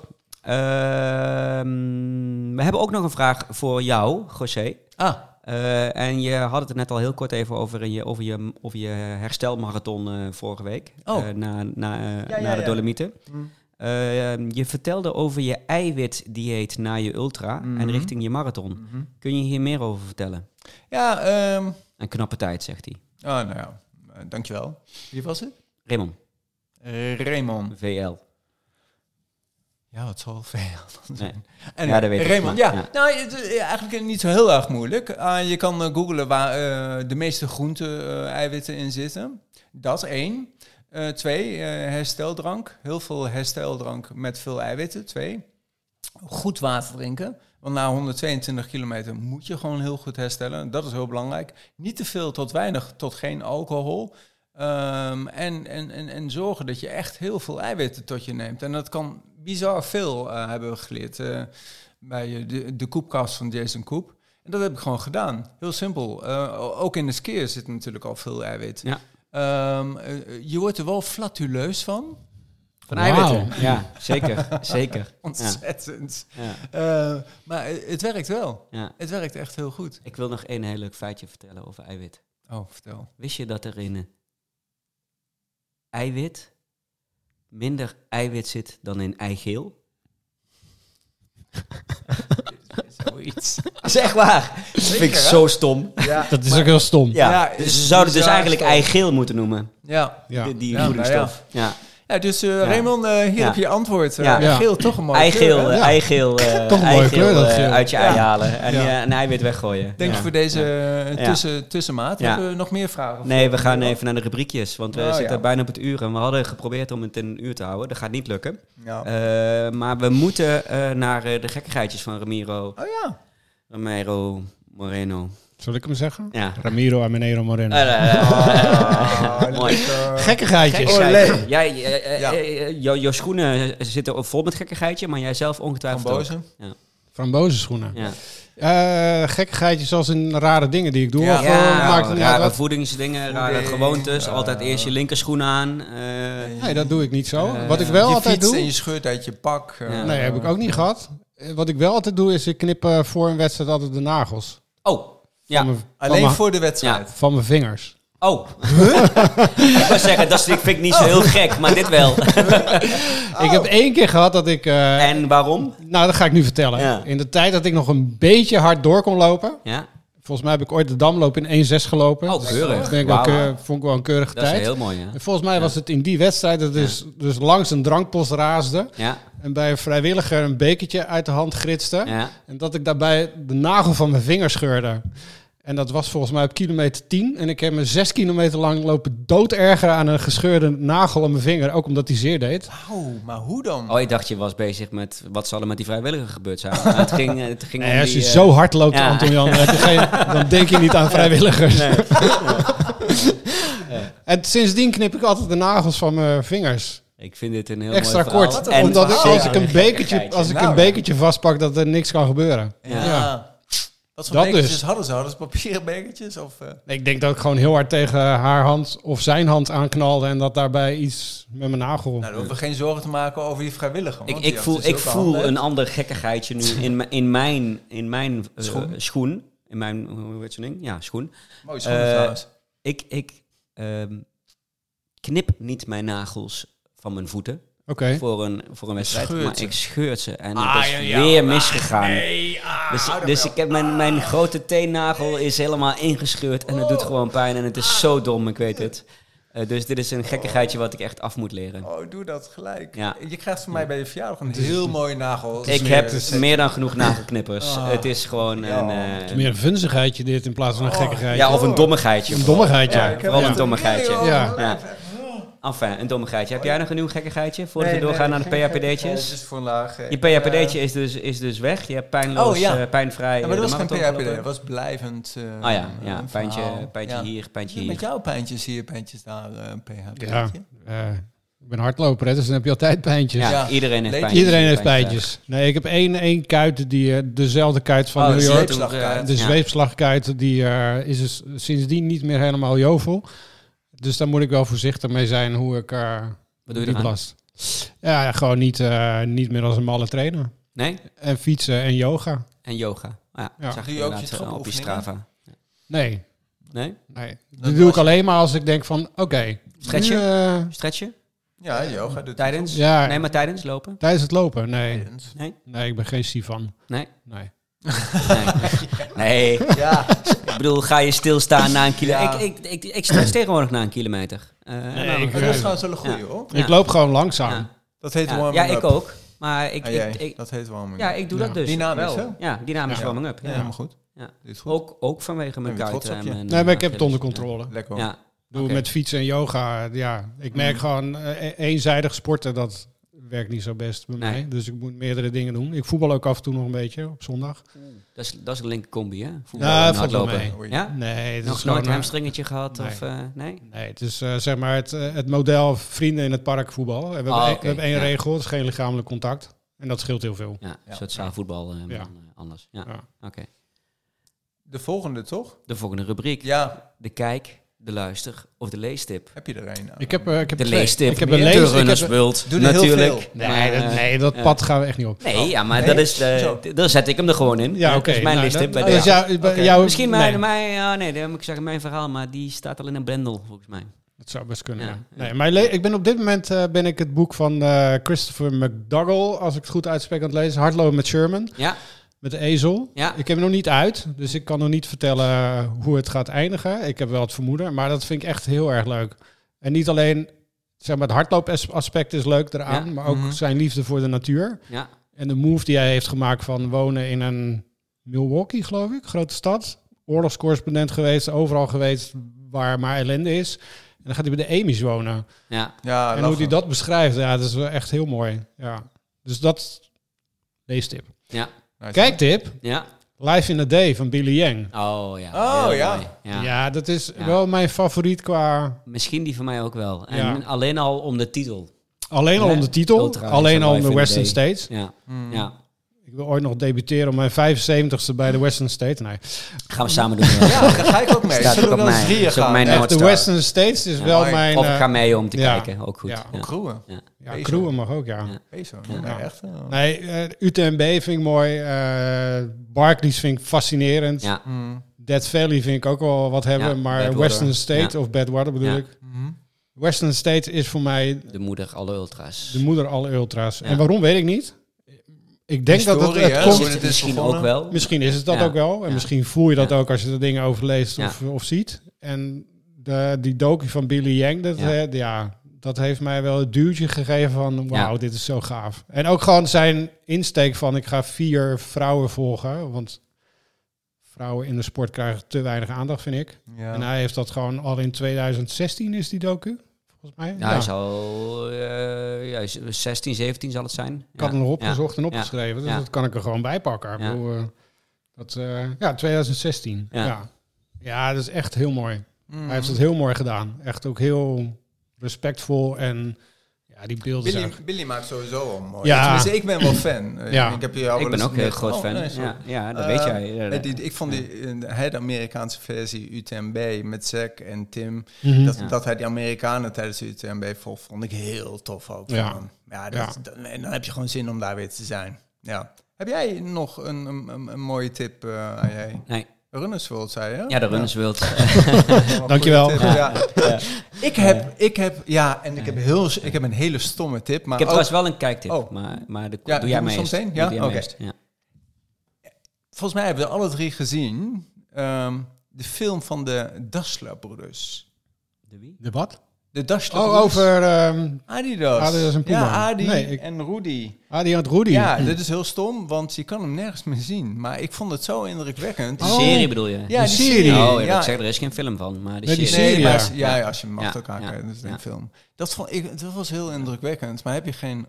S1: Ehm, we hebben ook nog een vraag voor jou, José.
S2: Ah,
S1: Eh, en je had het er net al heel kort even over, in je, over, je, over je herstelmarathon eh, vorige week.
S2: Oh.
S1: Eh, na na, eh,
S2: Ja, ja,
S1: na de
S2: ja.
S1: Dolomieten.
S3: Mm.
S1: Eh, je vertelde over je eiwitdieet na je ultra
S3: Mm.
S2: Mhm.
S1: en richting je marathon. Kun je hier meer over vertellen?
S2: ja, ehm,
S1: Een knappe tijd, zegt hij.
S2: oh, nou ja, eh, dankjewel. Wie was het? Eh,
S1: Raymond,
S2: Raymond.
S1: VL.
S2: Ja, het zal veel dan zijn. En
S1: Ja, dat weet ik,
S2: Raymond,
S1: maar-
S2: ja.
S1: ja.
S2: Nou, het is eigenlijk niet zo heel erg moeilijk. Ah, je kan eh, googlen waar eh, de meeste groente-eiwitten in zitten. Dat één. Eh, twee, eh, hersteldrank. Heel veel hersteldrank met veel eiwitten. Twee, goed water drinken. Want na 122 kilometer moet je gewoon heel goed herstellen. Dat is heel belangrijk. Niet te veel tot weinig, tot geen alcohol. Ehm, en, en, en, en zorgen dat je echt heel veel eiwitten tot je neemt. En dat kan bizar veel, eh, hebben we geleerd eh, bij eh, de, de koepkast van Jason Koep. En dat heb ik gewoon gedaan. Heel simpel. Eh, o- ook in de skier zit natuurlijk al veel eiwit.
S1: Ja.
S2: Ehm, eh, je wordt er wel flatuleus van.
S1: Van
S3: Wauw.
S1: eiwitten. Ja, zeker. zeker. Ja,
S2: Ontzettend.
S1: ja,
S2: Eh, maar eh, het werkt wel.
S1: ja.
S2: Het werkt echt heel goed.
S1: Ik wil nog één heel leuk feitje vertellen over eiwit.
S2: Oh, vertel.
S1: Wist je dat er in eh, eiwit minder eiwit zit dan in eigeel?
S2: Zoiets.
S1: Zeg waar. Dat vind ik
S2: Zeker, hè?
S1: zo stom.
S2: Ja.
S3: Dat is ook heel stom.
S1: Ja,
S2: Ja,
S1: dus ze zouden het dus
S2: bizar
S1: eigenlijk
S2: stom.
S1: eigeel moeten noemen.
S2: ja.
S3: Ja.
S1: Die, die
S2: Ja,
S1: voedingsstof. Ja.
S2: Ja, dus eh, Raymond, eh, hier
S1: Ja.
S2: heb je antwoord. Eh,
S1: Ja.
S2: ja. Geel, toch een mooie
S1: Eigeel,
S2: kleur, hè?
S1: eh,
S3: Ja.
S1: eigeel, eh,
S3: Toch een mooie
S1: eigeel,
S3: kleur, dat
S1: eh,
S3: geel.
S1: uit je ei
S2: Ja.
S1: halen en,
S3: Ja.
S1: eh, een eiwit weggooien.
S2: Dank je
S1: Ja.
S2: voor deze eh,
S1: Ja.
S2: tussen, tussenmaat.
S1: Ja.
S2: Hebben we nog meer vragen?
S1: Nee, we gaan
S2: even.
S1: even naar de rubriekjes, want we
S2: Oh,
S1: zitten
S2: ja.
S1: bijna op het uur en we hadden geprobeerd om het in een uur te houden. Dat gaat niet lukken.
S2: Ja.
S1: Eh, maar we moeten eh, naar eh, de gekkigheidjes van Ramiro,
S2: oh ja.
S1: Romero, Moreno.
S3: Zal ik hem zeggen?
S1: Ja.
S3: Ramiro Amenero Moreno.
S1: Eh,
S2: Ah,
S1: Mooi.
S2: lekker.
S3: Gekkigheidjes.
S1: Gekkigheid. Jij, eh, eh,
S2: Ja.
S1: eh, jou- jouw schoenen zitten vol met gekkigheidje, maar jij zelf ongetwijfeld ook.
S2: Frambozen.
S3: Frambozenschoenen.
S1: Ja.
S3: Eh gekkigheidjes als in rare dingen die ik doe.
S2: Ja.
S3: Of, eh,
S1: Ja,
S3: maakt het niet uit
S1: rare
S3: wat.
S1: voedingsdingen, rare
S2: Voeding,
S1: gewoontes.
S2: eh,
S1: altijd eerst je linkerschoen aan. eh,
S3: Nee, dat doe ik niet zo.
S1: Eh,
S3: wat ik wel
S2: je
S3: altijd
S2: fietst
S3: doe...
S2: en je scheurt uit je pak. eh,
S1: Ja.
S3: Nee, heb ik ook niet gehad. Eh, Wat ik wel altijd doe, is ik knip eh, voor een wedstrijd altijd de nagels.
S1: Oh, ja.
S3: Van mijn- van
S2: Alleen
S3: mijn-
S2: voor de wedstrijd.
S3: Van mijn vingers.
S1: Oh. ik wou zeggen, dat vind ik
S3: Oh.
S1: niet zo heel gek, maar dit wel.
S3: Ik heb één keer gehad dat ik... eh,
S1: Oh. en waarom?
S3: nou, dat ga ik nu vertellen.
S1: Ja.
S3: In de tijd dat ik nog een beetje hard door kon lopen...
S1: Ja,
S3: Volgens mij heb ik ooit de damloop in 1-6 gelopen.
S1: Oh,
S3: Dus
S1: keurig.
S3: Dat vind ik wel
S1: Wauw.
S3: keur- vond ik wel een keurige
S1: dat is
S3: tijd.
S1: heel mooi, hè?
S3: En Volgens mij was het in die wedstrijd dat dus, dus langs een drankpost raasde.
S1: Ja,
S3: En bij een vrijwilliger een bekertje uit de hand gritste.
S1: ja.
S3: En dat ik daarbij de nagel van mijn vinger scheurde. En dat was volgens mij op kilometer 10. En ik heb me zes kilometer lang lopen doodergeren aan een gescheurde nagel aan mijn vinger. Ook omdat die zeer deed.
S2: Wauw, maar hoe dan?
S1: Oh, ik dacht je was bezig met wat zal er met die vrijwilliger gebeurd zijn. Maar het ging, het ging om
S3: Nee, als je
S1: die, eh,
S3: dus zo hard loopt,
S1: ja.
S3: Anton Jan, dan, heb je geen- dan denk je niet aan vrijwilligers. En sindsdien knip ik altijd de nagels van mijn vingers.
S1: Ik vind dit een heel
S3: Extra
S1: mooi verhaal.
S3: kort.
S1: En
S3: Omdat ik-
S1: zeker
S3: als ik een bekertje, als ik
S2: Nou,
S3: een
S2: ja.
S3: bekertje vastpak, dat er niks kan gebeuren.
S1: Ja.
S2: Wat voor
S3: Dat
S2: bekertjes
S3: dus.
S2: hadden ze? Hadden ze papieren bekertjes? Of, eh?
S3: Ik denk dat ik gewoon heel hard tegen haar hand of zijn hand aanknalde. En dat daarbij iets met mijn nagel.
S2: Nou, dan hoeven we geen zorgen te maken over die vrijwilliger.
S1: Ik,
S2: want
S1: ik
S2: die
S1: voel,
S2: heeft dus
S1: ik
S2: ook
S1: voel
S2: handen.
S1: een ander gekkigheidje nu in, mijn- in mijn, in mijn eh, schoen.
S2: Schoen.
S1: In mijn, hoe heet zo'n ding? Ja, schoen.
S2: Mooi schoenen
S1: eh,
S2: trouwens.
S1: Ik, ik ehm, knip niet mijn nagels van mijn voeten
S3: Oké.
S1: voor, een, voor een wedstrijd.
S2: Scheurt
S1: maar
S2: ze.
S1: ik scheurt ze. En
S2: Ah,
S1: het is
S2: ja, ja.
S1: weer
S2: Ah,
S1: misgegaan.
S2: Nee, ah,
S1: Dus,
S2: hou daar
S1: dus
S2: wel.
S1: ik heb mijn, mijn grote teennagel is helemaal ingescheurd en het doet gewoon pijn en het is zo dom, ik weet het. Eh, dus dit is een gekkigheidje wat ik echt af moet leren.
S2: Oh, doe dat gelijk.
S1: Ja.
S2: Je krijgt van mij bij je verjaardag een heel mooie nagel.
S1: Ik heb meer dan genoeg nagelknippers.
S2: Ah.
S1: Het is gewoon een...
S2: Ja.
S1: eh,
S3: Het is meer een vunzigheidje dit in plaats van een
S2: Oh,
S3: gekkigheidje.
S1: ja, of een dommigheidje.
S3: Een dommigheidje.
S1: Ja,
S3: Ja,
S1: vooral
S3: ja.
S1: een dommigheidje.
S2: Nee,
S3: Ja.
S1: Ja. Enfin, een dommigheidje. Heb jij nog een nieuw gekkigheidje voordat
S2: Oh, Nee,
S1: we doorgaan
S2: nee,
S1: naar de
S2: geen gekkigheid.
S1: PHPD'tjes?
S2: Dus voor een laag.
S1: Je
S2: Ik, eh,
S1: PHPD'tje is dus, is dus weg. Je hebt pijnloos,
S2: Oh, ja.
S1: eh, pijnvrij.
S2: Ja,
S1: eh,
S2: maar
S1: de
S2: dat was geen
S1: marathon
S2: PHPD, dat
S1: gelopen.
S2: was blijvend. eh,
S1: Ah ja, ja.
S2: een
S1: pijntje,
S2: verhaal.
S1: pijntje
S2: Ja.
S1: hier, pijntje
S2: Ja,
S1: hier.
S2: Met jouw pijntjes hier, pijntjes daar, eh PHPD.
S3: Ja. Eh, ik ben hardloper, hè, dus dan heb je altijd pijntjes.
S1: Ja,
S2: Ja.
S1: iedereen heeft
S2: Leed-
S1: pijntjes.
S3: Iedereen heeft pijntjes. Nee, ik heb één, één kuit, die, eh, dezelfde kuit van
S2: Oh,
S3: New
S2: dat
S3: York. dus
S2: sleept-
S3: De zweepslagkuit die, eh, is dus sindsdien niet meer helemaal jovel. Dus daar moet ik wel voorzichtig mee zijn hoe ik eh
S1: Wat doe je
S3: die
S1: eraan?
S3: belast. Ja, gewoon niet, eh, niet meer als een malle trainen.
S1: Nee?
S3: En fietsen en yoga.
S1: En yoga. Ah, ja,
S3: Ja.
S1: zag
S2: Doe
S1: ik
S2: je ook je
S1: inderdaad, eh, op je
S2: trapoefeningen?
S1: Strava.
S3: Nee,
S1: Nee?
S3: nee.
S2: Dat
S3: Dat doe
S2: was-
S3: ik alleen maar als ik denk van, oké.
S1: Stretchen?
S3: nu, eh,
S1: Stretchen?
S2: Ja, yoga doet
S1: Tijdens?
S3: ja,
S1: Nee, maar tijdens lopen?
S3: tijdens het lopen, nee.
S2: Tijdens.
S3: Nee, ik ben geen Sivan.
S1: Nee?
S3: Nee.
S1: Nee. nee.
S2: Ja,
S1: Ik bedoel, ga je stilstaan na een
S2: Ja.
S1: kilometer? Ik, ik, ik, ik stretch tegenwoordig na een kilometer. Eh, nou,
S3: ik-
S2: dat is trouwens wel een goeie,
S1: Ja.
S2: hoor.
S1: Ja.
S3: Ik loop gewoon langzaam.
S1: ja.
S2: Dat heet
S1: Ja,
S2: warming
S1: ja, ik
S2: up.
S1: ook. Maar ik,
S2: Ah,
S1: ik,
S2: jij,
S1: ik,
S2: dat heet warming
S1: ja,
S2: up.
S1: ik doe
S3: Ja.
S1: dat dus.
S2: Dynamisch,
S1: wel. Ja, dynamisch
S3: Ja.
S1: warming up.
S2: Ja,
S1: Ja.
S2: helemaal goed.
S1: Ja.
S2: Dit is goed.
S1: Ook, ook vanwege mijn
S2: Ben je trots
S1: kuiten.
S2: op je?
S1: en mijn,
S3: Nee, maar
S1: eh,
S3: ik heb het onder
S1: achilles.
S3: controle.
S2: Lekker. hoor.
S1: Ja,
S3: Doe
S2: Oké.
S3: met fietsen en yoga. Ja, ik
S1: Mhm.
S3: merk gewoon eh, e- eenzijdig sporten dat werkt niet zo best bij
S1: Nee.
S3: mij. Dus ik moet meerdere dingen doen. Ik voetbal ook af en toe nog een beetje op zondag.
S1: dat is, dat is een linker combi, hè?
S2: Voetbal
S3: Ja,
S2: en
S3: valt wel
S2: hardlopen.
S3: mee.
S2: Oei.
S1: Ja?
S3: Nee, het
S1: Nog
S3: is gewoon,
S1: nooit een
S3: eh,
S1: hamstringetje gehad?
S3: nee.
S1: Of, eh, nee?
S3: Nee, het is eh, zeg maar het, eh, het model vrienden in het park voetbal. En We hebben,
S1: Ah,
S3: één-
S1: oké,
S3: we hebben één
S1: ja.
S3: regel, het is geen lichamelijk contact. En dat scheelt heel veel.
S1: Ja,
S2: Ja.
S1: een soort zaalvoetbal eh, maar
S3: Ja.
S1: dan, eh, anders. Ja,
S3: Ja.
S1: oké.
S2: De volgende, toch?
S1: De volgende rubriek.
S2: Ja,
S1: De kijk, de luister of de leestip.
S2: heb je er een?
S3: Ik heb, eh, ik heb
S1: De
S3: twee.
S1: leestip.
S3: Ik heb een
S1: de
S3: lees, ik heb een-
S1: runnersbult.
S2: Doe er heel
S1: natuurlijk.
S2: veel.
S3: Nee, dat,
S1: Maar,
S3: nee, dat
S1: eh,
S3: pad gaan we echt niet op.
S1: Nee,
S2: Oh,
S1: ja, maar
S2: nee?
S1: dat is de,
S2: Zo.
S1: d- dan zet ik hem er gewoon in.
S3: Ja, oké.
S1: Dat is mijn
S3: nou,
S1: leestip
S3: dat-
S1: bij
S3: dat is
S1: deze.
S3: jou- bij
S2: Oké.
S3: jou-
S1: Misschien
S3: nee,
S1: mijn, mijn, ja, nee, dan moet ik zeggen, mijn verhaal, maar die staat al in een blendel, volgens mij.
S3: Dat zou best kunnen.
S1: Ja,
S3: ja.
S1: ja.
S3: Nee, maar le- ik ben op dit moment eh, ben ik het boek van eh, Christopher McDougall, als ik het goed uitspreek, aan het lezen. Hardlopen met Sherman,
S1: Ja,
S3: met de ezel.
S1: Ja.
S3: Ik heb hem nog niet uit, dus ik kan nog niet vertellen hoe het gaat eindigen. Ik heb wel het vermoeden, maar dat vind ik echt heel erg leuk. En niet alleen zeg maar, het hardloopaspect is leuk eraan,
S1: Ja.
S3: maar ook
S2: Mhm.
S3: zijn liefde voor de natuur.
S1: ja.
S3: En de move die hij heeft gemaakt van wonen in een Milwaukee, geloof ik, grote stad. Oorlogscorrespondent geweest, overal geweest waar maar ellende is. En dan gaat hij bij de Amy's wonen.
S1: ja.
S2: Ja,
S3: en hoe hij
S2: lachen.
S3: dat beschrijft, ja, dat is wel echt heel mooi. Ja. Dus dat, leestip.
S2: Nice.
S3: Kijktip,
S1: Ja.
S3: Life in a Day van Billy Yang.
S1: Oh ja.
S2: Oh,
S1: Heel
S2: ja.
S1: mooi.
S3: Ja,
S1: ja.
S3: dat is
S1: Ja.
S3: wel mijn favoriet qua...
S1: Misschien die van mij ook wel. En
S3: Ja.
S1: alleen al om de titel.
S3: Alleen al
S1: Ja,
S3: om de titel,
S1: ultra is
S3: alleen
S1: van
S3: al om
S1: Life
S3: de
S1: in a
S3: Western
S1: Day.
S3: States.
S1: Ja.
S2: Mm.
S1: ja.
S3: Ik wil ooit nog debuteren op mijn 75ste bij de Western States. Nee.
S1: Gaan we samen doen.
S2: Ja, daar ga ik ook mee.
S1: Staat
S2: Zullen
S1: ook
S2: we
S1: op
S2: dan eens
S1: mijn-
S2: drieën
S1: is ook
S2: gaan?
S1: mijn-
S2: Ja,
S3: Echt, de
S1: North Star.
S3: Western States is
S1: Ja.
S3: wel
S2: Mooi.
S3: mijn...
S1: Of
S3: eh,
S1: ga mee om te
S3: ja.
S1: kijken. Ook goed.
S3: Ja.
S1: Ja.
S2: Kroeën.
S3: Ja,
S2: Bezig.
S3: Kroewen mag ook, ja.
S1: Ja.
S2: Bezig.
S1: Ja.
S2: Ja, echt. eh.
S3: Nee, eh, UTMB vind ik mooi. eh Barclays vind ik fascinerend.
S1: Ja.
S2: Mm.
S3: Dead Valley vind ik ook wel wat hebben.
S1: Ja,
S3: maar
S1: Badwater.
S3: Western State,
S1: Ja.
S3: of Badwater bedoel
S1: Ja.
S3: ik.
S2: Mhm.
S3: Western State is voor mij
S1: De moeder alle ultra's.
S3: de moeder alle ultra's.
S1: Ja.
S3: En waarom, weet ik niet. Ik denk dat
S2: Historie,
S3: het, het
S2: hè?
S3: komt...
S2: Hoe het is
S1: misschien
S2: begonnen.
S1: ook wel.
S3: Misschien is het dat
S1: Ja.
S3: ook wel. En
S1: Ja.
S3: misschien voel je dat
S1: Ja.
S3: ook als je er dingen over leest of, of ziet. En de, die docu van Billy Yang, dat,
S1: Ja.
S3: eh, ja, dat heeft mij wel het duwtje gegeven van... wauw,
S1: Ja.
S3: dit is zo gaaf. En ook gewoon zijn insteek van ik ga vier vrouwen volgen. Want vrouwen in de sport krijgen te weinig aandacht, vind ik.
S2: Ja.
S3: En hij heeft dat gewoon al in 2016 is die docu, volgens mij.
S1: Ja, hij zal eh, ja, 16, 17 zal het zijn.
S3: Ik had
S1: ja.
S3: hem nog opgezocht en
S1: Ja.
S3: opgeschreven. Dus
S1: Ja.
S3: dat kan ik er gewoon bij pakken. Ik
S1: Ja.
S3: bedoel, eh, dat, eh, ja, 2016. Ja.
S1: Ja.
S3: Ja. dat is echt heel mooi.
S2: Mm.
S3: Hij heeft het heel mooi gedaan. Echt ook heel respectvol en ja, die beelden zijn...
S2: Billy, Billy maakt sowieso al mooi.
S3: Ja.
S2: Tenminste, ik ben wel fan. Eh,
S3: Ja.
S2: Ik, heb hier al
S1: Ik
S2: wel
S1: ben
S2: eens
S1: ook heel
S2: met-
S1: groot
S2: Oh,
S1: fan.
S2: nee, sorry.
S1: ja, ja, dat
S2: Eh,
S1: weet jij. Ja,
S2: nee, die- ik vond die, eh, hè, de Amerikaanse versie UTMB met Zack en Tim.
S3: Mhm.
S2: Dat,
S1: Ja.
S2: dat hij die Amerikanen tijdens de UTMB volgt, vond ik heel tof ook. van
S3: Ja.
S2: hem. ja, dat,
S3: Ja.
S2: dat- en dan heb je gewoon zin om daar weer te zijn. Ja. Heb jij nog een, een, een- een mooie tip eh, aan jij?
S1: Nee,
S2: Runners World, zei je?
S1: Ja, de Runners World.
S2: Ja.
S3: Dankjewel.
S2: Goeie tip, Ja. Ik heb, ik heb, ja, en ik heb, heel, ik heb een hele stomme tip. Maar
S1: Ik heb
S2: ook-
S1: trouwens wel een kijktip,
S2: Oh.
S1: maar, maar de,
S2: Ja,
S1: doe
S2: doe
S1: jij
S2: hem
S1: mee
S2: soms
S1: eerst.
S2: heen? Ja?
S1: Doe jij mee
S2: Oké.
S1: eerst, ja.
S2: volgens mij hebben we alle drie gezien ehm, de film van de Dassler-broeders.
S1: De wie?
S3: De wat?
S2: De Dassler
S3: Oh, over ehm
S2: Adidas.
S3: Adidas en Puma.
S2: Ja, Adi
S3: Nee, ik-
S2: en Rudy.
S3: Adi had Rudy.
S2: Ja, dit is heel stom, want je kan hem nergens meer zien. Maar ik vond het zo indrukwekkend. Dus-
S1: De
S3: Oh.
S1: serie bedoel je?
S2: Ja, die
S3: de serie.
S2: serie.
S1: Oh, ja,
S2: ja.
S1: Dat zeg, er is geen film van, maar de
S3: Nee, die
S1: serie.
S2: Nee,
S3: serie,
S2: maar
S3: ja.
S2: als- ja, ja, als je hem
S1: Ja,
S2: achter elkaar
S1: ja,
S2: kijkt, dat is
S1: ja.
S2: een film. Dat, vond ik, dat was heel indrukwekkend, maar heb je geen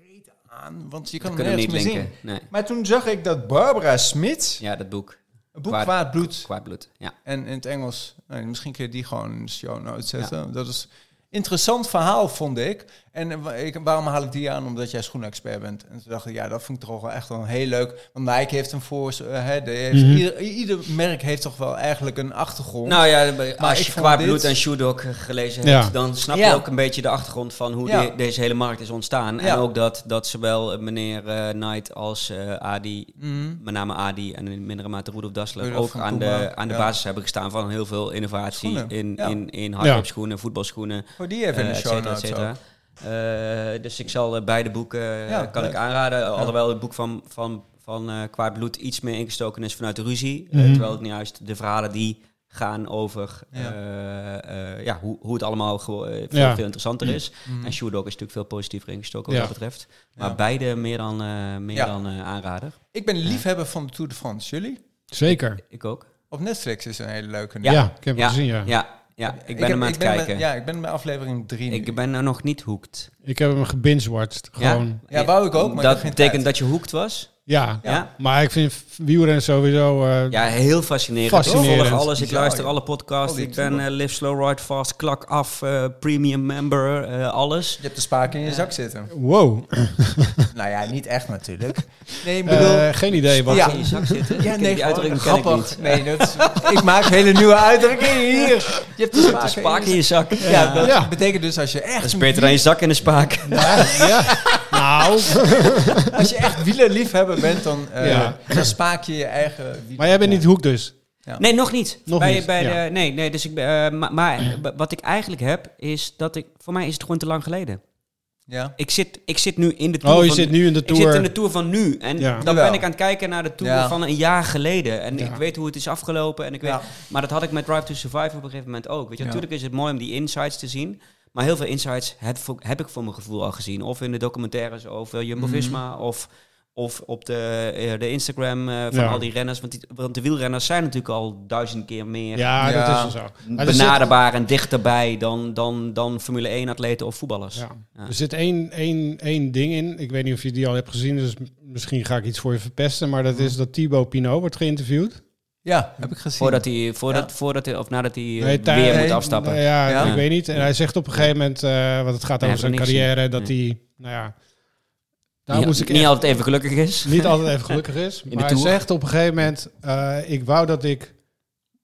S2: reet aan, want je kan
S1: We
S2: hem
S1: kunnen hem
S2: nergens
S1: niet
S2: meer
S1: linken.
S2: zien.
S1: Nee.
S2: Maar toen zag ik dat Barbara Smit,
S1: Ja, dat boek.
S2: een boek
S1: Kwaad-
S2: Kwaad Bloed,
S1: Kwaad bloed. Ja.
S2: en in het Engels, nou, misschien kun je die gewoon in de show notes zetten. Dat is een interessant verhaal, vond ik. En eh, wa- ik, waarom haal ik die aan? Omdat jij schoenexpert bent. En toen dacht ik, ja, dat vond ik toch wel echt wel heel leuk. Want Nike heeft een voor... eh, hè, de- heeft-
S3: Mhm.
S2: ieder, ieder merk heeft toch wel eigenlijk een achtergrond.
S1: Nou ja,
S2: Maar
S1: als
S2: ik
S1: je
S2: vond
S1: Kwaad
S2: dit-
S1: bloed en Shoe Dog gelezen
S3: Ja.
S1: hebt, dan snap je
S2: Ja.
S1: ook een beetje de achtergrond van hoe
S2: Ja.
S1: de- deze hele markt is ontstaan.
S2: Ja.
S1: En ook dat, dat zowel eh, meneer eh, Knight als eh, Adi
S2: Mhm.
S1: met name Adi en in mindere mate Rudolf Dassler
S2: Rudolf
S1: ook
S2: van
S1: aan
S2: Puma,
S1: de, aan de
S2: ja.
S1: basis hebben gestaan van heel veel innovatie
S2: Schoenen,
S1: in,
S2: ja.
S1: in, in hardloop schoenen, voetbalschoenen,
S2: Voor die even in
S1: eh,
S2: de
S1: et
S2: show
S1: cetera, et
S2: notes
S1: cetera.
S2: ook.
S1: Eh, dus ik zal eh, beide boeken eh,
S2: Ja,
S1: kan
S2: leuk.
S1: ik aanraden. Alhoewel het boek van, van, van eh, Kwaad Bloed iets meer ingestoken is vanuit de ruzie. eh,
S3: Mhm.
S1: terwijl het nu juist de verhalen die gaan over
S2: Ja.
S1: eh, eh, ja, hoe, hoe het allemaal gewo- eh, veel,
S3: Ja.
S1: veel interessanter is.
S2: Mhm.
S1: En Shoe Dog is natuurlijk veel positiever ingestoken
S3: Ja.
S1: wat dat betreft. Maar
S2: Ja.
S1: beide meer dan, eh, meer
S2: Ja.
S1: dan eh, aanrader.
S2: Ik ben liefhebber van de Tour de France. Jullie?
S3: Zeker.
S1: Ik ook.
S2: Op Netflix is een hele leuke.
S3: Ja,
S1: Ja.
S3: ik heb
S1: Ja.
S3: hem gezien, ja.
S1: Ja, ja ik ben
S2: heb-
S1: hem aan het
S2: ben
S1: kijken.
S2: Bij, ja, ik ben bij aflevering 3.
S1: Ik ben nou nog niet hoekt.
S3: Ik heb hem gebingewatched. Gewoon.
S2: Ja, wou ik ook, maar ik heb
S1: dat
S2: geen
S1: betekent
S2: tijd.
S1: dat je hoekt was.
S3: Ja.
S1: Ja. ja.
S3: Maar ik vind v- wielrennen sowieso... eh,
S1: heel fascinerend.
S3: Fascinerend.
S1: Ik volg alles, ik
S2: Bizar, Oh,
S1: luister
S2: ja.
S1: alle podcasts.
S2: Al die
S1: ik ben
S2: toeren.
S1: eh, Live Slow Ride Fast, Klak Af, eh, Premium Member, eh, alles.
S2: Je hebt de spaak in je zak zitten.
S3: Wow.
S2: nou ja, niet echt natuurlijk. Nee, ik bedoel...
S3: Eh, geen idee wat...
S2: Ja.
S1: In je zak zitten. Ik
S2: ja,
S1: ken
S2: nee,
S1: die
S2: gewoon
S1: uitdrukking ken ik
S2: grappig.
S1: niet.
S2: Nee, dat is- ik maak hele nieuwe uitdrukkingen hier. Je hebt de spaak,
S1: De spaak in je zak. Ja,
S2: Ja, dat
S3: Ja.
S2: betekent dus als je echt,
S1: Dat is beter dan je zak in de spaak.
S3: Nou.
S2: als je echt wielerliefhebber bent, dan, eh,
S3: Ja.
S2: dan spaak je je eigen wieler.
S3: maar jij bent niet hoek dus.
S1: Nee, nog niet.
S3: Nog
S1: bij,
S3: niet,
S1: Bij
S3: ja.
S1: de, nee, nee, dus ik, ben, eh, maar, maar eh, wat ik eigenlijk heb, is dat ik... Voor mij is het gewoon te lang geleden.
S2: Ja.
S1: Ik zit, ik zit nu in de tour
S3: Oh, je
S1: van-
S3: zit nu in de
S1: Ik zit in
S3: tour.
S1: de Tour van nu. En
S3: Ja.
S1: dan
S2: Jawel.
S1: ben ik aan het kijken naar de Tour
S2: Ja.
S1: van een jaar geleden. En
S3: Ja.
S1: ik weet hoe het is afgelopen. En ik weet,
S2: Ja.
S1: Maar dat had ik met Drive to Survive op een gegeven moment ook. Weet je,
S2: Ja.
S1: Natuurlijk is het mooi om die insights te zien. Maar heel veel insights heb, voor- heb ik voor mijn gevoel al gezien. Of in de documentaires over
S3: Mhm.
S1: Jumbo-Visma. Of, of op de, eh, de Instagram eh, van
S3: Ja.
S1: al die renners. Want, die, want de wielrenners zijn natuurlijk al duizend keer meer...
S3: Ja,
S2: Ja.
S3: dat is wel zo. Maar er zit-
S1: Benaderbaar en dichterbij dan, dan, dan Formule 1-atleten of voetballers.
S3: Ja.
S1: Dus Ja.
S3: Er zit één, één, één ding in. Ik weet niet of je die al hebt gezien, dus m- misschien ga ik iets voor je verpesten. Maar dat is dat Thibaut Pinot wordt geïnterviewd.
S2: ja, heb ik gezien.
S1: Voordat hij, voordat,
S2: Ja.
S1: voordat hij, of nadat hij eh,
S3: Nee, tij-
S1: weer
S2: nee,
S1: moet afstappen.
S3: Nou ja,
S2: Ja.
S3: ik weet niet. En hij zegt op een gegeven moment, eh want het gaat
S1: Nee,
S3: over
S1: heb
S3: zijn
S1: ik niks
S3: carrière, dat
S1: Nee.
S3: hij, nou ja, daar
S1: niet,
S3: moest ik
S1: niet
S3: echt
S1: altijd even gelukkig is.
S3: niet altijd even gelukkig is.
S1: de
S3: Maar hij
S1: Tour.
S3: zegt op een gegeven moment, eh, ik wou dat ik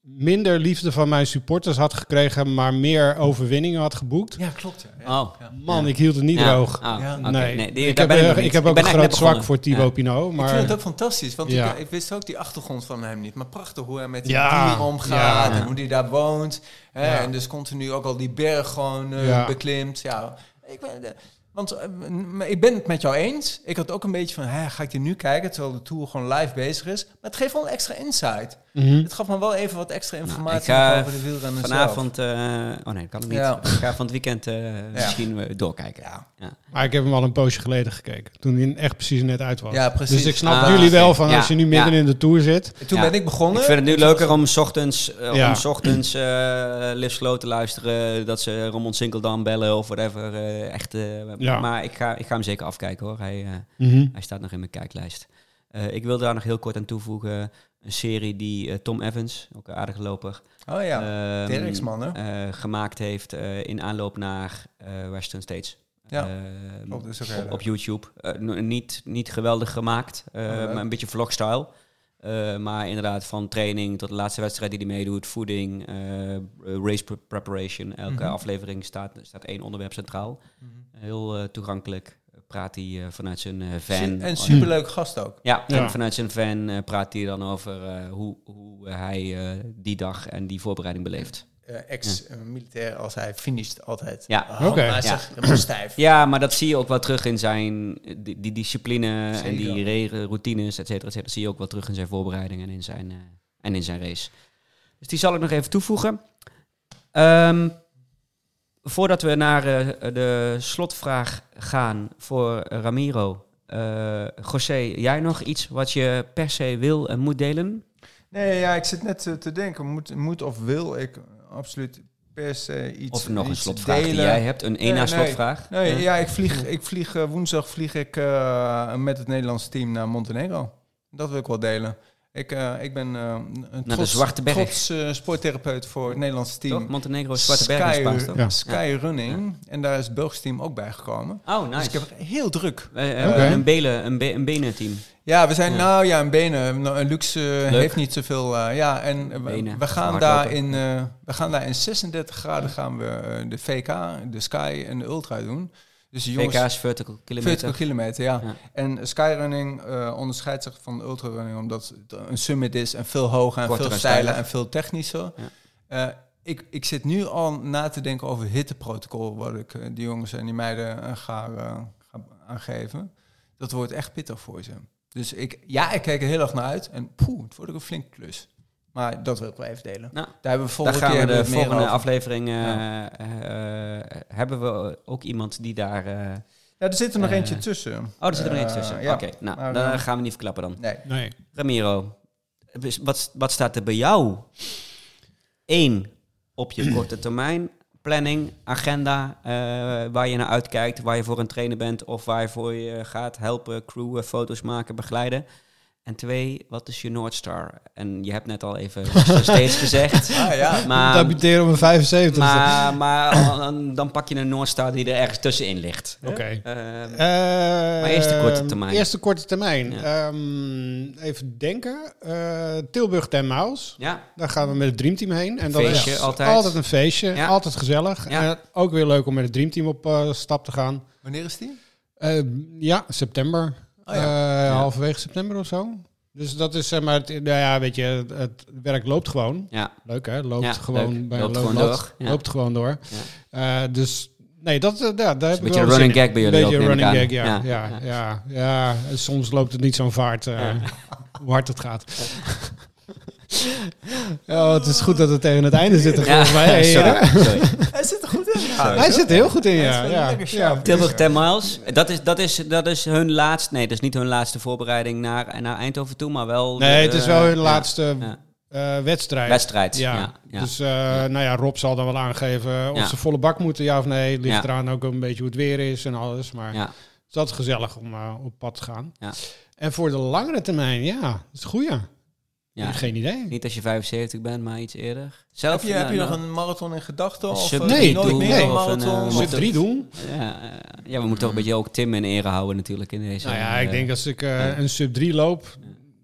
S3: minder liefde van mijn supporters had gekregen, maar meer overwinningen had geboekt.
S2: Ja, klopt. Ja. Ja.
S1: Oh.
S2: Ja.
S3: Man, ik hield het niet
S1: Ja.
S3: droog.
S1: Ah,
S2: Ja.
S1: oké.
S3: Nee,
S1: die-
S3: ik,
S1: daar
S3: heb,
S1: ben
S3: eh,
S1: nog
S3: ik
S1: niet.
S3: heb ook
S1: ben echt
S3: een groot
S1: net
S3: zwak
S1: begonnen.
S3: voor Thibaut Pinot.
S2: Ik
S3: Maar
S2: vind het ook fantastisch, want
S3: Ja.
S2: ik, ik wist ook die achtergrond van hem niet. Maar prachtig hoe hij met die
S3: Ja,
S2: dieren omgaat
S1: ja.
S2: en hoe hij daar woont. Hè,
S3: Ja.
S2: En dus continu ook al die berg gewoon eh,
S3: Ja.
S2: beklimt. Ja, ik ben, eh, want eh, m- maar ik ben het met jou eens. Ik had ook een beetje van, hè, ga ik die nu kijken terwijl de tour gewoon live bezig is. Maar het geeft wel een extra insight.
S3: Mhm.
S2: Het gaf me wel even wat extra
S1: Nou, ik
S2: informatie
S1: ga
S2: nog over de wielrennen zelf.
S1: Vanavond, eh, oh nee, dat kan ik niet.
S2: Ja.
S1: Ik ga van het weekend eh, misschien eh, doorkijken.
S2: Ja.
S3: Maar ik heb hem al een poosje geleden gekeken. Toen hij echt precies net uit was.
S2: Ja, precies.
S3: Dus ik snap
S1: Ah,
S3: jullie wel
S1: oké.
S3: van
S1: Ja,
S3: als je nu midden
S1: ja.
S3: in de tour zit.
S2: En toen
S1: Ja.
S2: ben ik begonnen.
S1: Ik vind het nu leuker om 's ochtends, eh,
S3: Ja.
S1: om 's ochtends eh Liv Slow te luisteren. Dat ze Ramon Sinkeldam bellen of whatever. eh, echt, eh,
S3: Ja.
S1: Maar ik ga, ik ga hem zeker afkijken hoor. Hij, eh, Hij staat nog in mijn kijklijst. Eh, ik wil daar nog heel kort aan toevoegen. Een serie die eh, Tom Evans, ook een aardige loper,
S2: Oh ja,
S1: ehm,
S2: Dirksman, hè?
S1: eh, gemaakt heeft eh, in aanloop naar eh, Western States.
S2: Ja.
S1: Ehm,
S2: Oh, dat is ook heel
S1: op,
S2: leuk.
S1: op YouTube. Eh, n- niet, niet geweldig gemaakt, eh,
S2: Oh, leuk.
S1: maar een beetje vlogstyle. Eh, maar inderdaad, van training tot de laatste wedstrijd die hij meedoet, voeding, eh, race pre- preparation. Elke
S2: Mhm.
S1: aflevering staat, staat één onderwerp centraal.
S2: Mhm.
S1: Heel eh, toegankelijk, praat hij eh, vanuit zijn eh, van.
S2: En, en superleuk gast ook.
S1: Ja,
S3: Ja.
S1: en vanuit zijn fan eh, praat hij dan over eh, hoe, hoe hij eh, die dag en die voorbereiding beleeft.
S2: Eh, Ex-militair als hij finisht altijd. Ah,
S1: Ja.
S3: Oké.
S2: Oké.
S1: Ja.
S2: helemaal stijf.
S1: Ja, maar dat zie je ook wel terug in zijn eh, die, die discipline en
S2: Zeker.
S1: die re- routines, et cetera, et cetera. Dat zie je ook wel terug in zijn voorbereiding en in zijn, eh, en in zijn race. Dus die zal ik nog even toevoegen. Ehm, voordat we naar eh, de slotvraag gaan voor Ramiro. eh José, jij nog iets wat je per se wil en moet delen?
S2: Nee, ja, ik zit net eh, te denken, moet, moet of wil ik absoluut per se iets
S1: Of nog een
S2: iets
S1: slotvraag die
S2: delen?
S1: jij hebt, een één na
S2: Ja, nee.
S1: slotvraag.
S2: Nee,
S1: Eh,
S2: ja, ik vlieg, ik vlieg eh, woensdag vlieg ik eh, met het Nederlands team naar Montenegro. Dat wil ik wel delen. Ik, eh, ik ben eh een
S1: de
S2: trots,
S1: Zwarte Berg.
S2: trots eh, sporttherapeut voor het Nederlands team.
S1: toch? Montenegro, Zwarte Berg in Spaans, toch?
S3: Ja.
S2: Sky Running. En daar is het Belgisch team ook bij gekomen.
S1: Oh, nice.
S2: Dus ik heb heel druk.
S1: Eh, eh,
S3: Oké.
S1: Een belen, een, be- een benenteam.
S2: Ja, we zijn
S1: Ja.
S2: nou ja, een benen. Nou, Een luxe eh, heeft niet zoveel. eh, ja, en we-
S1: Benen.
S2: we gaan,
S1: Hardlopen.
S2: daar in, eh, we gaan daar in 36 graden gaan we eh, de VK, de Sky en de Ultra doen. Dus de jongens,
S1: VK's vertical kilometer.
S2: 40 kilometer, ja.
S1: Ja.
S2: En skyrunning eh, onderscheidt zich van ultrarunning omdat het een summit is en veel hoger en
S1: Korter
S2: veel
S1: en
S2: steiler
S1: steiler.
S2: en veel technischer.
S1: Ja.
S2: Eh, ik, ik zit nu al na te denken over hitteprotocol, wat ik eh, die jongens en die meiden eh, ga, eh, ga aangeven. Dat wordt echt pittig voor ze. Dus ik, ja, ik kijk er heel erg naar uit en poeh, het wordt ook een flink klus. Maar dat wil ik wel even delen.
S1: Nou,
S2: Daar hebben we
S1: Daar
S2: volgende
S1: gaan we
S2: keer
S1: de
S2: hebben het meer
S1: volgende
S2: over.
S1: aflevering. eh, eh, eh, hebben we ook iemand die daar. eh,
S2: Ja, er zit er nog
S1: Eh,
S2: eentje tussen.
S1: Oh, er zit er nog
S2: Eh,
S1: eentje tussen.
S2: ja.
S1: Oké, nou,
S2: Maar,
S1: dan
S2: eh,
S1: gaan we niet verklappen dan.
S2: Nee.
S3: Nee.
S1: Ramiro, dus wat, wat staat er bij jou? Eén, op je korte termijn planning, agenda, eh, waar je naar uitkijkt, waar je voor een trainer bent of waar je voor je gaat helpen, crewen, foto's maken, begeleiden. En twee, wat is je North Star? En je hebt net al even steeds gezegd.
S2: Ah, ja.
S1: Maar,
S3: Debuteren op een dus 75.
S1: maar, maar al- dan, dan pak je een North Star die er ergens tussenin ligt.
S3: Oké.
S1: Ehm,
S3: Eh,
S1: Maar eerst de korte termijn.
S3: Eerst de korte termijn.
S1: Ja.
S3: Ehm, even denken. Eh, Tilburg Den Maus.
S1: ja,
S3: Daar gaan we met het Dreamteam heen. En dat
S1: Feestje,
S3: is
S1: altijd.
S3: altijd een feestje.
S1: Ja.
S3: Altijd gezellig.
S1: Ja.
S3: En ook weer leuk om met het Dreamteam op eh, stap te gaan.
S2: Wanneer is die?
S3: Eh, ja, september.
S2: Oh
S3: Eh,
S1: Ja.
S3: Halverwege september of zo. Dus dat is zeg maar, het, nou ja, weet je, het, het werk loopt gewoon.
S1: ja,
S3: Leuk hè, loopt
S1: Ja,
S3: gewoon
S1: leuk.
S3: bij
S1: Loopt
S3: een
S1: gewoon
S3: loopmat.
S1: door. Ja.
S3: Loopt gewoon door. Eh, dus nee, dat, eh, ja, daar heb
S1: een
S3: ik
S1: beetje
S3: wel
S1: een running
S3: zin in.
S1: gag bij jullie
S3: Beetje
S1: ook,
S3: een
S1: neem ik
S3: running
S1: aan.
S3: gag, ja. Ja,
S1: Ja,
S3: ja, ja, En Soms loopt het niet zo'n vaart eh, hoe hard het gaat. Oh, het is goed dat we tegen het einde zitten
S1: Ja,
S3: volgens mij. Hey,
S1: sorry,
S3: ja.
S1: sorry.
S2: Hij zit er goed in.
S3: Hij zit er heel goed in,
S2: Hij is
S3: ja.
S2: wel
S3: ja,
S2: lekker
S3: ja.
S2: sharp.
S1: Tilburg 10 miles. Dat is, dat, is, dat is hun laatste. Nee, dat is niet hun laatste voorbereiding naar, naar Eindhoven toe, maar wel.
S3: Nee,
S1: de-
S3: het is wel hun
S1: ja,
S3: laatste
S1: ja.
S3: eh, wedstrijd.
S1: wedstrijd. Ja,
S3: Ja.
S1: ja,
S3: Dus eh, nou ja, Rob zal dan wel aangeven of
S1: Ja.
S3: ze volle bak moeten, ja of nee. Ligt
S1: Ja.
S3: eraan ook een beetje hoe het weer is en alles. Maar
S1: ja.
S3: het is altijd gezellig om eh, op pad te gaan.
S1: Ja.
S3: En voor de langere termijn, ja, dat is het goeie.
S1: Ja.
S3: Ik heb Geen idee.
S1: Niet als je 75 bent, maar iets eerder. Zelf
S2: Heb je, heb je
S1: nou,
S2: nog een marathon in gedachten?
S1: Een
S2: Of
S1: sub
S2: eh,
S3: drie
S2: nooit
S3: doel,
S2: meer
S3: nee.
S2: een
S1: of een,
S2: marathon?
S1: eh,
S2: Of-
S3: Sub drie doen?
S1: Ja, eh, ja, we moeten toch een beetje ook Tim in ere houden, natuurlijk. In deze,
S3: Nou ja, ik
S1: eh,
S3: denk als ik eh, een sub 3 loop,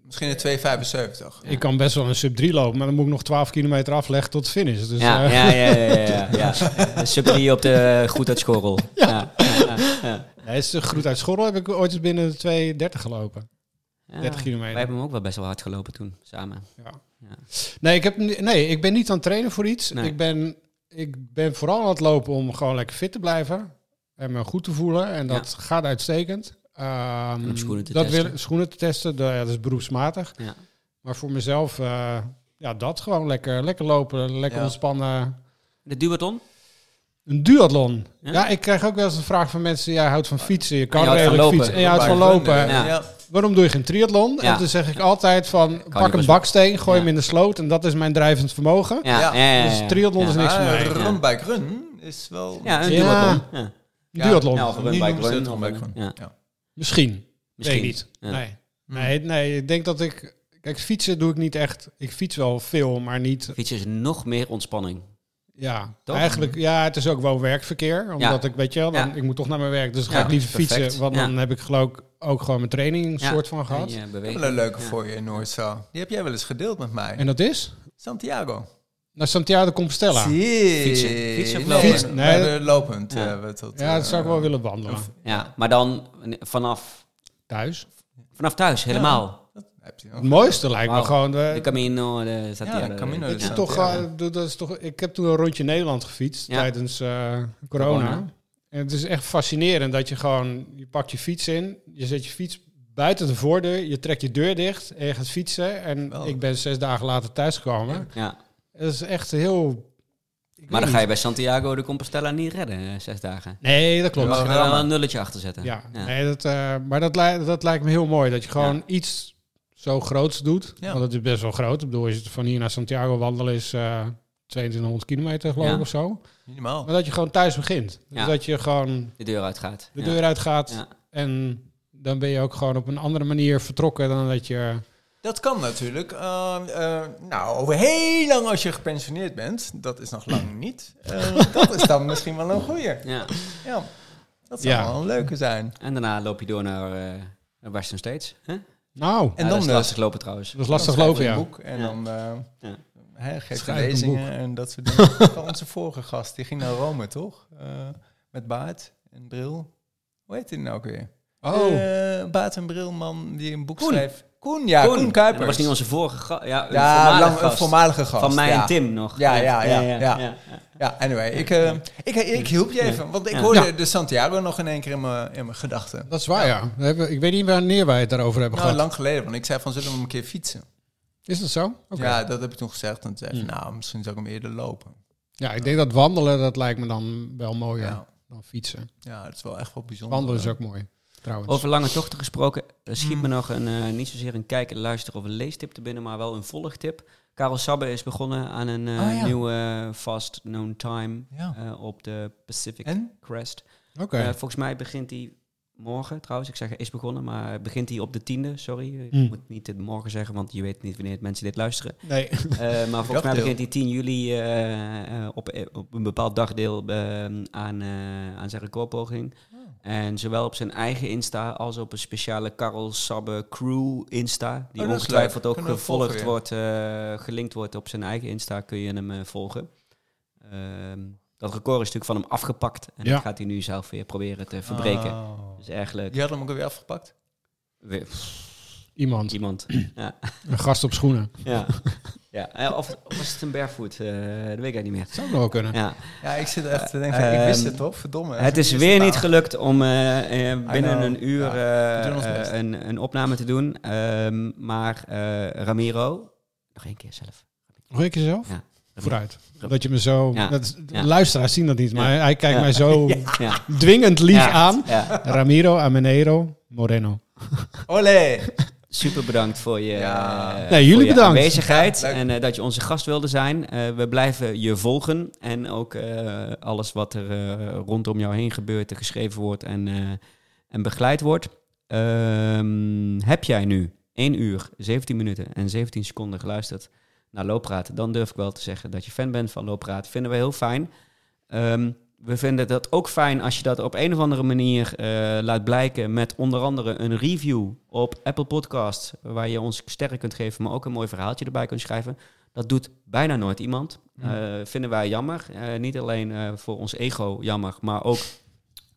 S2: misschien een 275.
S3: ik kan best wel een sub 3 lopen, maar dan moet ik nog 12 kilometer afleggen tot finish. Dus,
S1: ja,
S3: eh,
S1: ja, ja, ja, ja, ja. ja. Sub drie op de eh, goed uit schorrel. Ja. Ja, ja, ja.
S3: nee, het is groet uit Schorrel heb ik ooit eens binnen de 2.30 gelopen.
S1: Ja,
S3: 30 kilometer.
S1: Wij hebben hem ook wel best wel hard gelopen toen, samen.
S3: Nee, ik, heb, ni- nee, ik ben niet aan het trainen voor iets.
S1: Nee.
S3: Ik, ben, ik ben vooral aan het lopen om gewoon lekker fit te blijven. En me goed te voelen. En dat gaat uitstekend. Ehm,
S1: En om schoenen te
S3: dat
S1: testen.
S3: wil- schoenen te testen, dat, ja, dat is beroepsmatig.
S1: Ja.
S3: Maar voor mezelf, eh, ja, dat gewoon lekker, lekker lopen, lekker
S2: Ja.
S3: ontspannen.
S1: De duathlon?
S3: Een duathlon.
S1: Ja.
S3: Ja? ik krijg ook wel eens de vraag van mensen, jij houdt van fietsen, je kan
S1: En je houdt van
S3: redelijk
S1: lopen.
S3: fietsen en je houdt
S2: Bij
S3: van
S2: vrienden,
S3: lopen.
S1: Ja.
S2: Ja.
S3: Waarom doe je geen triathlon?
S1: Ja.
S3: En toen zeg ik altijd van, pak
S1: best-
S3: een baksteen, gooi
S1: Ja.
S3: hem in de sloot en dat is mijn drijvend vermogen.
S1: Ja.
S2: Ja.
S1: ja, ja, ja.
S3: Dus triathlon
S1: Ja.
S3: is niks voor
S2: Maar
S3: mij.
S2: een Ah, run bike run is wel...
S1: Ja, een
S3: Ja.
S1: duathlon. Ja. nou,
S2: Ja.
S3: Duathlon.
S1: Ja, of een
S2: Nu
S1: runbike
S2: noemen ze
S1: run,
S2: het
S1: of
S2: runbike
S1: een-
S2: run.
S1: ja.
S3: Misschien.
S1: Misschien.
S3: Weet ik niet.
S1: Ja.
S3: Nee. nee. Nee, ik denk dat ik... Kijk, fietsen doe ik niet echt. Ik fiets wel veel, maar niet...
S1: Fietsen is nog meer ontspanning.
S3: Ja,
S1: Toch?
S3: eigenlijk... Ja, het is ook wel werkverkeer. Omdat ik, weet je wel, dan,
S1: Ja.
S3: ik moet toch naar mijn werk. Dus dan ga
S1: Ja,
S3: ik liever
S1: perfect.
S3: fietsen. Want dan heb ik geloof ik ook gewoon mijn training
S1: Ja.
S3: soort van
S1: En
S3: gehad.
S1: je
S2: Wel
S1: beweging.
S2: een leuke voor je in Noordzaal. Die heb jij wel eens gedeeld met mij.
S3: En dat is?
S2: Santiago.
S3: Naar Santiago de Compostela.
S1: Fietsen. Fietsen of
S2: Nee,
S1: lopen?
S2: we
S3: Nee.
S2: hebben lopend.
S1: Ja.
S2: hebben we tot,
S3: ja, dat zou ik
S2: eh,
S3: wel willen wandelen.
S1: Ja, maar dan vanaf,
S3: Thuis.
S1: vanaf thuis helemaal.
S2: dat heb je nog.
S3: Het mooiste lijkt me
S1: Wauw.
S3: gewoon... eh, de-
S1: De Camino, de Santiago.
S2: Ja, de Camino
S3: dat
S1: Ja.
S3: is
S2: de
S3: toch,
S2: Santiago.
S3: eh, dat is toch, ik heb toen een rondje Nederland gefietst
S1: Ja.
S3: tijdens eh, corona.
S1: Corona.
S3: En het is echt fascinerend dat je gewoon... Je pakt je fiets in, je zet je fiets buiten de voordeur, je trekt je deur dicht en je gaat fietsen. En
S2: Wel.
S3: ik ben zes dagen later thuisgekomen.
S1: Oh. Ja.
S3: Dat is echt heel... ik
S1: Maar
S3: weet
S1: dan ga
S3: niet.
S1: je bij Santiago de Compostela niet redden, eh, zes dagen.
S3: Nee, dat klopt.
S1: Mag je
S2: Ja,
S1: er wel
S2: maar-
S1: een nulletje achter zetten?
S3: Ja,
S1: Ja.
S3: Nee, dat, eh, maar dat, lij- dat lijkt me heel mooi. Dat je gewoon iets zo groots doet.
S2: Ja.
S3: Want het is best wel groot. Ik bedoel, als je van hier naar Santiago wandelen is eh 2200 kilometer geloof
S1: Ja.
S3: ik of zo.
S2: Minimaal.
S3: Maar dat je gewoon thuis begint. Dus
S1: Ja.
S3: dat je gewoon
S1: De deur uitgaat.
S3: de
S1: Ja.
S3: deur uitgaat.
S1: Ja.
S3: En dan ben je ook gewoon op een andere manier vertrokken dan dat je...
S2: Dat kan natuurlijk. Eh, eh, nou, over heel lang als je gepensioneerd bent, dat is nog lang niet. Eh, dat is dan misschien wel een goeie.
S1: Ja.
S2: Ja, dat zou
S3: Ja.
S2: wel een leuke zijn.
S1: En daarna loop je door naar eh, naar Western States. Hè?
S3: Nou,
S2: En
S1: Ja,
S2: dan
S1: dat is
S2: de-
S1: lastig lopen trouwens.
S3: dat is lastig
S2: Dan schrijf
S3: geloven,
S2: je een
S3: ja.
S2: boek en
S1: Ja.
S2: dan eh
S1: Ja.
S2: hè, geef je
S3: Schrijf een
S2: lezingen en dat soort dingen. Dat was onze vorige gast, die ging naar Rome, toch? Eh, met baard en bril. Hoe heet die nou ook weer?
S3: Oh,
S2: Eh, baard en brilman die een boek
S1: Koen.
S2: schreef. Koen, ja, Koen,
S1: Ja,
S2: Kuipers.
S1: Dat was niet onze vorige ga- Ja, een
S2: ja,
S1: voormalige
S2: lang, een
S1: gast.
S2: voormalige gast.
S1: Van mij
S2: ja.
S1: en Tim nog.
S2: Ja, ja, ja, ja.
S1: ja.
S2: Ja, anyway, ik, eh, ik, ik hielp je even, want ik hoorde de Santiago nog in één keer in mijn in mijn gedachten.
S3: dat is waar, ja. We hebben, ik weet niet wanneer wij het daarover hebben
S2: Nou,
S3: gehad.
S2: lang geleden, want ik zei van zullen we hem een keer fietsen?
S3: Is dat zo? Oké.
S2: Ja, dat heb ik toen gezegd. En toen zei ik, nou, misschien zou ik hem eerder lopen.
S3: Ja, ik denk dat wandelen, dat lijkt me dan wel mooier
S2: Ja.
S3: dan fietsen.
S2: Ja, dat is wel echt wel bijzonder.
S3: Wandelen is ook mooi, trouwens.
S1: Over lange tochten gesproken, eh, schiet
S2: Hmm.
S1: me nog een, eh, niet zozeer een kijk, luister of een leestip te binnen, maar wel een volgtip. Karel Sabbe is begonnen aan een eh,
S2: Ah, ja.
S1: nieuwe eh, Fast Known Time
S2: Ja.
S1: eh, op de Pacific
S2: En?
S1: Crest.
S3: Oké.
S1: Eh, volgens mij begint hij morgen trouwens, ik zeg is begonnen, maar begint hij op de tiende, sorry. Ik
S3: Hmm.
S1: moet niet het morgen zeggen, want je weet niet wanneer mensen dit luisteren.
S3: Nee.
S1: Eh, maar volgens mij
S2: Dagdeel.
S1: begint hij 10 juli eh, eh, op, eh, op een bepaald dagdeel eh, aan, eh, aan zijn recordpoging.
S2: Oh.
S1: En zowel op zijn eigen Insta als op een speciale Karel Sabbe Crew Insta. Die
S2: Oh, dat is
S1: ongetwijfeld
S2: leuk.
S1: ook
S2: Kunnen we
S1: gevolgd
S2: volgen,
S1: wordt, eh, gelinkt wordt op zijn eigen Insta. Kun je hem eh, volgen. Ehm, dat record is natuurlijk van hem afgepakt. En
S3: Ja.
S1: dat gaat hij nu zelf weer proberen te verbreken.
S2: Oh.
S1: Dat is erg leuk.
S2: Die hadden hem ook weer afgepakt.
S1: We- pff,
S3: Iemand.
S1: Iemand. ja.
S3: Een gast op schoenen.
S1: ja. ja. Eh, Of, of was het een barefoot? Eh, dat weet ik eigenlijk niet meer.
S3: Zou nog wel kunnen.
S1: Ja.
S2: Ja, ik zit echt te denken, ik wist het toch, verdomme.
S1: Het is weer niet gelukt om eh, eh, binnen
S2: know.
S1: een uur
S2: Ja,
S1: eh,
S2: we doen ons
S1: eh,
S2: best.
S1: een, een opname te doen. Ehm, maar eh, Ramiro, nog één keer zelf.
S3: Nog een keer zelf?
S1: Ja.
S3: Vooruit. Dat je me zo...
S1: Ja.
S3: Dat, is- de
S1: Ja.
S3: Luisteraars zien dat niet, maar
S1: Ja.
S3: hij kijkt
S1: Ja.
S3: mij zo
S1: Ja.
S3: dwingend lief
S1: Ja.
S3: aan.
S1: Ja.
S3: Ramiro, Ameneiro, Moreno.
S2: Olé!
S1: Super bedankt voor je,
S2: Ja.
S1: eh,
S3: Nee, jullie
S1: voor je
S3: bedankt.
S1: aanwezigheid
S2: Ja, leuk.
S1: en eh, dat je onze gast wilde zijn. Eh, we blijven je volgen en ook eh, alles wat er eh, rondom jou heen gebeurt, er geschreven wordt en, eh, en begeleid wordt. Ehm, heb jij nu 1 uur, 17 minuten en 17 seconden geluisterd naar Loopraad, dan durf ik wel te zeggen dat je fan bent van Loopraad. Vinden we heel fijn. Ehm, we vinden dat ook fijn als je dat op een of andere manier eh, laat blijken met onder andere een review op Apple Podcasts, waar je ons sterren kunt geven, maar ook een mooi verhaaltje erbij kunt schrijven. Dat doet bijna nooit iemand. Eh, vinden wij jammer. Eh, niet alleen eh, voor ons ego jammer, maar ook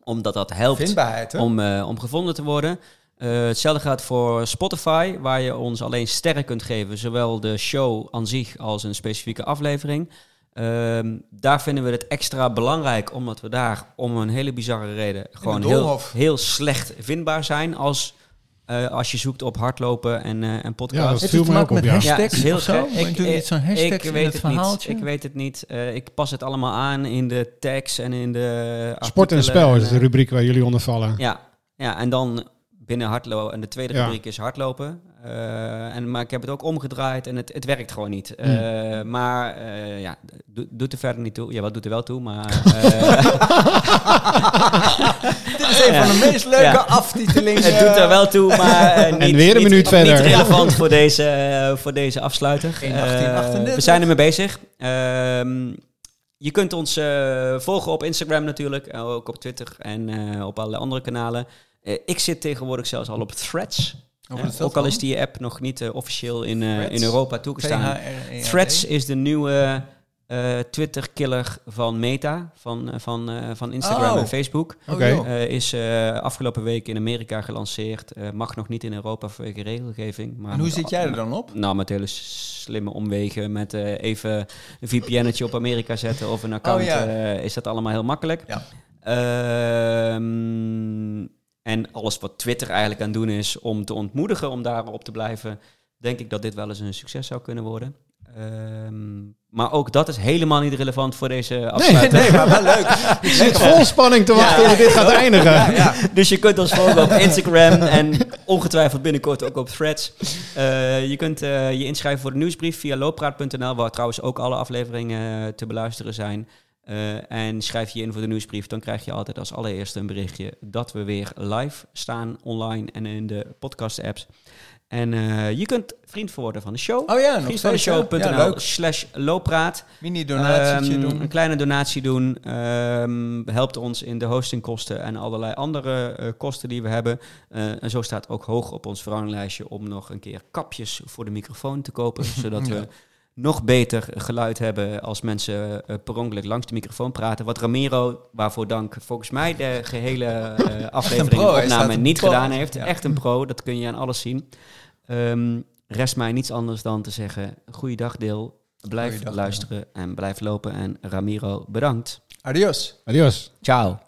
S1: omdat dat helpt
S2: Vindbaarheid, hè?
S1: om, eh, om gevonden te worden. Eh, hetzelfde gaat voor Spotify, waar je ons alleen sterren kunt geven, zowel de show aan zich als een specifieke aflevering. Ehm, daar vinden we het extra belangrijk, omdat we daar om een hele bizarre reden gewoon heel,
S2: doolhof.
S1: heel slecht vindbaar zijn als, eh, als je zoekt op hardlopen en, eh en
S3: Ja,
S1: podcasts.
S3: dat viel mij ook op, ja.
S1: het is heel gek.
S2: Ik doe niet zo'n hashtag
S1: ik weet het niet. Ik weet het niet. Eh, ik pas het allemaal aan in de tags en in de.
S3: Sport en
S1: artikelen
S3: spel is
S1: eh,
S3: de rubriek waar jullie onder vallen.
S1: ja, ja, en dan binnen hardlopen. En de tweede
S3: Ja.
S1: rubriek is hardlopen. Eh, en, maar ik heb het ook omgedraaid en het, het werkt gewoon niet.
S3: Mm.
S1: Eh, Maar eh, ja, do- doet er verder niet toe. Ja, wat doet er wel toe, maar... eh,
S2: Dit is een
S1: Ja.
S2: van de meest leuke
S1: Ja.
S2: aftitelingen.
S1: het doet er wel toe, maar eh, niet,
S3: weer een
S1: niet-
S3: minuut
S1: niet
S3: verder.
S1: relevant voor deze, eh, voor deze afsluiter.
S2: Geen
S1: Eh,
S2: 1838.
S1: we zijn ermee bezig. Ehm, je kunt ons eh, volgen op Instagram natuurlijk, en ook op Twitter en eh, op alle andere kanalen. Eh, ik zit tegenwoordig zelfs al op Threads.
S2: Oh,
S1: Ja,
S2: wat is dat
S1: ook al
S2: dan?
S1: is die app nog niet eh, officieel in, eh,
S2: Threads? E
S1: in Europa toegestaan.
S2: THREAD.
S1: Threads is de nieuwe eh, Twitter-killer van Meta, van, eh, van, eh, van Instagram
S2: Oh.
S1: en Facebook.
S3: Oké.
S2: joh.
S1: Eh, is eh, afgelopen week in Amerika gelanceerd. Eh, mag nog niet in Europa vanwege regelgeving. Maar
S2: En hoe
S1: met
S2: zit
S1: al-
S2: jij er dan op?
S1: Nou, met hele s- slimme omwegen. Met eh, even een VPN'tje op Amerika zetten of een account.
S2: Oh, ja.
S1: eh, is dat allemaal heel makkelijk.
S2: Ja.
S1: Ehm, en alles wat Twitter eigenlijk aan het doen is om te ontmoedigen om daarop te blijven, denk ik dat dit wel eens een succes zou kunnen worden. Ehm, maar ook dat is helemaal niet relevant voor deze afsluiting.
S2: Nee, maar wel leuk.
S3: Ik zit vol spanning te wachten hoe dit gaat eindigen.
S1: Dus je kunt ons volgen op Instagram en ongetwijfeld binnenkort ook op Threads. Eh, je kunt eh, je inschrijven voor de nieuwsbrief via looppraat.nl, waar trouwens ook alle afleveringen eh, te beluisteren zijn. Eh, en schrijf je in voor de nieuwsbrief, dan krijg je altijd als allereerste een berichtje dat we weer live staan online en in de podcast-apps. En eh, je kunt vriend worden van de show.
S2: Oh ja, nog
S1: Vriend van de
S2: steeds, ja. Ja,
S1: show.nl
S2: leuk.
S1: slash looppraat.
S2: Mini-donatietje
S1: Ehm,
S2: doen.
S1: Een kleine donatie doen. ehm, helpt ons in de hostingkosten en allerlei andere eh, kosten die we hebben. Eh, en zo staat ook hoog op ons verlanglijstje om nog een keer kapjes voor de microfoon te kopen. zodat
S2: Ja.
S1: we nog beter geluid hebben als mensen eh, per ongeluk langs de microfoon praten. Wat Ramiro, waarvoor dank, volgens mij de gehele eh, aflevering
S2: pro, hij
S1: en opname
S2: staat een
S1: niet
S2: pro.
S1: gedaan heeft.
S2: Ja.
S1: Echt een pro, dat kun je aan alles zien. Ehm, rest mij niets anders dan te zeggen, goeiedag deel. Blijf
S2: Goeiedag, Deel.
S1: luisteren en blijf lopen. En Ramiro, bedankt.
S2: Adios.
S3: Adios.
S1: Ciao.